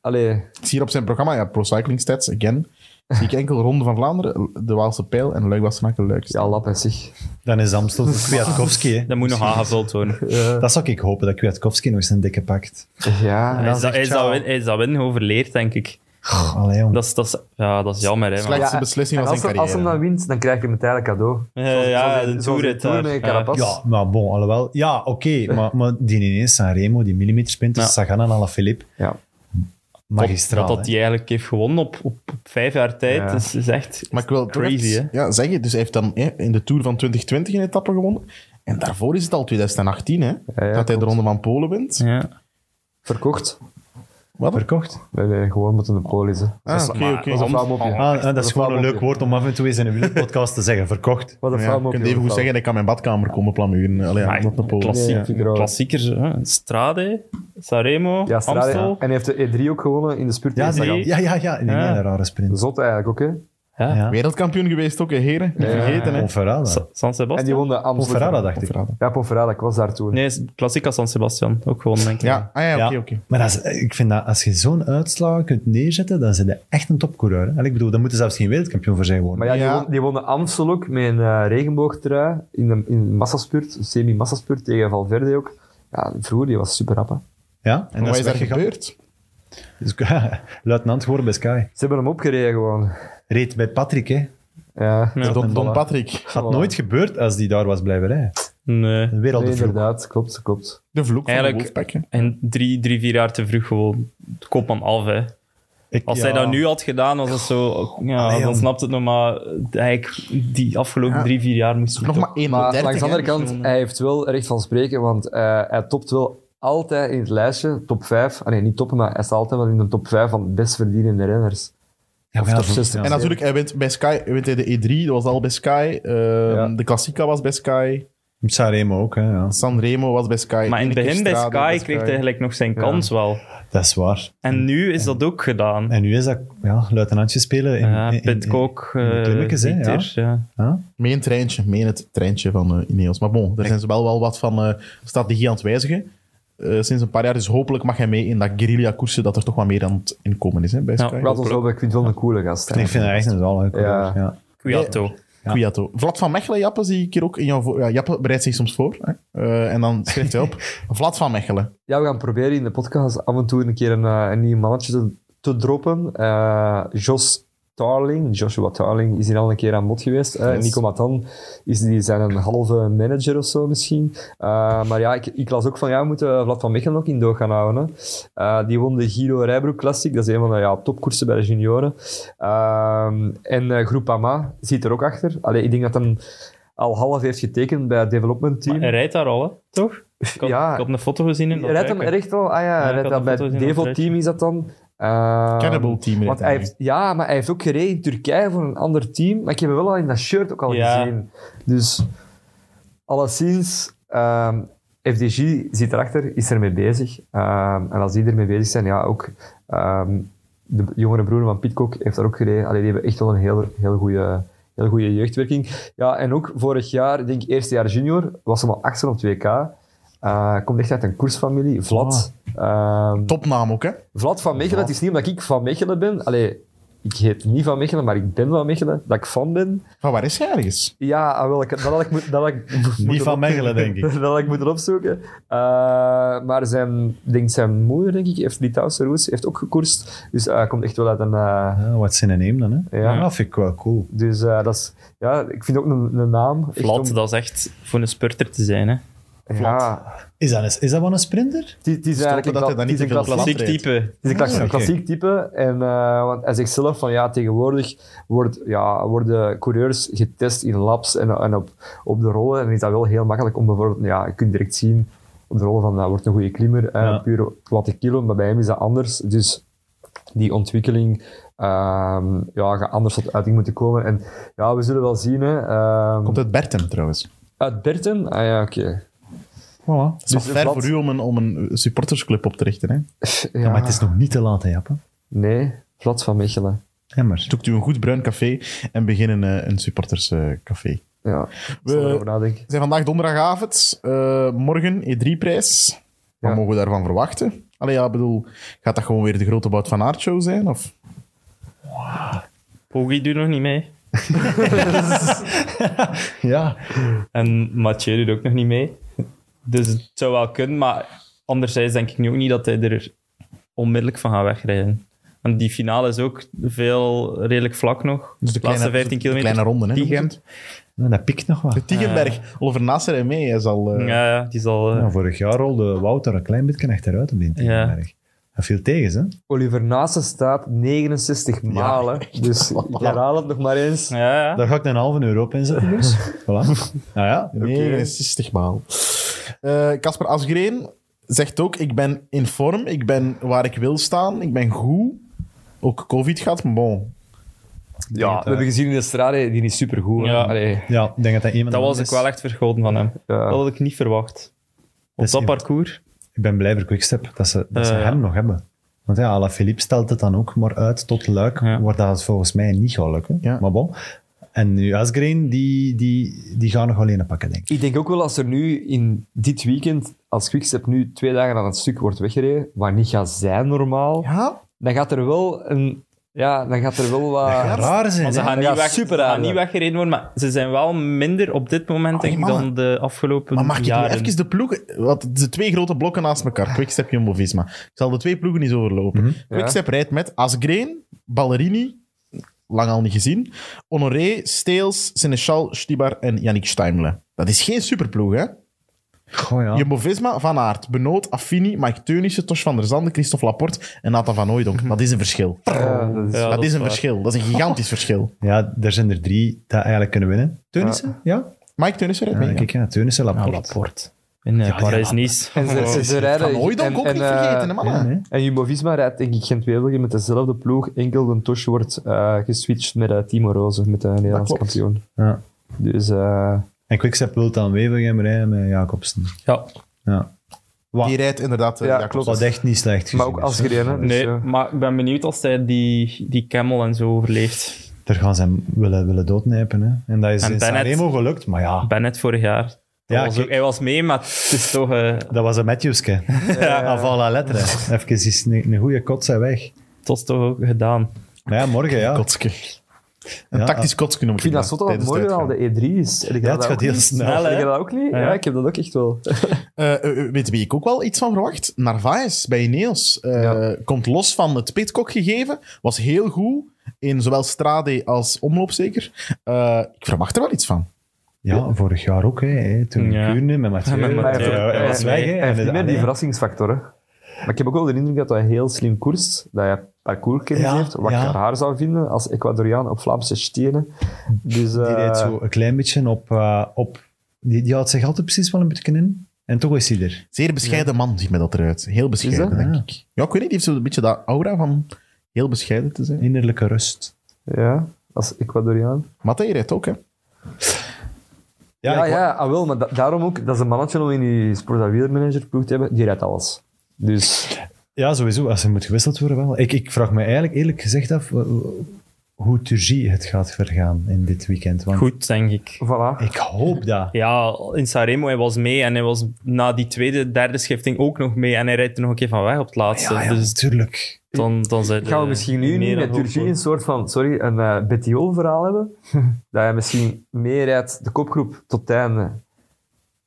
Speaker 3: Allee,
Speaker 2: Ik zie hier op zijn programma, ja, Pro Cycling Stats, again. Zie ik enkel Ronde van Vlaanderen, de Waalse Pijl en Luik Wassenaken leukst.
Speaker 3: ja, lap en zich.
Speaker 4: Dan is Amstel voor Kwiatkowski. hè.
Speaker 5: Dat moet nog aangevuld worden.
Speaker 4: Dat zou ik hopen, dat Kwiatkowski nog eens een dikke pakt.
Speaker 3: Ja,
Speaker 5: Hij is, dat,
Speaker 4: zegt
Speaker 5: hij, is dat,
Speaker 4: ciao.
Speaker 5: win- hij is dat win overleerd, denk ik.
Speaker 4: Allee, jong.
Speaker 5: Dat is, dat is, ja, dat is jammer, hè. man.
Speaker 2: Slecht.
Speaker 3: ja,
Speaker 2: Laatste beslissing
Speaker 3: en
Speaker 2: van
Speaker 3: als,
Speaker 2: zijn
Speaker 3: hem- als hem
Speaker 2: carrière.
Speaker 3: dan wint, dan krijg je hem uiteindelijk cadeau.
Speaker 5: Eh, ja, de toerrit
Speaker 3: toer
Speaker 5: daar.
Speaker 3: met
Speaker 5: Ja.
Speaker 3: Carapaz.
Speaker 4: Ja, maar bon, alhoewel. Ja, oké, maar, maar die ineens Sanremo, die millimetersprinter,
Speaker 5: Ja.
Speaker 4: Sagan en Alaphilippe.
Speaker 3: Ja.
Speaker 4: Magistraal.
Speaker 5: Dat, dat
Speaker 4: hè.
Speaker 5: hij eigenlijk heeft gewonnen op, op, op vijf jaar tijd. Dus
Speaker 3: Ja.
Speaker 5: is, is echt
Speaker 2: Maar ik wil toch
Speaker 5: Crazy,
Speaker 2: even-
Speaker 5: hè?
Speaker 2: Ja, zeg je. Dus hij heeft dan hè, in de Tour van 2020 een etappe gewonnen. En daarvoor is het al 2018, hè? dat hij de
Speaker 3: klopt.
Speaker 2: Ronde van Polen wint.
Speaker 5: Ja.
Speaker 3: Verkocht.
Speaker 2: Wat?
Speaker 4: verkocht.
Speaker 3: Nee, nee, gewoon moeten de polis. hè.
Speaker 2: Ah,
Speaker 5: is-
Speaker 2: oké,
Speaker 5: maar-
Speaker 2: oké.
Speaker 5: dat is
Speaker 2: Of-
Speaker 5: een flauw
Speaker 2: Ja,
Speaker 5: mopje.
Speaker 4: Ah, en dat is gewoon een leuk
Speaker 3: flauw
Speaker 4: woord om af en toe eens in een wielerpodcast te zeggen. Verkocht.
Speaker 3: Wat een
Speaker 2: ja,
Speaker 3: flauw
Speaker 2: Je kunt
Speaker 3: mopje,
Speaker 2: even goed
Speaker 3: flauw.
Speaker 2: zeggen, ik kan mijn badkamer komen plamuren. Allee, ja,
Speaker 5: Maar
Speaker 2: omdat een Polen.
Speaker 5: klassie-
Speaker 3: Nee, vind ik er ook.
Speaker 5: klassiekers, hè. Strade, Sanremo,
Speaker 3: Ja, Strade-
Speaker 5: Amstel.
Speaker 3: En hij heeft de E3 ook gewonnen in de spurt.
Speaker 4: Ja,
Speaker 3: tegen
Speaker 4: die-
Speaker 3: Sagan.
Speaker 4: ja, ja, ja. Die
Speaker 5: Ja.
Speaker 4: hele rare sprint.
Speaker 3: Zot eigenlijk ook, hè?
Speaker 5: Ja.
Speaker 4: Ja.
Speaker 2: Wereldkampioen geweest ook, hè, heren. Niet
Speaker 3: Ja.
Speaker 2: vergeten, hè.
Speaker 4: Conferrada.
Speaker 5: Sa- San
Speaker 3: En die
Speaker 5: Sebastian?
Speaker 3: won de Amstel.
Speaker 4: Conferrada, dacht ik.
Speaker 2: Verraden.
Speaker 3: Ja, Ponferrada, ik was daar toen.
Speaker 5: Nee, Klassica San Sebastian. Ook gewonnen, denk ik.
Speaker 2: Ja, ah, ja, oké,
Speaker 4: Ja.
Speaker 2: oké.
Speaker 4: Maar dat is- ik vind dat als je zo'n uitslagen kunt neerzetten, dan zijn je echt een topcoureur. hè. En ik bedoel, dan moeten zelfs geen wereldkampioen voor zijn
Speaker 3: Maar
Speaker 4: worden.
Speaker 3: ja, die,
Speaker 2: Ja.
Speaker 3: Won, die won de Amstel ook met een eh, regenboogtrui in de in massaspurt, semi-massaspurt tegen Valverde ook. Ja, vroeger, die was super rap, hè.
Speaker 4: Ja, en
Speaker 2: Maar
Speaker 4: dat
Speaker 2: Wat is daar
Speaker 4: weggegaan.
Speaker 2: gebeurd?
Speaker 4: Dus, ja, luitenant geworden bij Sky.
Speaker 3: Ze hebben hem opgereden gewoon.
Speaker 4: Reed bij Patrick, hè.
Speaker 3: Ja,
Speaker 5: Ja.
Speaker 2: Don, Don
Speaker 4: Voilà.
Speaker 2: Patrick.
Speaker 4: Had nooit gebeurd als die daar was blijven rijden.
Speaker 5: Nee.
Speaker 4: Een wereld
Speaker 3: Nee,
Speaker 4: te vroeg.
Speaker 3: inderdaad, klopt, klopt.
Speaker 2: De vloek van de
Speaker 5: Eigenlijk-
Speaker 2: Wolfpack, hè.
Speaker 5: En drie, drie, vier jaar te vroeg gewoon de kopman af, hè.
Speaker 4: Ik-
Speaker 5: Als
Speaker 4: ja.
Speaker 5: hij dat nu had gedaan, was het zo... Ja,
Speaker 4: Allee,
Speaker 5: dan
Speaker 4: jong.
Speaker 5: snapt het nog, maar eigenlijk die afgelopen
Speaker 2: Ja.
Speaker 5: drie, vier jaar moest hij
Speaker 2: Nog
Speaker 5: toch-
Speaker 2: maar 1
Speaker 3: Maar langs de andere
Speaker 2: hè.
Speaker 3: kant, hij heeft wel recht van spreken, want eh, hij topt wel altijd in het lijstje, top 5. Ah, nee, niet toppen, maar hij staat altijd wel in de top 5 van best verdienende renners.
Speaker 4: Ja, maar
Speaker 3: Of
Speaker 4: ja,
Speaker 3: top
Speaker 4: dat-
Speaker 3: 60.
Speaker 4: ja.
Speaker 2: En natuurlijk, hij wint bij Sky, hij wint hij de E3, dat was al bij Sky. Ehm,
Speaker 3: Ja.
Speaker 2: De Klassica was bij Sky.
Speaker 4: Sanremo ook, hè, ja.
Speaker 2: Sanremo was bij Sky.
Speaker 5: Maar in het
Speaker 2: Ene keer
Speaker 5: begin bij
Speaker 2: Strade,
Speaker 5: Sky kreeg hij eigenlijk nog zijn kans wel.
Speaker 4: Dat is waar.
Speaker 5: En nu is dat ook gedaan.
Speaker 4: En nu is dat ja, luitenantje spelen in,
Speaker 5: Ja,
Speaker 4: in- in-
Speaker 5: Pitcock,
Speaker 4: in de
Speaker 5: eh,
Speaker 4: klimmetjes, hè, ja.
Speaker 5: Dieter, ja.
Speaker 2: Mee een treintje, mee in het treintje van eh, Ineos. Maar bon, daar zijn ze wel, wel wat van eh, strategie aan het wijzigen. Eh, sinds een paar jaar, dus hopelijk mag hij mee in dat guerrilla-koersen dat er toch wat meer aan het inkomen is hè, bij
Speaker 5: Ja,
Speaker 2: Sky.
Speaker 3: Laat ons hopen, ik vind het wel een coole gast. hè.
Speaker 4: Ik vind dat echt een zalige coureur,
Speaker 3: Ja.
Speaker 4: ja.
Speaker 5: Kwiato.
Speaker 4: Ja.
Speaker 2: Kwiato. Vlad van Mechelen, Jappe, zie ik hier ook in jouw... voor- Ja, Jappe bereidt zich soms voor. Hè? Eh, en dan schrijft hij op. Vlad van Mechelen.
Speaker 3: Ja, we gaan proberen in de podcast af en toe een keer een, eh, een nieuw mannetje te, te droppen. Eh Jos Tarling, Joshua Tarling, is hier al een keer aan bod geweest. eh.
Speaker 2: Yes.
Speaker 3: Nico Matan is die zijn een halve manager of zo misschien. Eh, maar ja, ik, ik las ook van, ja, we moeten Vlad van Mechelen ook in doog gaan houden. Hè. Eh, die won de Giro Rijbroek Classic, dat is een van de ja, topkoersen bij de junioren. Ehm, en eh Groupama zit er ook achter. Allee, ik denk dat hem al half heeft getekend bij het development team.
Speaker 5: Maar eh, Hij rijdt daar al, hè? toch? Ik had,
Speaker 3: Ja.
Speaker 5: ik had een foto gezien in dat
Speaker 3: Je redt hem
Speaker 5: rijken.
Speaker 3: echt wel. Ah ja, hij
Speaker 5: ik
Speaker 3: redt
Speaker 5: had
Speaker 3: dat
Speaker 5: een
Speaker 3: bij
Speaker 5: foto
Speaker 3: het
Speaker 5: gezien op
Speaker 3: Devo
Speaker 5: het
Speaker 3: team is dat dan. Ehm,
Speaker 2: Cannibal team.
Speaker 3: Want hij heeft, ja, maar hij heeft ook gereden in Turkije voor een ander team. Maar ik heb hem wel al in dat shirt ook al
Speaker 5: Ja.
Speaker 3: gezien. Dus alleszins, ehm FDG zit erachter, is ermee bezig. Ehm, en als die ermee bezig zijn, ja, ook ehm, de jongere broer van Pitcock heeft daar ook gereden. Allee, die hebben echt wel een heel, heel goede heel goede jeugdwerking. Ja, en ook vorig jaar, ik denk eerste jaar junior, was hem al achter op 2K. Eh, komt echt uit een koersfamilie, Vlad. Ehm,
Speaker 2: Topnaam ook, hè?
Speaker 3: Vlad van Mechelen, het is niet omdat ik van Mechelen ben. Allee, ik heet niet van Mechelen, maar ik ben van Mechelen. Dat ik van ben.
Speaker 2: Van waar is hij ergens?
Speaker 3: Ja, ah, wel, ik- dat had ik, moet- dat had ik
Speaker 4: Niet
Speaker 3: moeten
Speaker 4: van
Speaker 3: op-
Speaker 4: Mechelen, denk ik.
Speaker 3: dat had ik moeten opzoeken. Eh, maar zijn, ik denk zijn moeder, denk ik, heeft Litouwse roots, heeft ook gekoerst. Dus eh, hij komt echt wel uit een... eh,
Speaker 4: Ja, Ah, wat zin in neem dan, hè.
Speaker 3: Ja.
Speaker 4: Ja. Dat vind ik wel cool.
Speaker 3: dus eh, dat is... Ja, ik vind ook een, een naam. echt
Speaker 5: Vlad,
Speaker 3: om-
Speaker 5: dat is echt voor een spurter te zijn. Hè.
Speaker 3: Ja,
Speaker 4: Is dat, een- is dat wel een sprinter?
Speaker 3: het is- het is eigenlijk
Speaker 2: dat
Speaker 3: een,
Speaker 2: hij
Speaker 3: kla-
Speaker 2: daar
Speaker 3: het
Speaker 2: niet
Speaker 3: is een
Speaker 2: te veel
Speaker 3: klassiek
Speaker 5: Klassiek
Speaker 2: rijdt.
Speaker 5: type.
Speaker 3: Het is een klassiek,
Speaker 4: Ah, oké.
Speaker 3: klassiek type. En, eh, want hij zegt zelf van ja, tegenwoordig wordt, ja, worden coureurs getest in labs en, en op, op de rollen. En is dat wel heel makkelijk om bijvoorbeeld, ja, je kunt direct zien op de rollen van dat wordt een goede klimmer, eh,
Speaker 4: Ja.
Speaker 3: puur wat de kilo, maar bij hem is dat anders. Dus die ontwikkeling ehm, ja, gaat anders tot uiting moeten komen. En ja, we zullen wel zien. Hè, ehm,
Speaker 2: Komt uit Bertem, trouwens.
Speaker 3: uit Berten? Ah ja, oké.
Speaker 4: Voilà.
Speaker 2: Het is nog
Speaker 3: Dus
Speaker 2: ver
Speaker 3: Vlad-
Speaker 2: voor u om een, om een supportersclub op te richten. Hè?
Speaker 3: Ja,
Speaker 4: Maar het is nog niet te laat, hè, Jappe.
Speaker 3: Nee, Vlad van Mechelen.
Speaker 4: Emmers.
Speaker 2: Zoekt u een goed bruin café en beginnen eh, een supporterscafé.
Speaker 3: Ja,
Speaker 2: We-
Speaker 3: we... erover nadenken.
Speaker 2: Het zijn vandaag donderdagavond. Eh, morgen E3-prijs. Wat
Speaker 3: Ja.
Speaker 2: mogen we daarvan verwachten? Allee, ja, ik bedoel, gaat dat gewoon weer de grote Bout van Aert show zijn? Of? Dus
Speaker 5: Poggi doet nog niet mee.
Speaker 4: Ja.
Speaker 5: En Mathieu doet ook nog niet mee. Dus het zou wel kunnen, maar anderzijds denk ik nu ook niet dat hij er onmiddellijk van gaat wegrijden. Want die finale is ook veel redelijk vlak nog.
Speaker 2: Dus
Speaker 5: de laatste 15
Speaker 2: de
Speaker 5: kilometer.
Speaker 2: kleine ronde, hè?
Speaker 5: Tiegen.
Speaker 2: noemen ze het?
Speaker 4: En dat pikt nog wat.
Speaker 2: De Tiegenberg. Oliver Nasser en mee. Hij zal, eh,
Speaker 5: Ja, ja, die zal... eh,
Speaker 4: Ja, vorig jaar rolde Wouter een klein beetje achteruit op die
Speaker 5: Ja.
Speaker 4: Tegenberg. Dat viel tegen, hè?
Speaker 3: Oliver Naassen staat 69 malen. Dus ik herhaal het nog maar eens.
Speaker 5: ja, ja.
Speaker 4: Daar ga ik een halve euro op inzetten, dus. voilà. Nou ja.
Speaker 2: 69 maal. Eh, Casper Asgreen zegt ook: Ik ben in vorm, ik ben waar ik wil staan, ik ben goed. Ook COVID gehad, maar bon.
Speaker 3: Ja, we hebben gezien in de strade, die is supergoed. hè.
Speaker 5: Ja.
Speaker 3: Allee,
Speaker 4: Ja, ik denk dat dat iemand
Speaker 5: Dat was ik wel echt vergoten van hem.
Speaker 3: ja.
Speaker 5: Dat had ik niet verwacht. Op
Speaker 4: is
Speaker 5: dat
Speaker 4: iemand-
Speaker 5: parcours.
Speaker 4: Ik ben blij voor Quickstep, dat ze, dat ze
Speaker 5: Eh,
Speaker 4: hem
Speaker 5: ja.
Speaker 4: nog hebben. Want ja, Alaphilippe stelt het dan ook maar uit tot Luik,
Speaker 5: Ja.
Speaker 4: waar dat volgens mij niet gaat lukken.
Speaker 2: Ja.
Speaker 4: Maar bon. En nu Asgreen, die, die, die gaan nog alleen pakken, denk ik.
Speaker 3: Ik denk ook wel als er nu in dit weekend, als Quickstep nu twee dagen aan het stuk wordt weggereden, wat niet gaat zijn normaal,
Speaker 2: Ja,
Speaker 3: dan gaat er wel een... Ja, dan gaat er wel wat...
Speaker 4: Raar zijn,
Speaker 5: Want ze
Speaker 4: hè?
Speaker 5: gaan,
Speaker 3: Ja,
Speaker 5: niet, weg,
Speaker 3: super
Speaker 5: ze gaan
Speaker 3: aardig.
Speaker 5: niet weggereden worden, maar ze zijn wel minder op dit moment
Speaker 2: Allee,
Speaker 5: denk ik,
Speaker 2: mannen.
Speaker 5: dan de afgelopen
Speaker 2: maar mag ik nu
Speaker 5: jaren.
Speaker 2: even de ploegen... Wat, de twee grote blokken naast elkaar, Quickstep, Jumbo-Visma. Ik zal de twee ploegen eens overlopen. Quickstep rijdt met Asgreen, Ballerini, lang al niet gezien, Honoré, Steels, Seneschal, Stibar en Yannick Steimle. Dat is geen superploeg, hè?
Speaker 4: Goh, ja.
Speaker 2: Jumbo-Visma, Van Aert, Benoot, Affini, Mike Teunissen, Tosh van der Zanden, Christophe Laporte en Nathan van
Speaker 3: Mhm.
Speaker 2: Ooydonk. Dat is een verschil.
Speaker 3: Ja,
Speaker 2: Oh.
Speaker 3: dat is-
Speaker 5: Ja,
Speaker 2: dat, is een
Speaker 5: waar.
Speaker 2: verschil. Dat is een gigantisch verschil.
Speaker 4: ja, er zijn er drie dat eigenlijk kunnen winnen. Teunissen? Ja?
Speaker 2: Mike Teunissen
Speaker 4: ja?
Speaker 2: rijdt mee.
Speaker 4: kijk, ja. Teunissen, Laporte.
Speaker 5: In eh,
Speaker 4: Ja, die
Speaker 5: Parijs-Nice.
Speaker 3: En ze, ze, ze
Speaker 2: Van
Speaker 3: rijden...
Speaker 2: Ooydonk
Speaker 3: en-
Speaker 2: ook
Speaker 3: en,
Speaker 2: niet
Speaker 3: eh,
Speaker 2: vergeten, hè, mannen.
Speaker 4: Ja, nee.
Speaker 3: En Jumbo-Visma rijdt denk ik geen tweewieler met dezelfde ploeg. Enkel de Tosh wordt eh, geswitcht met eh, Timo Rozen, met de Nederlandse
Speaker 2: klopt.
Speaker 3: kampioen.
Speaker 4: Ja.
Speaker 3: Dus eh,
Speaker 4: En Quickstep wil dan Wevergem rijden met Jacobsen.
Speaker 5: Ja,
Speaker 4: Ja.
Speaker 2: Die rijdt inderdaad... eh,
Speaker 3: Ja,
Speaker 2: Jacobsen.
Speaker 3: klopt.
Speaker 4: Wat echt niet slecht gezien
Speaker 3: Maar ook
Speaker 4: is,
Speaker 3: als
Speaker 4: hè.
Speaker 3: gereden. hè. Dus,
Speaker 5: nee,
Speaker 3: eh,
Speaker 5: maar ik ben benieuwd als hij die, die camel en zo overleeft.
Speaker 4: Daar gaan ze hem willen, willen doodnijpen. Hè. En dat is
Speaker 5: En
Speaker 4: in
Speaker 5: Bennett-
Speaker 4: Sanremo gelukt, maar ja,
Speaker 5: Bennett vorig jaar. Dat
Speaker 4: Ja,
Speaker 5: was
Speaker 4: kijk.
Speaker 5: ook- hij was mee, maar het is toch... eh,
Speaker 4: dat was een Matthewske. Ja. Van la lettre. Even is een, een goede kot zijn weg.
Speaker 5: het was toch ook gedaan.
Speaker 4: Maar ja, morgen ja.
Speaker 2: Kotske. Een
Speaker 4: Ja,
Speaker 2: tactisch kotske noem ik
Speaker 3: Ik vind dat
Speaker 2: dat,
Speaker 3: zot dat het
Speaker 2: tijdens
Speaker 3: mooi
Speaker 2: het
Speaker 3: dat al de
Speaker 2: uitgaan.
Speaker 3: E3 is. Heb ik
Speaker 4: Ja,
Speaker 3: dat
Speaker 4: het
Speaker 3: ook
Speaker 4: gaat heel
Speaker 3: niet?
Speaker 4: snel.
Speaker 3: Heb
Speaker 5: hè?
Speaker 3: je dat ook niet? Ja,
Speaker 5: Ja.
Speaker 3: ik heb dat ook echt wel.
Speaker 2: Eh, eh, eh, weet je wie ik ook wel iets van verwacht? Narvaez bij Ineos. Eh,
Speaker 3: Ja.
Speaker 2: Komt los van het pitcock gegeven. Was heel goed in zowel strade als omloop zeker. Eh, ik verwacht er wel iets van.
Speaker 4: Ja, vorig jaar ook. Hè, hè. Toen in
Speaker 5: Ja.
Speaker 4: Kuurne met Mathieu.
Speaker 5: Ja, met
Speaker 3: Maar hij heeft,
Speaker 5: Ja,
Speaker 3: ook-
Speaker 5: hij
Speaker 4: hij was
Speaker 5: heeft-
Speaker 4: weg. hè. ah,
Speaker 3: hij heeft niet meer die
Speaker 4: Allee.
Speaker 3: verrassingsfactor. Hè. Maar ik heb ook wel de indruk dat hij heel slim koerst. Dat hij parcourskennis
Speaker 4: Ja,
Speaker 3: heeft. Wat
Speaker 4: ja.
Speaker 3: ik raar zou vinden als Ecuadoriaan op Vlaamse stenen. Dus, eh,
Speaker 4: Die rijdt zo een klein beetje op... eh, op die, die houdt zich altijd precies wel een beetje in. En toch is hij er.
Speaker 2: Zeer bescheiden man ziet me dat eruit. Heel bescheiden,
Speaker 3: dat?
Speaker 2: denk
Speaker 4: Ja.
Speaker 2: ik. Ja, ik weet niet. Die heeft zo'n beetje dat aura van heel bescheiden te zijn.
Speaker 4: Innerlijke rust.
Speaker 3: Ja, als Ecuadoriaan.
Speaker 2: Matte, je rijdt ook, hè?
Speaker 4: Ja,
Speaker 3: Ja,
Speaker 4: ik-
Speaker 3: ja, ah, wel, maar da- daarom ook, dat is een mannetje om in die sportawielermanager ploeg te hebben, die rijdt alles. Dus
Speaker 4: Ja, sowieso. Als er moet gewisseld worden wel. Ik, ik vraag me eigenlijk eerlijk gezegd af eh, hoe Turgie het gaat vergaan in dit weekend. Want
Speaker 5: Goed, denk ik.
Speaker 3: voilà.
Speaker 4: ik hoop dat.
Speaker 5: Ja, in Sanremo, hij was mee en hij was na die tweede, derde schifting ook nog mee. En hij rijdt er nog een keer van weg op het laatste.
Speaker 4: Ja, ja,
Speaker 5: dus
Speaker 4: natuurlijk.
Speaker 5: dan, dan zijn
Speaker 3: Gaan we
Speaker 4: Eh,
Speaker 5: de-
Speaker 3: misschien nu
Speaker 5: meer
Speaker 3: niet
Speaker 5: dan
Speaker 3: met Turgie
Speaker 5: hoopvol.
Speaker 3: een soort van, sorry, een eh Bettiol-verhaal hebben? dat hij misschien meerijdt de kopgroep tot het einde.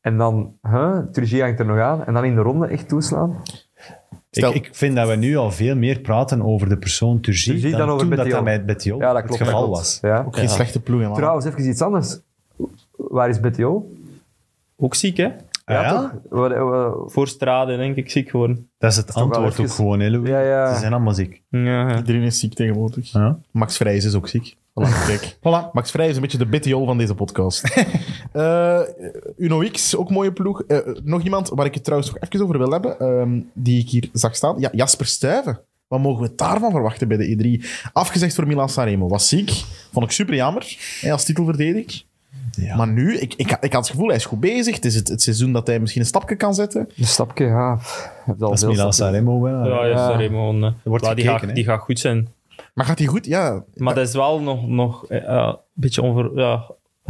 Speaker 3: En dan, huh, Turgie hangt er nog aan. En dan in de ronde echt
Speaker 4: Oh,
Speaker 3: toeslaan.
Speaker 4: Ik,
Speaker 2: Stel-
Speaker 4: ik vind dat we nu al veel meer praten over de persoon Turgie
Speaker 3: Turgie
Speaker 4: dan,
Speaker 3: dan over
Speaker 4: toen dat
Speaker 3: Bettiol.
Speaker 4: dat met Bettiol
Speaker 3: Ja, dat klopt.
Speaker 4: het geval
Speaker 3: dat klopt.
Speaker 4: was.
Speaker 3: Ja.
Speaker 2: Ook geen slechte ploeg, hè, man.
Speaker 3: Trouwens, even iets anders. Waar is Bettiol?
Speaker 5: Ook ziek, hè?
Speaker 4: Ah, ja?
Speaker 3: Waar- eh,
Speaker 5: Voor straden, denk ik, ziek geworden.
Speaker 4: Dat is het antwoord
Speaker 3: wel
Speaker 4: ook
Speaker 3: even-
Speaker 4: gewoon, hè, Louis.
Speaker 3: Ja, ja.
Speaker 4: Ze zijn allemaal ziek.
Speaker 5: Ja, ja.
Speaker 2: Iedereen is ziek tegenwoordig.
Speaker 4: Ja.
Speaker 2: Max Vrijs is ook ziek. Voilà, kijk.
Speaker 4: Voilà.
Speaker 2: Max Vrij is een beetje de BTO van deze podcast. Eh, Uno X, ook mooie ploeg. Eh, eh, nog iemand waar ik het trouwens nog even over wil hebben, ehm, die ik hier zag staan. Ja, Jasper Stuyven. Wat mogen we daarvan verwachten E bij de E3? Afgezegd voor Milan Sanremo. Was ziek. Vond ik super jammer hè, als titelverdediger. Ja. Maar nu, ik, ik, ik had het gevoel, hij is goed bezig. Het is het, het seizoen dat hij misschien een stapje kan zetten.
Speaker 3: Een stapje, ja. pff, je hebt al
Speaker 4: Dat is
Speaker 3: veel
Speaker 4: Milan
Speaker 3: stappen.
Speaker 4: Sanremo wel.
Speaker 5: Ja, ja, sorry, man. eh.
Speaker 4: wordt
Speaker 5: Ja, die,
Speaker 4: gekeken,
Speaker 5: gaat,
Speaker 4: hè.
Speaker 5: die gaat goed zijn.
Speaker 2: Maar gaat hij goed? Ja.
Speaker 5: Maar dat is wel nog, nog eh, ja, een beetje onver, ja,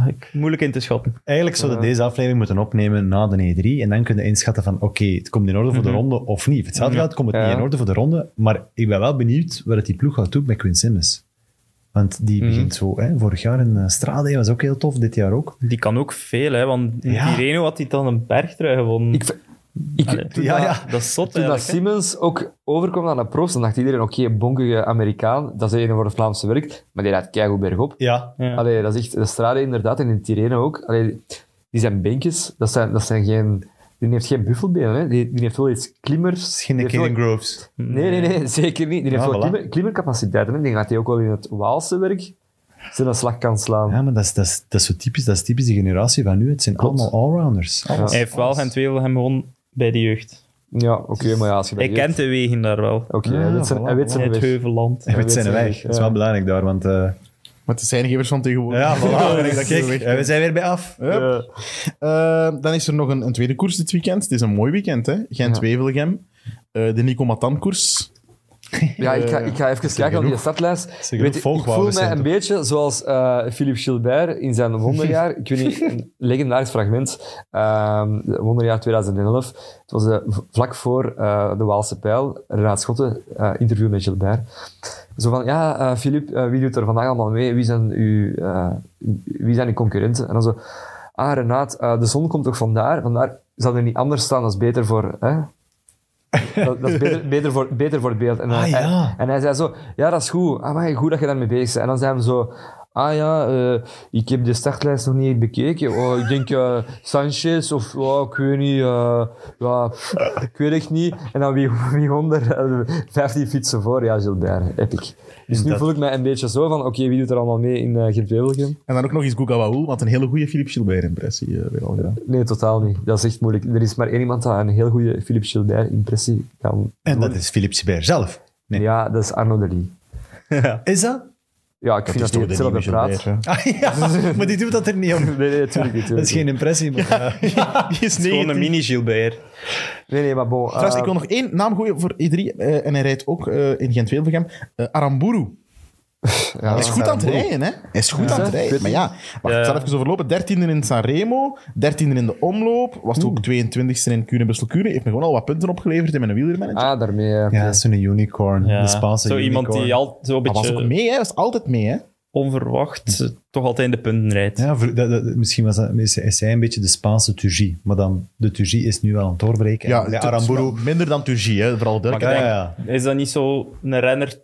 Speaker 5: ik- moeilijk in te schatten.
Speaker 4: Eigenlijk zouden we deze aflevering moeten opnemen na de E3 en dan kunnen inschatten van oké, het komt in orde voor
Speaker 5: Mhm.
Speaker 4: de ronde of niet. Of Hetzelfde
Speaker 5: Ja.
Speaker 4: gaat, komt het
Speaker 3: Ja.
Speaker 4: niet in orde voor de ronde, maar ik ben wel benieuwd wat het die ploeg gaat doen met Quinn Simmons. Want die
Speaker 5: Mhm.
Speaker 4: begint zo, hè, vorig jaar in eh, Strade was ook heel tof, dit jaar ook.
Speaker 5: Die kan ook veel, hè, want
Speaker 4: Ja.
Speaker 5: die Reno had die dan een bergtrui gewonnen.
Speaker 3: Ik, ik,
Speaker 5: Allee,
Speaker 3: toen
Speaker 4: ja,
Speaker 3: dat-
Speaker 4: ja.
Speaker 5: dat is zot
Speaker 3: Toen dat
Speaker 5: eigenlijk. hè.
Speaker 3: Simmons ook overkwam aan de profs, dan dacht iedereen, oké, bonkige Amerikaan, dat is een voor het Vlaamse werk, maar die rijdt keigoed bergop.
Speaker 4: Ja,
Speaker 5: Ja.
Speaker 3: Allee, dat is echt, de strade inderdaad, en in Tirreno ook. Allee, die zijn benkjes, dat zijn, dat zijn geen... Die heeft geen buffelbenen, hè. Die, die heeft wel iets klimmers.
Speaker 4: misschien
Speaker 3: die
Speaker 4: de
Speaker 3: heeft wel-
Speaker 4: Caden Groves.
Speaker 3: Nee, nee, nee, zeker niet. Die heeft
Speaker 4: Ah,
Speaker 3: wel
Speaker 4: voilà.
Speaker 3: klimmer, klimmercapaciteiten. hè. Ik denk dat hij ook wel in het Waalse werk zijn een slag kan slaan.
Speaker 4: Ja, maar dat is, dat, is, dat is zo typisch, dat is typisch de generatie van nu. Het zijn
Speaker 3: Klopt.
Speaker 4: allemaal allrounders. Alles.
Speaker 5: Hij heeft wel geen tweede hem gewonnen bij de jeugd.
Speaker 3: Ja, oké, maar ja, als je dat
Speaker 5: Hij
Speaker 3: weet-
Speaker 5: kent de wegen daar wel.
Speaker 3: Oké,
Speaker 4: Ja,
Speaker 3: hij weet zijn-
Speaker 4: Ah, voilà,
Speaker 3: hij weet
Speaker 5: In
Speaker 3: zijn
Speaker 5: het
Speaker 3: weg.
Speaker 5: Heuvelland.
Speaker 4: Hij weet zijn
Speaker 3: Hij weet
Speaker 4: weg.
Speaker 3: zijn
Speaker 4: Dat is
Speaker 3: weg,
Speaker 4: wel
Speaker 3: ja.
Speaker 4: belangrijk daar, want... eh,
Speaker 2: Maar het zijn gevers van tegenwoordig.
Speaker 4: ja, voilà,
Speaker 2: dat je
Speaker 4: kijk, eh,
Speaker 2: weg
Speaker 4: we zijn weer bij af.
Speaker 2: Hup. Eh, dan is er nog een, een tweede koers dit weekend. Het is een mooi weekend, hè? Gent-Wevelgem. Eh, de Nico Matan-koers.
Speaker 3: Ja, ik ga,
Speaker 2: Eh,
Speaker 3: ik ga even kijken naar die
Speaker 4: genoeg.
Speaker 3: startlijst.
Speaker 4: genoeg
Speaker 3: Weet je, ik
Speaker 4: volgwouwen
Speaker 3: voel mij
Speaker 4: zijn
Speaker 3: een
Speaker 4: toch?
Speaker 3: beetje zoals eh, Philippe Gilbert in zijn wonderjaar. ik weet niet, een legendarisch fragment. Ehm, de wonderjaar 2011. Het was eh, v- vlak voor eh, de Waalse Pijl. Renaat Schotten, eh, interview met Gilbert. Zo van, ja, eh, Philippe, eh, wie doet er vandaag allemaal mee? Wie zijn uw, eh, wie zijn uw concurrenten? En dan zo, ah, Renaat, eh, de zon komt toch vandaar? Vandaar zou er niet anders staan, dat is beter voor... Hè? Dat, dat is beter, beter, voor, beter voor het beeld. En, dan-
Speaker 4: Ah, ja.
Speaker 3: en, en hij zei zo, ja, dat is goed. Ah, maar goed dat je daarmee bezig bent. En dan zei hij zo... Ah ja, eh, ik heb de startlijst nog niet bekeken. Oh, ik denk eh, Sanchez of oh, ik weet niet. eh, ja, pff, ik weet echt niet. En dan wie, wie onder 15 fietsen voor? Ja, Gilbert, epic. Dus nu
Speaker 4: Dat-
Speaker 3: voel ik mij een beetje zo van, oké, wie doet er allemaal mee in eh Gent-Wevelgem?
Speaker 2: En dan ook nog eens Gugawaul, wat een hele goede Philippe Gilbert-impressie eh, weer al gedaan.
Speaker 3: Nee, totaal niet. Dat is echt moeilijk. Er is maar één iemand dat een heel goede Philippe Gilbert-impressie kan
Speaker 4: En dat
Speaker 3: doen.
Speaker 4: is Philippe Sibert zelf. Nee.
Speaker 3: Ja, dat is Arno Delis.
Speaker 4: Is dat?
Speaker 3: Ja, ik vind dat hij
Speaker 2: de
Speaker 3: hetzelfde
Speaker 2: nieuwe
Speaker 3: praat.
Speaker 2: Gilbert, hè.
Speaker 4: Ah, ja, maar die doet dat er niet om.
Speaker 3: Nee, nee, natuurlijk niet.
Speaker 4: Dat is
Speaker 3: tuurlijk
Speaker 4: geen
Speaker 3: niet.
Speaker 4: impressie. Maar, eh,
Speaker 2: Die is
Speaker 5: Het is gewoon
Speaker 2: 19.
Speaker 5: een mini-Gilbert.
Speaker 3: Nee, nee, maar bon.
Speaker 2: Trouwens,
Speaker 3: eh,
Speaker 2: ik wil nog één naam gooien voor E3. eh, en hij rijdt ook eh, in Gent-Wevelgem. Eh, Aramburu.
Speaker 3: ja,
Speaker 2: hij is goed aan het
Speaker 3: Aramburu.
Speaker 2: rijden, hè? Hij is goed aan het rijden.
Speaker 3: Weet
Speaker 2: Maar ja, wacht,
Speaker 5: Ja.
Speaker 2: ik zal even overlopen. Dertiende in Sanremo, dertiende in de omloop. Was toch ook 22e in Kuurne, Brussel, Kuurne. Heeft me gewoon al wat punten opgeleverd in mijn wielermanager.
Speaker 3: Ah, daarmee. eh,
Speaker 4: ja, zo'n unicorn.
Speaker 5: Ja.
Speaker 4: De Spaanse
Speaker 5: Zo iemand
Speaker 4: unicorn.
Speaker 5: die al zo'n
Speaker 2: Maar was ook
Speaker 5: beetje
Speaker 2: mee, hè? Was altijd mee, hè?
Speaker 5: onverwacht eh, toch altijd in de punten rijdt.
Speaker 4: Ja, voor- dat, dat- misschien was dat, is is hij een beetje de Spaanse Turgie. Maar dan, de Turgie is nu wel aan het doorbreken. En
Speaker 2: het is
Speaker 4: Aramburu...
Speaker 2: wel Minder dan Turgie, hè? Vooral
Speaker 5: Maar
Speaker 2: duidelijk.
Speaker 5: ik
Speaker 4: Ja,
Speaker 5: denk,
Speaker 4: ja,
Speaker 5: Is dat niet zo een renner?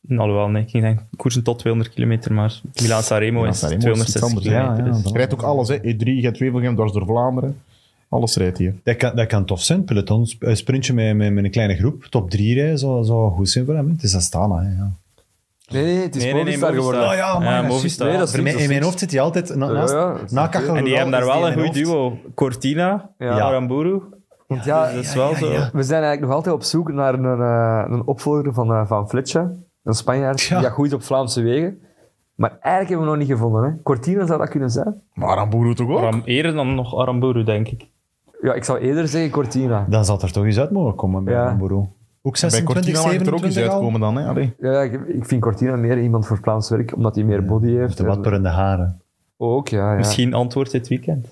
Speaker 5: Nou, alhoewel, nee. Ik denk koersen tot 200 kilometer, maar Milan Sanremo
Speaker 2: Milaan
Speaker 5: is
Speaker 2: Sanremo is
Speaker 5: 260
Speaker 2: iets anders,
Speaker 5: kilometer.
Speaker 4: ja, ja,
Speaker 5: dus.
Speaker 4: dan-
Speaker 2: Hij rijdt ook alles, hè? E E3, Gent-Wevelgem, dwars door Vlaanderen. Alles rijdt hier.
Speaker 4: Dat kan, dat kan tof zijn. Peloton, sp- eh, sprintje met, met, met een kleine groep. Top 3 rijden zou, zou goed zijn voor hem. hè. Het is Astana. Hè, ja.
Speaker 3: Nee, nee, het is
Speaker 5: Nee, nee, nee,
Speaker 3: Movistar geworden.
Speaker 5: Movistar.
Speaker 4: Oh ja, maar dat is
Speaker 5: Movistar.
Speaker 3: Nee, dat is
Speaker 4: Voor mij- in mijn hoofd zit hij altijd na, naast,
Speaker 3: Ja, ja,
Speaker 4: na Cachaloral
Speaker 5: En die hebben daar
Speaker 4: is die
Speaker 5: wel
Speaker 4: in
Speaker 5: een
Speaker 4: mijn
Speaker 5: goed
Speaker 4: hoofd.
Speaker 5: duo. Cortina,
Speaker 3: Ja.
Speaker 5: Aramburu.
Speaker 3: Want ja,
Speaker 5: dat is wel zo.
Speaker 3: we zijn eigenlijk nog altijd op zoek naar een, eh, een opvolger van, eh, van Fletcher. Een Spanjaard
Speaker 4: Ja.
Speaker 3: die dat goed op Vlaamse wegen. Maar eigenlijk hebben we hem nog niet gevonden. Hè. Cortina zou dat kunnen zijn.
Speaker 2: Maar Aramburu toch ook?
Speaker 5: Aram- eerder dan nog Aramburu, denk ik.
Speaker 3: Ja, ik zou eerder zeggen Cortina.
Speaker 4: Dan zal er toch eens uit mogen komen bij
Speaker 3: Ja.
Speaker 4: Aramburu. Ook
Speaker 2: Bij
Speaker 4: 26,
Speaker 2: Cortina mag het er ook eens
Speaker 4: 27 al.
Speaker 2: uitkomen dan, hè? Allee.
Speaker 3: Ja, ja, ik, ik vind Cortina meer iemand voor Vlaams werk, omdat hij meer body heeft.
Speaker 4: De watperende haren.
Speaker 3: Ook, ja. ja.
Speaker 5: Misschien antwoord dit weekend.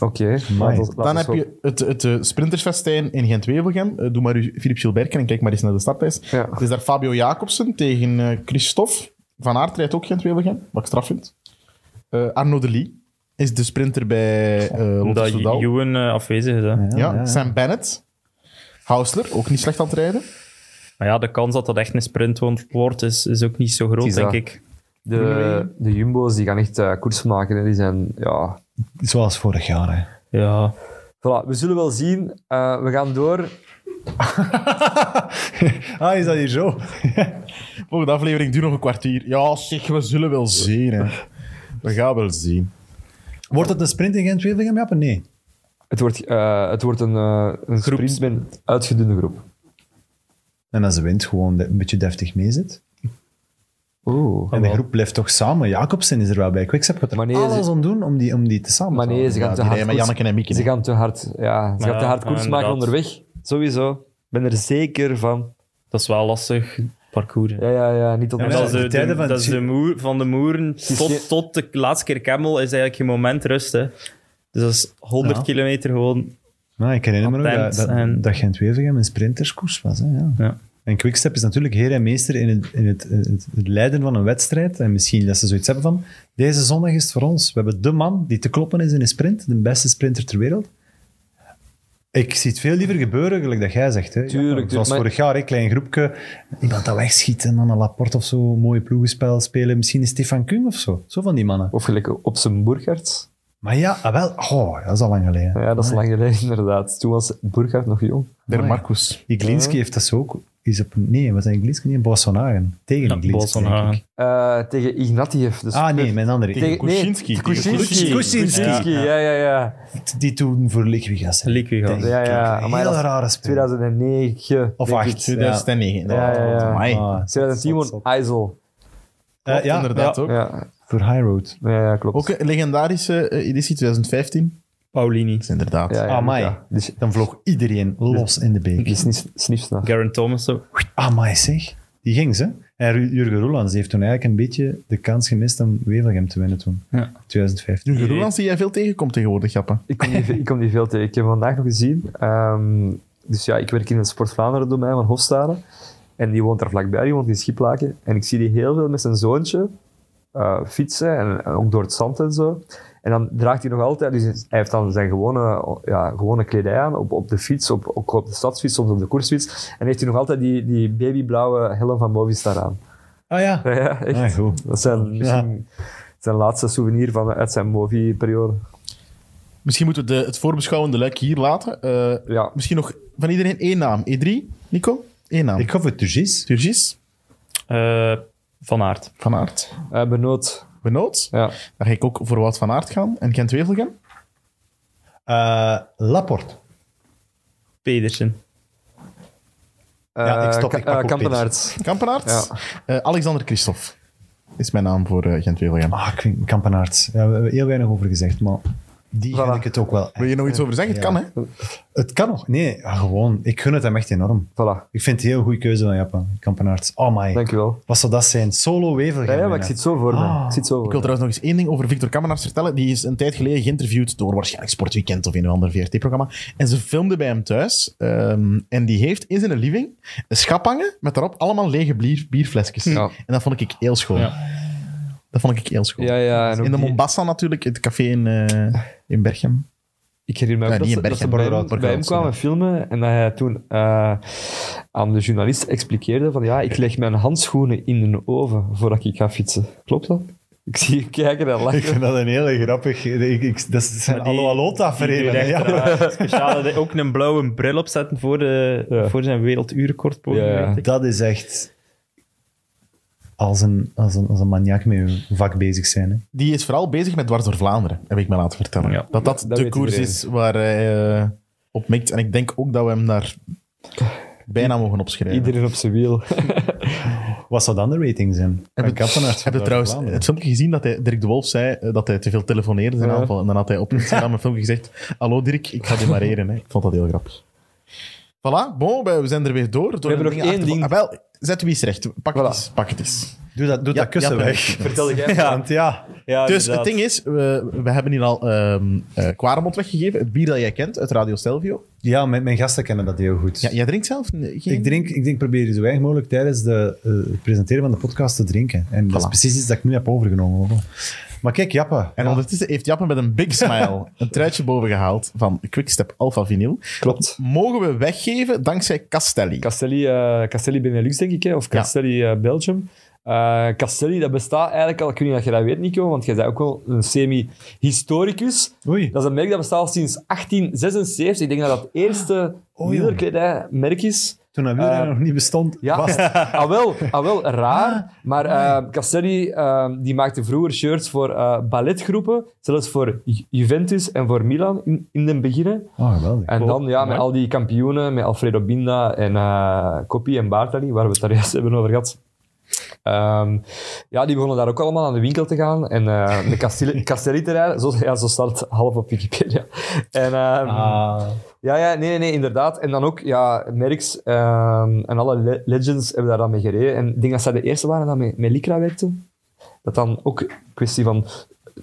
Speaker 3: Oké. laat ons- laat
Speaker 2: Dan
Speaker 3: ons
Speaker 2: heb
Speaker 3: hopen.
Speaker 2: je het, het eh, sprintersfestijn in Gent-Wevelgem. Eh, doe maar uw Philippe Gilbert en kijk maar eens naar de startlijst.
Speaker 3: Ja.
Speaker 2: Het is daar Fabio Jacobsen tegen eh Christophe. Van Aert rijdt ook Gent-Wevelgem, wat ik straf vind. Eh Arnaud Delis is de sprinter bij eh Lotte
Speaker 5: Omdat
Speaker 2: Soudal. Ja,
Speaker 5: Juwen eh, afwezig is. Hè.
Speaker 4: ja.
Speaker 2: Sam Bennett. Hausler, ook niet slecht aan het rijden.
Speaker 5: Maar ja, de kans dat dat echt een sprint wo- wordt, is, is ook niet zo groot,
Speaker 3: Is dat-
Speaker 5: denk ik.
Speaker 3: De, de Jumbo's die gaan echt eh, koers maken. Hè. Die zijn, ja...
Speaker 4: Zoals vorig jaar. Hè.
Speaker 5: Ja.
Speaker 3: Voilà, we zullen wel zien. Eh, we gaan door.
Speaker 4: Ah, is dat hier zo?
Speaker 2: Volgende aflevering duurt nog een kwartier. Ja, zeg, we zullen wel zien. Hè. We gaan wel zien.
Speaker 4: Wordt het een sprint in Gent-Wevelgem? Ja, maar nee.
Speaker 3: Het wordt, eh, het wordt een, eh een sprint met een uitgedunde groep.
Speaker 4: En als de wind gewoon de- een beetje deftig mee zit.
Speaker 2: Ah,
Speaker 3: Oeh.
Speaker 4: En de groep blijft toch samen. Jacobsen is er wel bij. Quickstep gaat er
Speaker 3: Maar nee, ze-
Speaker 4: alles aan doen om die, om die te samen
Speaker 3: Maar
Speaker 4: te
Speaker 3: nee, ze
Speaker 4: houden.
Speaker 3: gaan
Speaker 2: Ja,
Speaker 3: te
Speaker 2: die rijden
Speaker 3: hard
Speaker 2: met
Speaker 3: koers-
Speaker 2: Janneke en Mieke.
Speaker 3: Ze
Speaker 2: hè.
Speaker 3: gaan te hard, ja, ze
Speaker 5: Ja,
Speaker 3: gaan te hard
Speaker 5: ja,
Speaker 3: koers maken
Speaker 5: inderdaad.
Speaker 3: onderweg. Sowieso. Ik ben er zeker van.
Speaker 5: Dat is wel lastig, parcours. hè.
Speaker 3: Ja, ja, ja. Niet tot
Speaker 4: Ja,
Speaker 5: En
Speaker 4: maar
Speaker 5: dat is
Speaker 4: de
Speaker 5: de,
Speaker 4: tijden
Speaker 5: de-
Speaker 4: van
Speaker 5: dat is
Speaker 4: Chi-
Speaker 5: de moer, van de moeren
Speaker 3: geen-
Speaker 5: tot, tot de laatste keer Camel is eigenlijk je moment rust. Hè. Dus dat is 100
Speaker 4: Ja.
Speaker 5: kilometer gewoon.
Speaker 4: Nou, ik herinner me nog dat,
Speaker 5: Attent
Speaker 4: dat,
Speaker 5: en-
Speaker 4: dat Gent-Wevelgem een sprinterskoers was. Hè? Ja.
Speaker 5: Ja.
Speaker 4: En Quickstep is natuurlijk heer en meester in, het, in het, het, het leiden van een wedstrijd. En misschien dat ze zoiets hebben van, deze zondag is het voor ons. We hebben de man die te kloppen is in een sprint, de beste sprinter ter wereld. Ik zie het veel liever gebeuren, gelijk dat jij zegt. Hè?
Speaker 3: Tuurlijk,
Speaker 4: Ja, zoals
Speaker 3: maar-
Speaker 4: vorig jaar, een klein groepje. Iemand dat wegschiet, hè, man, een Laporte of zo, een mooie ploegenspel spelen. Misschien is Stefan Kung of zo. Zo van die mannen.
Speaker 3: Of gelijk op zijn Burkhardt.
Speaker 4: Maar ja, ah, wel, oh, dat is al lang geleden.
Speaker 3: Ja, dat is lang geleden inderdaad. Toen was Burkhardt nog jong.
Speaker 2: Der
Speaker 4: Amai.
Speaker 2: Marcus.
Speaker 4: Iglinski heeft dat zo ook. Is op, nee, wat zijn Iglinski? Nee, Bolsonaren. Tegen
Speaker 5: Ja,
Speaker 4: Iglinski.
Speaker 5: Bolsonaro.
Speaker 4: denk ik.
Speaker 3: Eh, tegen Ignatieff. Dus
Speaker 4: Ah, nee, mijn andere.
Speaker 3: tegen,
Speaker 2: tegen Kuczynski.
Speaker 3: Nee, Kuczynski.
Speaker 4: Kuczynski. Kuczynski.
Speaker 3: Kuczynski, Ja, ja, ja.
Speaker 4: Die toen voor Liquigas.
Speaker 5: Liquigas.
Speaker 3: Ja, ja.
Speaker 4: Een
Speaker 3: Amai,
Speaker 4: hele
Speaker 3: dat is
Speaker 4: rare speler.
Speaker 3: 2009.
Speaker 4: Of
Speaker 2: Denk ik,
Speaker 4: acht. Ja.
Speaker 2: 2009.
Speaker 3: Ja, ja, ja.
Speaker 2: Amai.
Speaker 4: Ah, zot,
Speaker 3: 2010
Speaker 4: zot,
Speaker 3: won
Speaker 4: zot.
Speaker 3: IJssel.
Speaker 4: Eh, ja,
Speaker 2: inderdaad
Speaker 4: ja.
Speaker 2: ook.
Speaker 3: Ja,
Speaker 4: Voor High Road.
Speaker 3: ja, ja, klopt.
Speaker 2: Ook een legendarische eh, editie 2015.
Speaker 5: Paulini.
Speaker 2: Dat is inderdaad.
Speaker 3: Ja, ja,
Speaker 4: Amai.
Speaker 3: ja. Die,
Speaker 4: Dan vloog iedereen los in de
Speaker 3: die
Speaker 4: beek.
Speaker 3: snif, snifsnaar.
Speaker 5: Garen Thomas. zo.
Speaker 4: Amai zeg. Die ging ze. En Ru- Jurgen Roelands die heeft toen eigenlijk een beetje de kans gemist om Wevelgem te winnen toen.
Speaker 5: Ja.
Speaker 4: 2015.
Speaker 2: Jurgen Roelands, Ah, die jij veel tegenkomt tegenwoordig, Jappen.
Speaker 3: Ik kom, niet, ik kom niet veel tegen. Ik heb vandaag nog gezien. ehm, dus ja, ik werk in het Sport Vlaanderen domein van Hofstade. En die woont daar vlakbij, die woont in Schiplaken. En ik zie die heel veel met zijn zoontje eh, fietsen. En, en ook door het zand en zo. En dan draagt hij nog altijd... Dus hij heeft dan zijn gewone, ja, gewone kledij aan. Op, op de fiets, op, ook op de stadsfiets, soms op de koersfiets. En heeft hij nog altijd die, die babyblauwe helm van Movistar aan.
Speaker 4: Ah ja.
Speaker 3: Ja, echt.
Speaker 4: Ah, goed.
Speaker 3: Dat zijn misschien zijn laatste souvenir van, uit zijn Movi-periode.
Speaker 2: Misschien moeten we de, het voorbeschouwende luik hier laten. Eh,
Speaker 3: Ja,
Speaker 2: misschien nog van iedereen één naam. E3, Nico? Eén naam.
Speaker 4: Ik ga voor Turgis.
Speaker 2: Turgis,
Speaker 5: eh, van Aert.
Speaker 2: Van Aert.
Speaker 3: eh, benoot.
Speaker 2: Benoot.
Speaker 3: Ja.
Speaker 2: Daar ga ik ook voor Wout van Aert gaan. En Gent Wevelgem.
Speaker 4: Eh, Laporte.
Speaker 5: Pedersen.
Speaker 4: Ja, ik stop, ik
Speaker 3: Eh,
Speaker 4: pak ook
Speaker 3: eh, Kampenaerts.
Speaker 2: Kampenaert.
Speaker 3: Ja.
Speaker 2: Eh, Alexander Christophe is mijn naam voor eh, Gent Wevelgem.
Speaker 4: Ah, ik vind Kampenaerts. Ja, we hebben heel weinig over gezegd, maar die gun
Speaker 3: Voilà.
Speaker 4: ik het ook wel.
Speaker 2: Wil je nog iets over zeggen? Het
Speaker 4: eh, Ja.
Speaker 2: kan, hè?
Speaker 4: Het kan nog. Nee, ja, gewoon. Ik gun het hem echt enorm.
Speaker 3: Voilà,
Speaker 4: Ik vind het een heel goede keuze van Japan. Kampenaerts. Oh my.
Speaker 3: dankjewel.
Speaker 4: Wat zou dat zijn? Solo Wevelgem.
Speaker 3: Ja, ja, maar ik
Speaker 4: bijna.
Speaker 3: zit zo voor me.
Speaker 4: Ah.
Speaker 3: Ik zit zo voor
Speaker 2: Ik wil
Speaker 3: me.
Speaker 2: trouwens nog eens één ding over Victor Kammenaars vertellen. Die is een tijd geleden geïnterviewd door waarschijnlijk Sportweekend of een of ander VRT-programma. En ze filmden bij hem thuis. Ehm, en die heeft in zijn living een schap hangen met daarop allemaal lege bier, bierflesjes.
Speaker 3: Ja.
Speaker 2: En dat vond ik heel schoon. Dat vond ik heel schoon.
Speaker 3: Ja, ja, en ook
Speaker 2: in de
Speaker 3: die-
Speaker 2: Mombasa natuurlijk, het café in, eh in Berchem.
Speaker 3: Ik herinner
Speaker 2: Ja,
Speaker 3: me ook dat
Speaker 2: niet
Speaker 3: ze,
Speaker 2: in
Speaker 3: dat ze bij,
Speaker 2: Bergen,
Speaker 3: hem,
Speaker 2: Borgerhout,
Speaker 3: bij hem
Speaker 2: Borgerhout,
Speaker 3: kwamen filmen en dat hij toen eh, aan de journalist expliqueerde van ja, ik leg mijn handschoenen in een oven voordat ik ga fietsen. Klopt dat? Ik zie je kijken en
Speaker 4: Ik
Speaker 3: lachen.
Speaker 4: vind dat een hele grappig. Ik, ik, dat zijn
Speaker 5: Maar die-
Speaker 4: Allo Allo
Speaker 5: Die doet
Speaker 4: tafereelen.
Speaker 5: echt
Speaker 4: Ja.
Speaker 5: raar. Speciale, ook een blauwe bril opzetten voor, de,
Speaker 3: Ja.
Speaker 5: voor zijn werelduurrecordpoging.
Speaker 3: Ja, ja.
Speaker 5: weet ik.
Speaker 4: Dat is echt als een, als een, als een maniak met je vak bezig zijn. Hè.
Speaker 2: Die is vooral bezig met Dwars door Vlaanderen, heb ik me laten vertellen.
Speaker 5: Ja.
Speaker 2: Dat dat,
Speaker 3: Dat
Speaker 2: de
Speaker 3: weet
Speaker 2: koers
Speaker 3: iedereen.
Speaker 2: is waar hij eh, op mikt. En ik denk ook dat we hem daar bijna mogen opschrijven.
Speaker 3: Iedereen op zijn wiel.
Speaker 4: Wat zou dan de rating zijn?
Speaker 2: Heb je,
Speaker 4: Van Kampenaerts
Speaker 2: heb je
Speaker 4: voor
Speaker 2: trouwens
Speaker 4: Vlaanderen.
Speaker 2: het filmpje gezien dat hij, Dirk de Wolf zei eh, dat hij te veel telefoneerde in
Speaker 3: Ja.
Speaker 2: aanval? En dan had hij op Instagram een filmpje gezegd: Hallo Dirk, ik ga demareren. hè." Ik vond dat heel grappig. Voilà, bon, we zijn er weer door. door
Speaker 3: hebben
Speaker 2: de
Speaker 3: nog
Speaker 2: dingen
Speaker 3: één
Speaker 2: achter-
Speaker 3: ding.
Speaker 2: Ah, wel, zet wie is recht. Pak
Speaker 3: Voilà.
Speaker 2: het eens. Pak het eens.
Speaker 4: Doe dat, doe
Speaker 2: Ja,
Speaker 4: dat kussen
Speaker 2: ja,
Speaker 4: weg.
Speaker 3: Vertel jij.
Speaker 4: Ja. Want ja,
Speaker 5: Ja,
Speaker 2: dus het
Speaker 5: inderdaad.
Speaker 2: ding is, we, we hebben hier al ehm eh, Quaremont weggegeven. Het bier dat jij kent uit Radio Stelvio.
Speaker 4: ja mijn, mijn gasten kennen dat heel goed.
Speaker 2: Ja, jij drinkt zelf nee, geen...
Speaker 4: Ik drink, ik denk, probeer zo weinig mogelijk tijdens de, eh, het presenteren van de podcast te drinken. En dat is
Speaker 2: Voilà.
Speaker 4: precies iets dat ik nu heb overgenomen. hoor. Maar kijk, Jappe.
Speaker 2: En ondertussen heeft Jappe met een big smile een truitje boven gehaald van Quickstep Alpha Vinyl.
Speaker 3: Klopt.
Speaker 2: Mogen we weggeven dankzij Castelli.
Speaker 3: Castelli, eh, Castelli Benelux, denk ik, hè? of Castelli eh, Belgium. Eh, Castelli, dat bestaat eigenlijk al, ik weet niet of je dat weet, Nico, want jij bent ook wel een semi-historicus.
Speaker 4: Oei.
Speaker 3: Dat is een merk dat bestaat al sinds 1876. Ik denk dat dat het eerste
Speaker 4: Ah, oh ja.
Speaker 3: wielerkledijmerk is.
Speaker 4: Toen dat wielrennen
Speaker 3: Eh,
Speaker 4: nog niet bestond,
Speaker 3: Ja,
Speaker 4: was het.
Speaker 3: ah, wel, ah, wel raar. Maar eh, Castelli eh, die maakte vroeger shirts voor eh, balletgroepen, zelfs voor Ju- Juventus en voor Milan in, in den beginnen.
Speaker 4: Oh, geweldig.
Speaker 3: En dan ja, met al die kampioenen, met Alfredo Binda en eh Coppi en Bartali, waar we het daar juist hebben over gehad. Ehm, ja, die begonnen daar ook allemaal aan de winkel te gaan en eh de Castelli- Castelli te rijden. Zo, ja, zo staat het half op Wikipedia. En, ehm,
Speaker 4: Ah.
Speaker 3: ja, ja, nee, nee, inderdaad. En dan ook, ja, Merckx ehm, en alle le- legends hebben daar dan mee gereden. En ik denk dat zij de eerste waren dat met, met Lycra werkten. Dat dan ook een kwestie van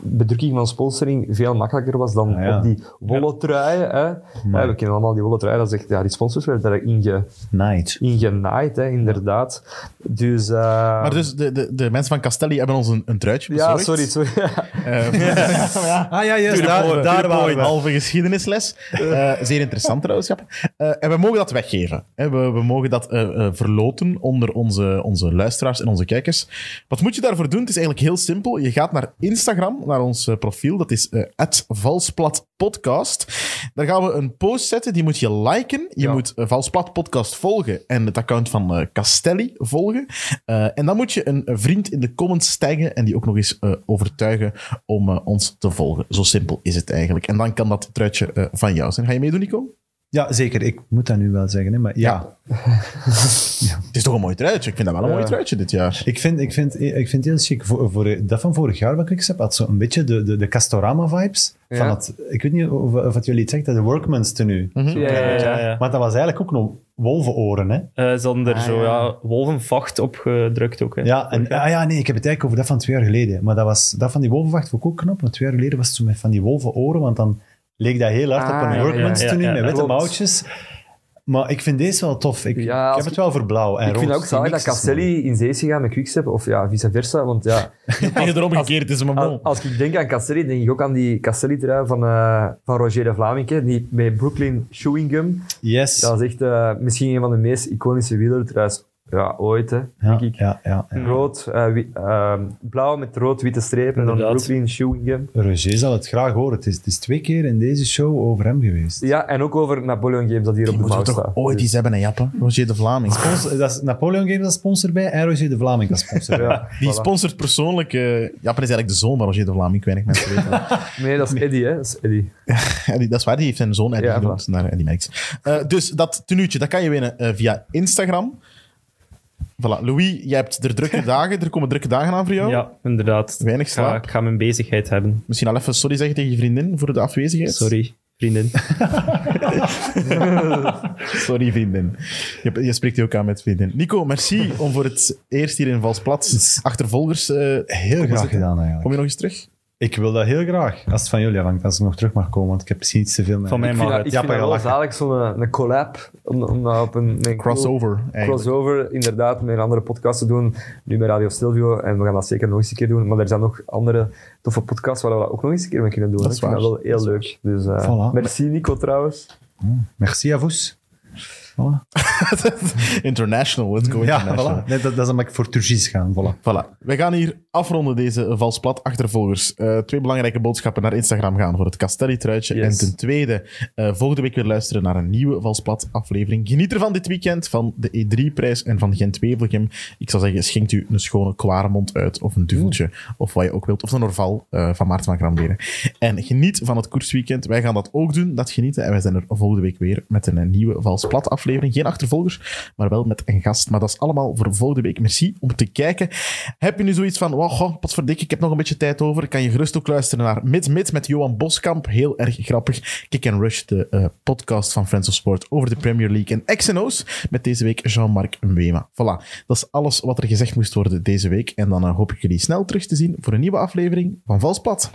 Speaker 3: bedrukking van sponsoring veel makkelijker was dan
Speaker 4: Ah, ja.
Speaker 3: op die wollen truien. Hè. Ja, we kennen allemaal die wollen truien. Dat is echt, ja, die sponsors werden daar inge,
Speaker 4: Night.
Speaker 3: ingenaaid, hè, inderdaad. Dus... eh,
Speaker 2: Maar dus de, de, de mensen van Castelli hebben ons een, een truitje
Speaker 3: ja,
Speaker 2: bezorgd.
Speaker 3: sorry, sorry.
Speaker 2: Eh,
Speaker 4: Ehm, Ah ja, juist.
Speaker 2: Tuurlijk,
Speaker 4: Daar,
Speaker 2: mooi,
Speaker 4: daar
Speaker 2: tuurlijk,
Speaker 4: waren
Speaker 2: mooi.
Speaker 4: we.
Speaker 2: halve geschiedenisles. Eh, zeer interessant trouwens, Jaap. Eh, en we mogen dat weggeven. hè. we, we mogen dat eh, eh, verloten onder onze, onze luisteraars en onze kijkers. Wat moet je daarvoor doen? Het is eigenlijk heel simpel. Je gaat naar Instagram, naar ons eh, profiel. Dat is @valsplatpodcast. valsplatpodcast. Daar gaan we een post zetten. Die moet je liken. Je
Speaker 3: Ja.
Speaker 2: moet eh, Valsplat Podcast volgen en het account van eh, Castelli volgen. Eh, en dan moet je een vriend in de comments taggen en die ook nog eens eh, overtuigen om eh, ons te volgen. Zo simpel is het eigenlijk. En dan kan dat truitje eh, van jou zijn. Ga je meedoen, Nico?
Speaker 4: Ja, zeker. Ik moet dat nu wel zeggen. Hè, maar ja,
Speaker 2: Het is toch een mooi truitje? Ik vind dat wel een mooi truitje dit jaar.
Speaker 4: Ik vind, ik vind, ik vind het heel chic. Voor, voor, dat van vorig jaar, wat ik heb, had zo een beetje de, de, de Castorama-vibes.
Speaker 3: Ja.
Speaker 4: Van het, ik weet niet of, of het jullie het zegt, de workman's tenue.
Speaker 3: Ja, ja, ja.
Speaker 5: ja, ja.
Speaker 4: Maar dat was eigenlijk ook nog wolvenoren, hè?
Speaker 5: Eh, ze hadden er
Speaker 3: Ah,
Speaker 5: zo
Speaker 3: ja.
Speaker 5: ja. wolvenvacht op gedrukt ook. Hè.
Speaker 4: Ja, en, ah, ja, nee, ik heb het eigenlijk over dat van twee jaar geleden. Maar dat, was, dat van die wolvenwacht vond ik ook knap, want twee jaar geleden was het zo met van die wolvenoren, want dan leek dat heel hard
Speaker 3: Ah,
Speaker 4: op een
Speaker 3: ja,
Speaker 4: workman's
Speaker 5: ja, ja,
Speaker 4: tenue
Speaker 5: ja,
Speaker 4: met witte
Speaker 3: klopt.
Speaker 4: mouwtjes. Maar ik vind deze wel tof. Ik,
Speaker 3: Ja,
Speaker 4: ik
Speaker 3: als
Speaker 4: heb
Speaker 3: ik-
Speaker 4: het wel voor blauw en
Speaker 3: ik vind
Speaker 4: rood.
Speaker 3: het ook
Speaker 4: Die
Speaker 3: zalig
Speaker 4: mix
Speaker 3: dat
Speaker 4: is mooi.
Speaker 3: Castelli in zee is gegaan met Quickstep, of ja, vice versa, want ja...
Speaker 2: En je erop gekeerd is een
Speaker 3: Al- Als ik denk aan Castelli, denk ik ook aan die Castelli-trui van, eh, van Roger de Vlaminck, die met Brooklyn Chewing Gum.
Speaker 4: Yes.
Speaker 3: Dat is echt eh, misschien een van de meest iconische wielertruis ja, ooit, hè, denk ik.
Speaker 4: ja, ja, ja.
Speaker 3: Rood, eh, wi- eh, blauw met rood-witte strepen en dan
Speaker 5: Inderdaad.
Speaker 3: Brooklyn Chewing Gum.
Speaker 4: Roger zal het graag horen. Het is, het is twee keer in deze show over hem geweest.
Speaker 3: Ja, en ook over Napoleon Games dat hier op de
Speaker 2: Moeten we
Speaker 3: mouw
Speaker 2: toch
Speaker 3: staat. Dus,
Speaker 2: ooit iets hebben, hè, Jappe? Roger de Vlaming.
Speaker 4: Sponsor- dat is Napoleon geeft als sponsor bij en Roger de Vlaming als sponsor bij.
Speaker 3: Ja,
Speaker 2: Die
Speaker 3: voilà.
Speaker 2: sponsort persoonlijk... eh Jappe is eigenlijk de zoon van Roger de Vlaming. Ik weinig mensen weten dat.
Speaker 3: Nee, dat is Eddie, hè. Dat is Eddie.
Speaker 2: Ja, die- dat is waar, die heeft zijn zoon Eddie
Speaker 3: Ja,
Speaker 2: genoemd naar Eddie Merckx. Eh, dus dat tenuutje, dat kan je winnen eh, via Instagram. Voilà, Louis, jij hebt er drukke dagen. Er komen drukke dagen aan voor jou.
Speaker 5: Ja, inderdaad.
Speaker 2: Weinig
Speaker 5: Ik ga,
Speaker 2: slaap.
Speaker 5: ik ga mijn bezigheid hebben.
Speaker 2: Misschien al even sorry zeggen tegen je vriendin voor de afwezigheid.
Speaker 5: Sorry, vrienden.
Speaker 2: Sorry, vriendin. Je, je spreekt je ook aan met vriendin. Nico, merci om voor het eerst hier in Valsplat achtervolgers... eh,
Speaker 4: Heel
Speaker 2: komen
Speaker 4: graag
Speaker 2: zitten.
Speaker 4: gedaan
Speaker 2: Kom
Speaker 4: eigenlijk.
Speaker 2: je nog eens terug?
Speaker 4: Ik wil dat heel graag. Als het van jullie afhangt, als ik nog terug mag komen, want ik heb misschien iets te veel met
Speaker 5: Van mij
Speaker 3: Ik vind
Speaker 5: mag
Speaker 3: dat, ik
Speaker 5: het.
Speaker 4: Ja,
Speaker 3: vind dat
Speaker 4: maar
Speaker 3: wel
Speaker 4: lachen.
Speaker 3: zalig, zo'n eh, een collab, om, om dat op een... een
Speaker 2: Crossover, eigenlijk.
Speaker 3: crossover, inderdaad, met een andere podcast te doen. Nu met Radio Stilvio, en we gaan dat zeker nog eens een keer doen. Maar er zijn nog andere toffe podcasts waar we dat ook nog eens een keer mee kunnen doen.
Speaker 2: Dat is
Speaker 3: ik vind
Speaker 2: waar.
Speaker 3: dat wel heel leuk. Dus eh,
Speaker 4: Voilà.
Speaker 3: merci Nico trouwens.
Speaker 4: Merci à vous. Voilà.
Speaker 2: International, let's go
Speaker 4: Ja,
Speaker 2: international.
Speaker 4: voilà. Nee, dat, dat is omdat ik voor Turgis gaan. Voilà.
Speaker 2: Voilà. Wij gaan hier afronden deze valsplat achtervolgers. Eh, twee belangrijke boodschappen naar Instagram gaan voor het Castelli-truitje.
Speaker 3: Yes.
Speaker 2: En ten tweede, eh, volgende week weer luisteren naar een nieuwe valsplat aflevering. Geniet ervan dit weekend van de E3-prijs en van Gent-Wevelgem. Ik zou zeggen, schenkt u een schone kwaremond uit of een duveltje of wat je ook wilt. Of een Orval eh, van Maarten van Gramberen. En geniet van het koersweekend. Wij gaan dat ook doen, dat genieten. En wij zijn er volgende week weer met een eh, nieuwe valsplat aflevering. Geen achtervolgers, maar wel met een gast. Maar dat is allemaal voor volgende week. Merci om te kijken. Heb je nu zoiets van, wow, goh, potverdikke, ik heb nog een beetje tijd over. Kan je gerust ook luisteren naar Mid Mid met Johan Boskamp. Heel erg grappig. Kick and Rush, de eh, podcast van Friends of Sport over de Premier League en X&O's. Met deze week Jean-Marc Mwema. Voilà, dat is alles wat er gezegd moest worden deze week. En dan eh, hoop ik jullie snel terug te zien voor een nieuwe aflevering van Valsplat.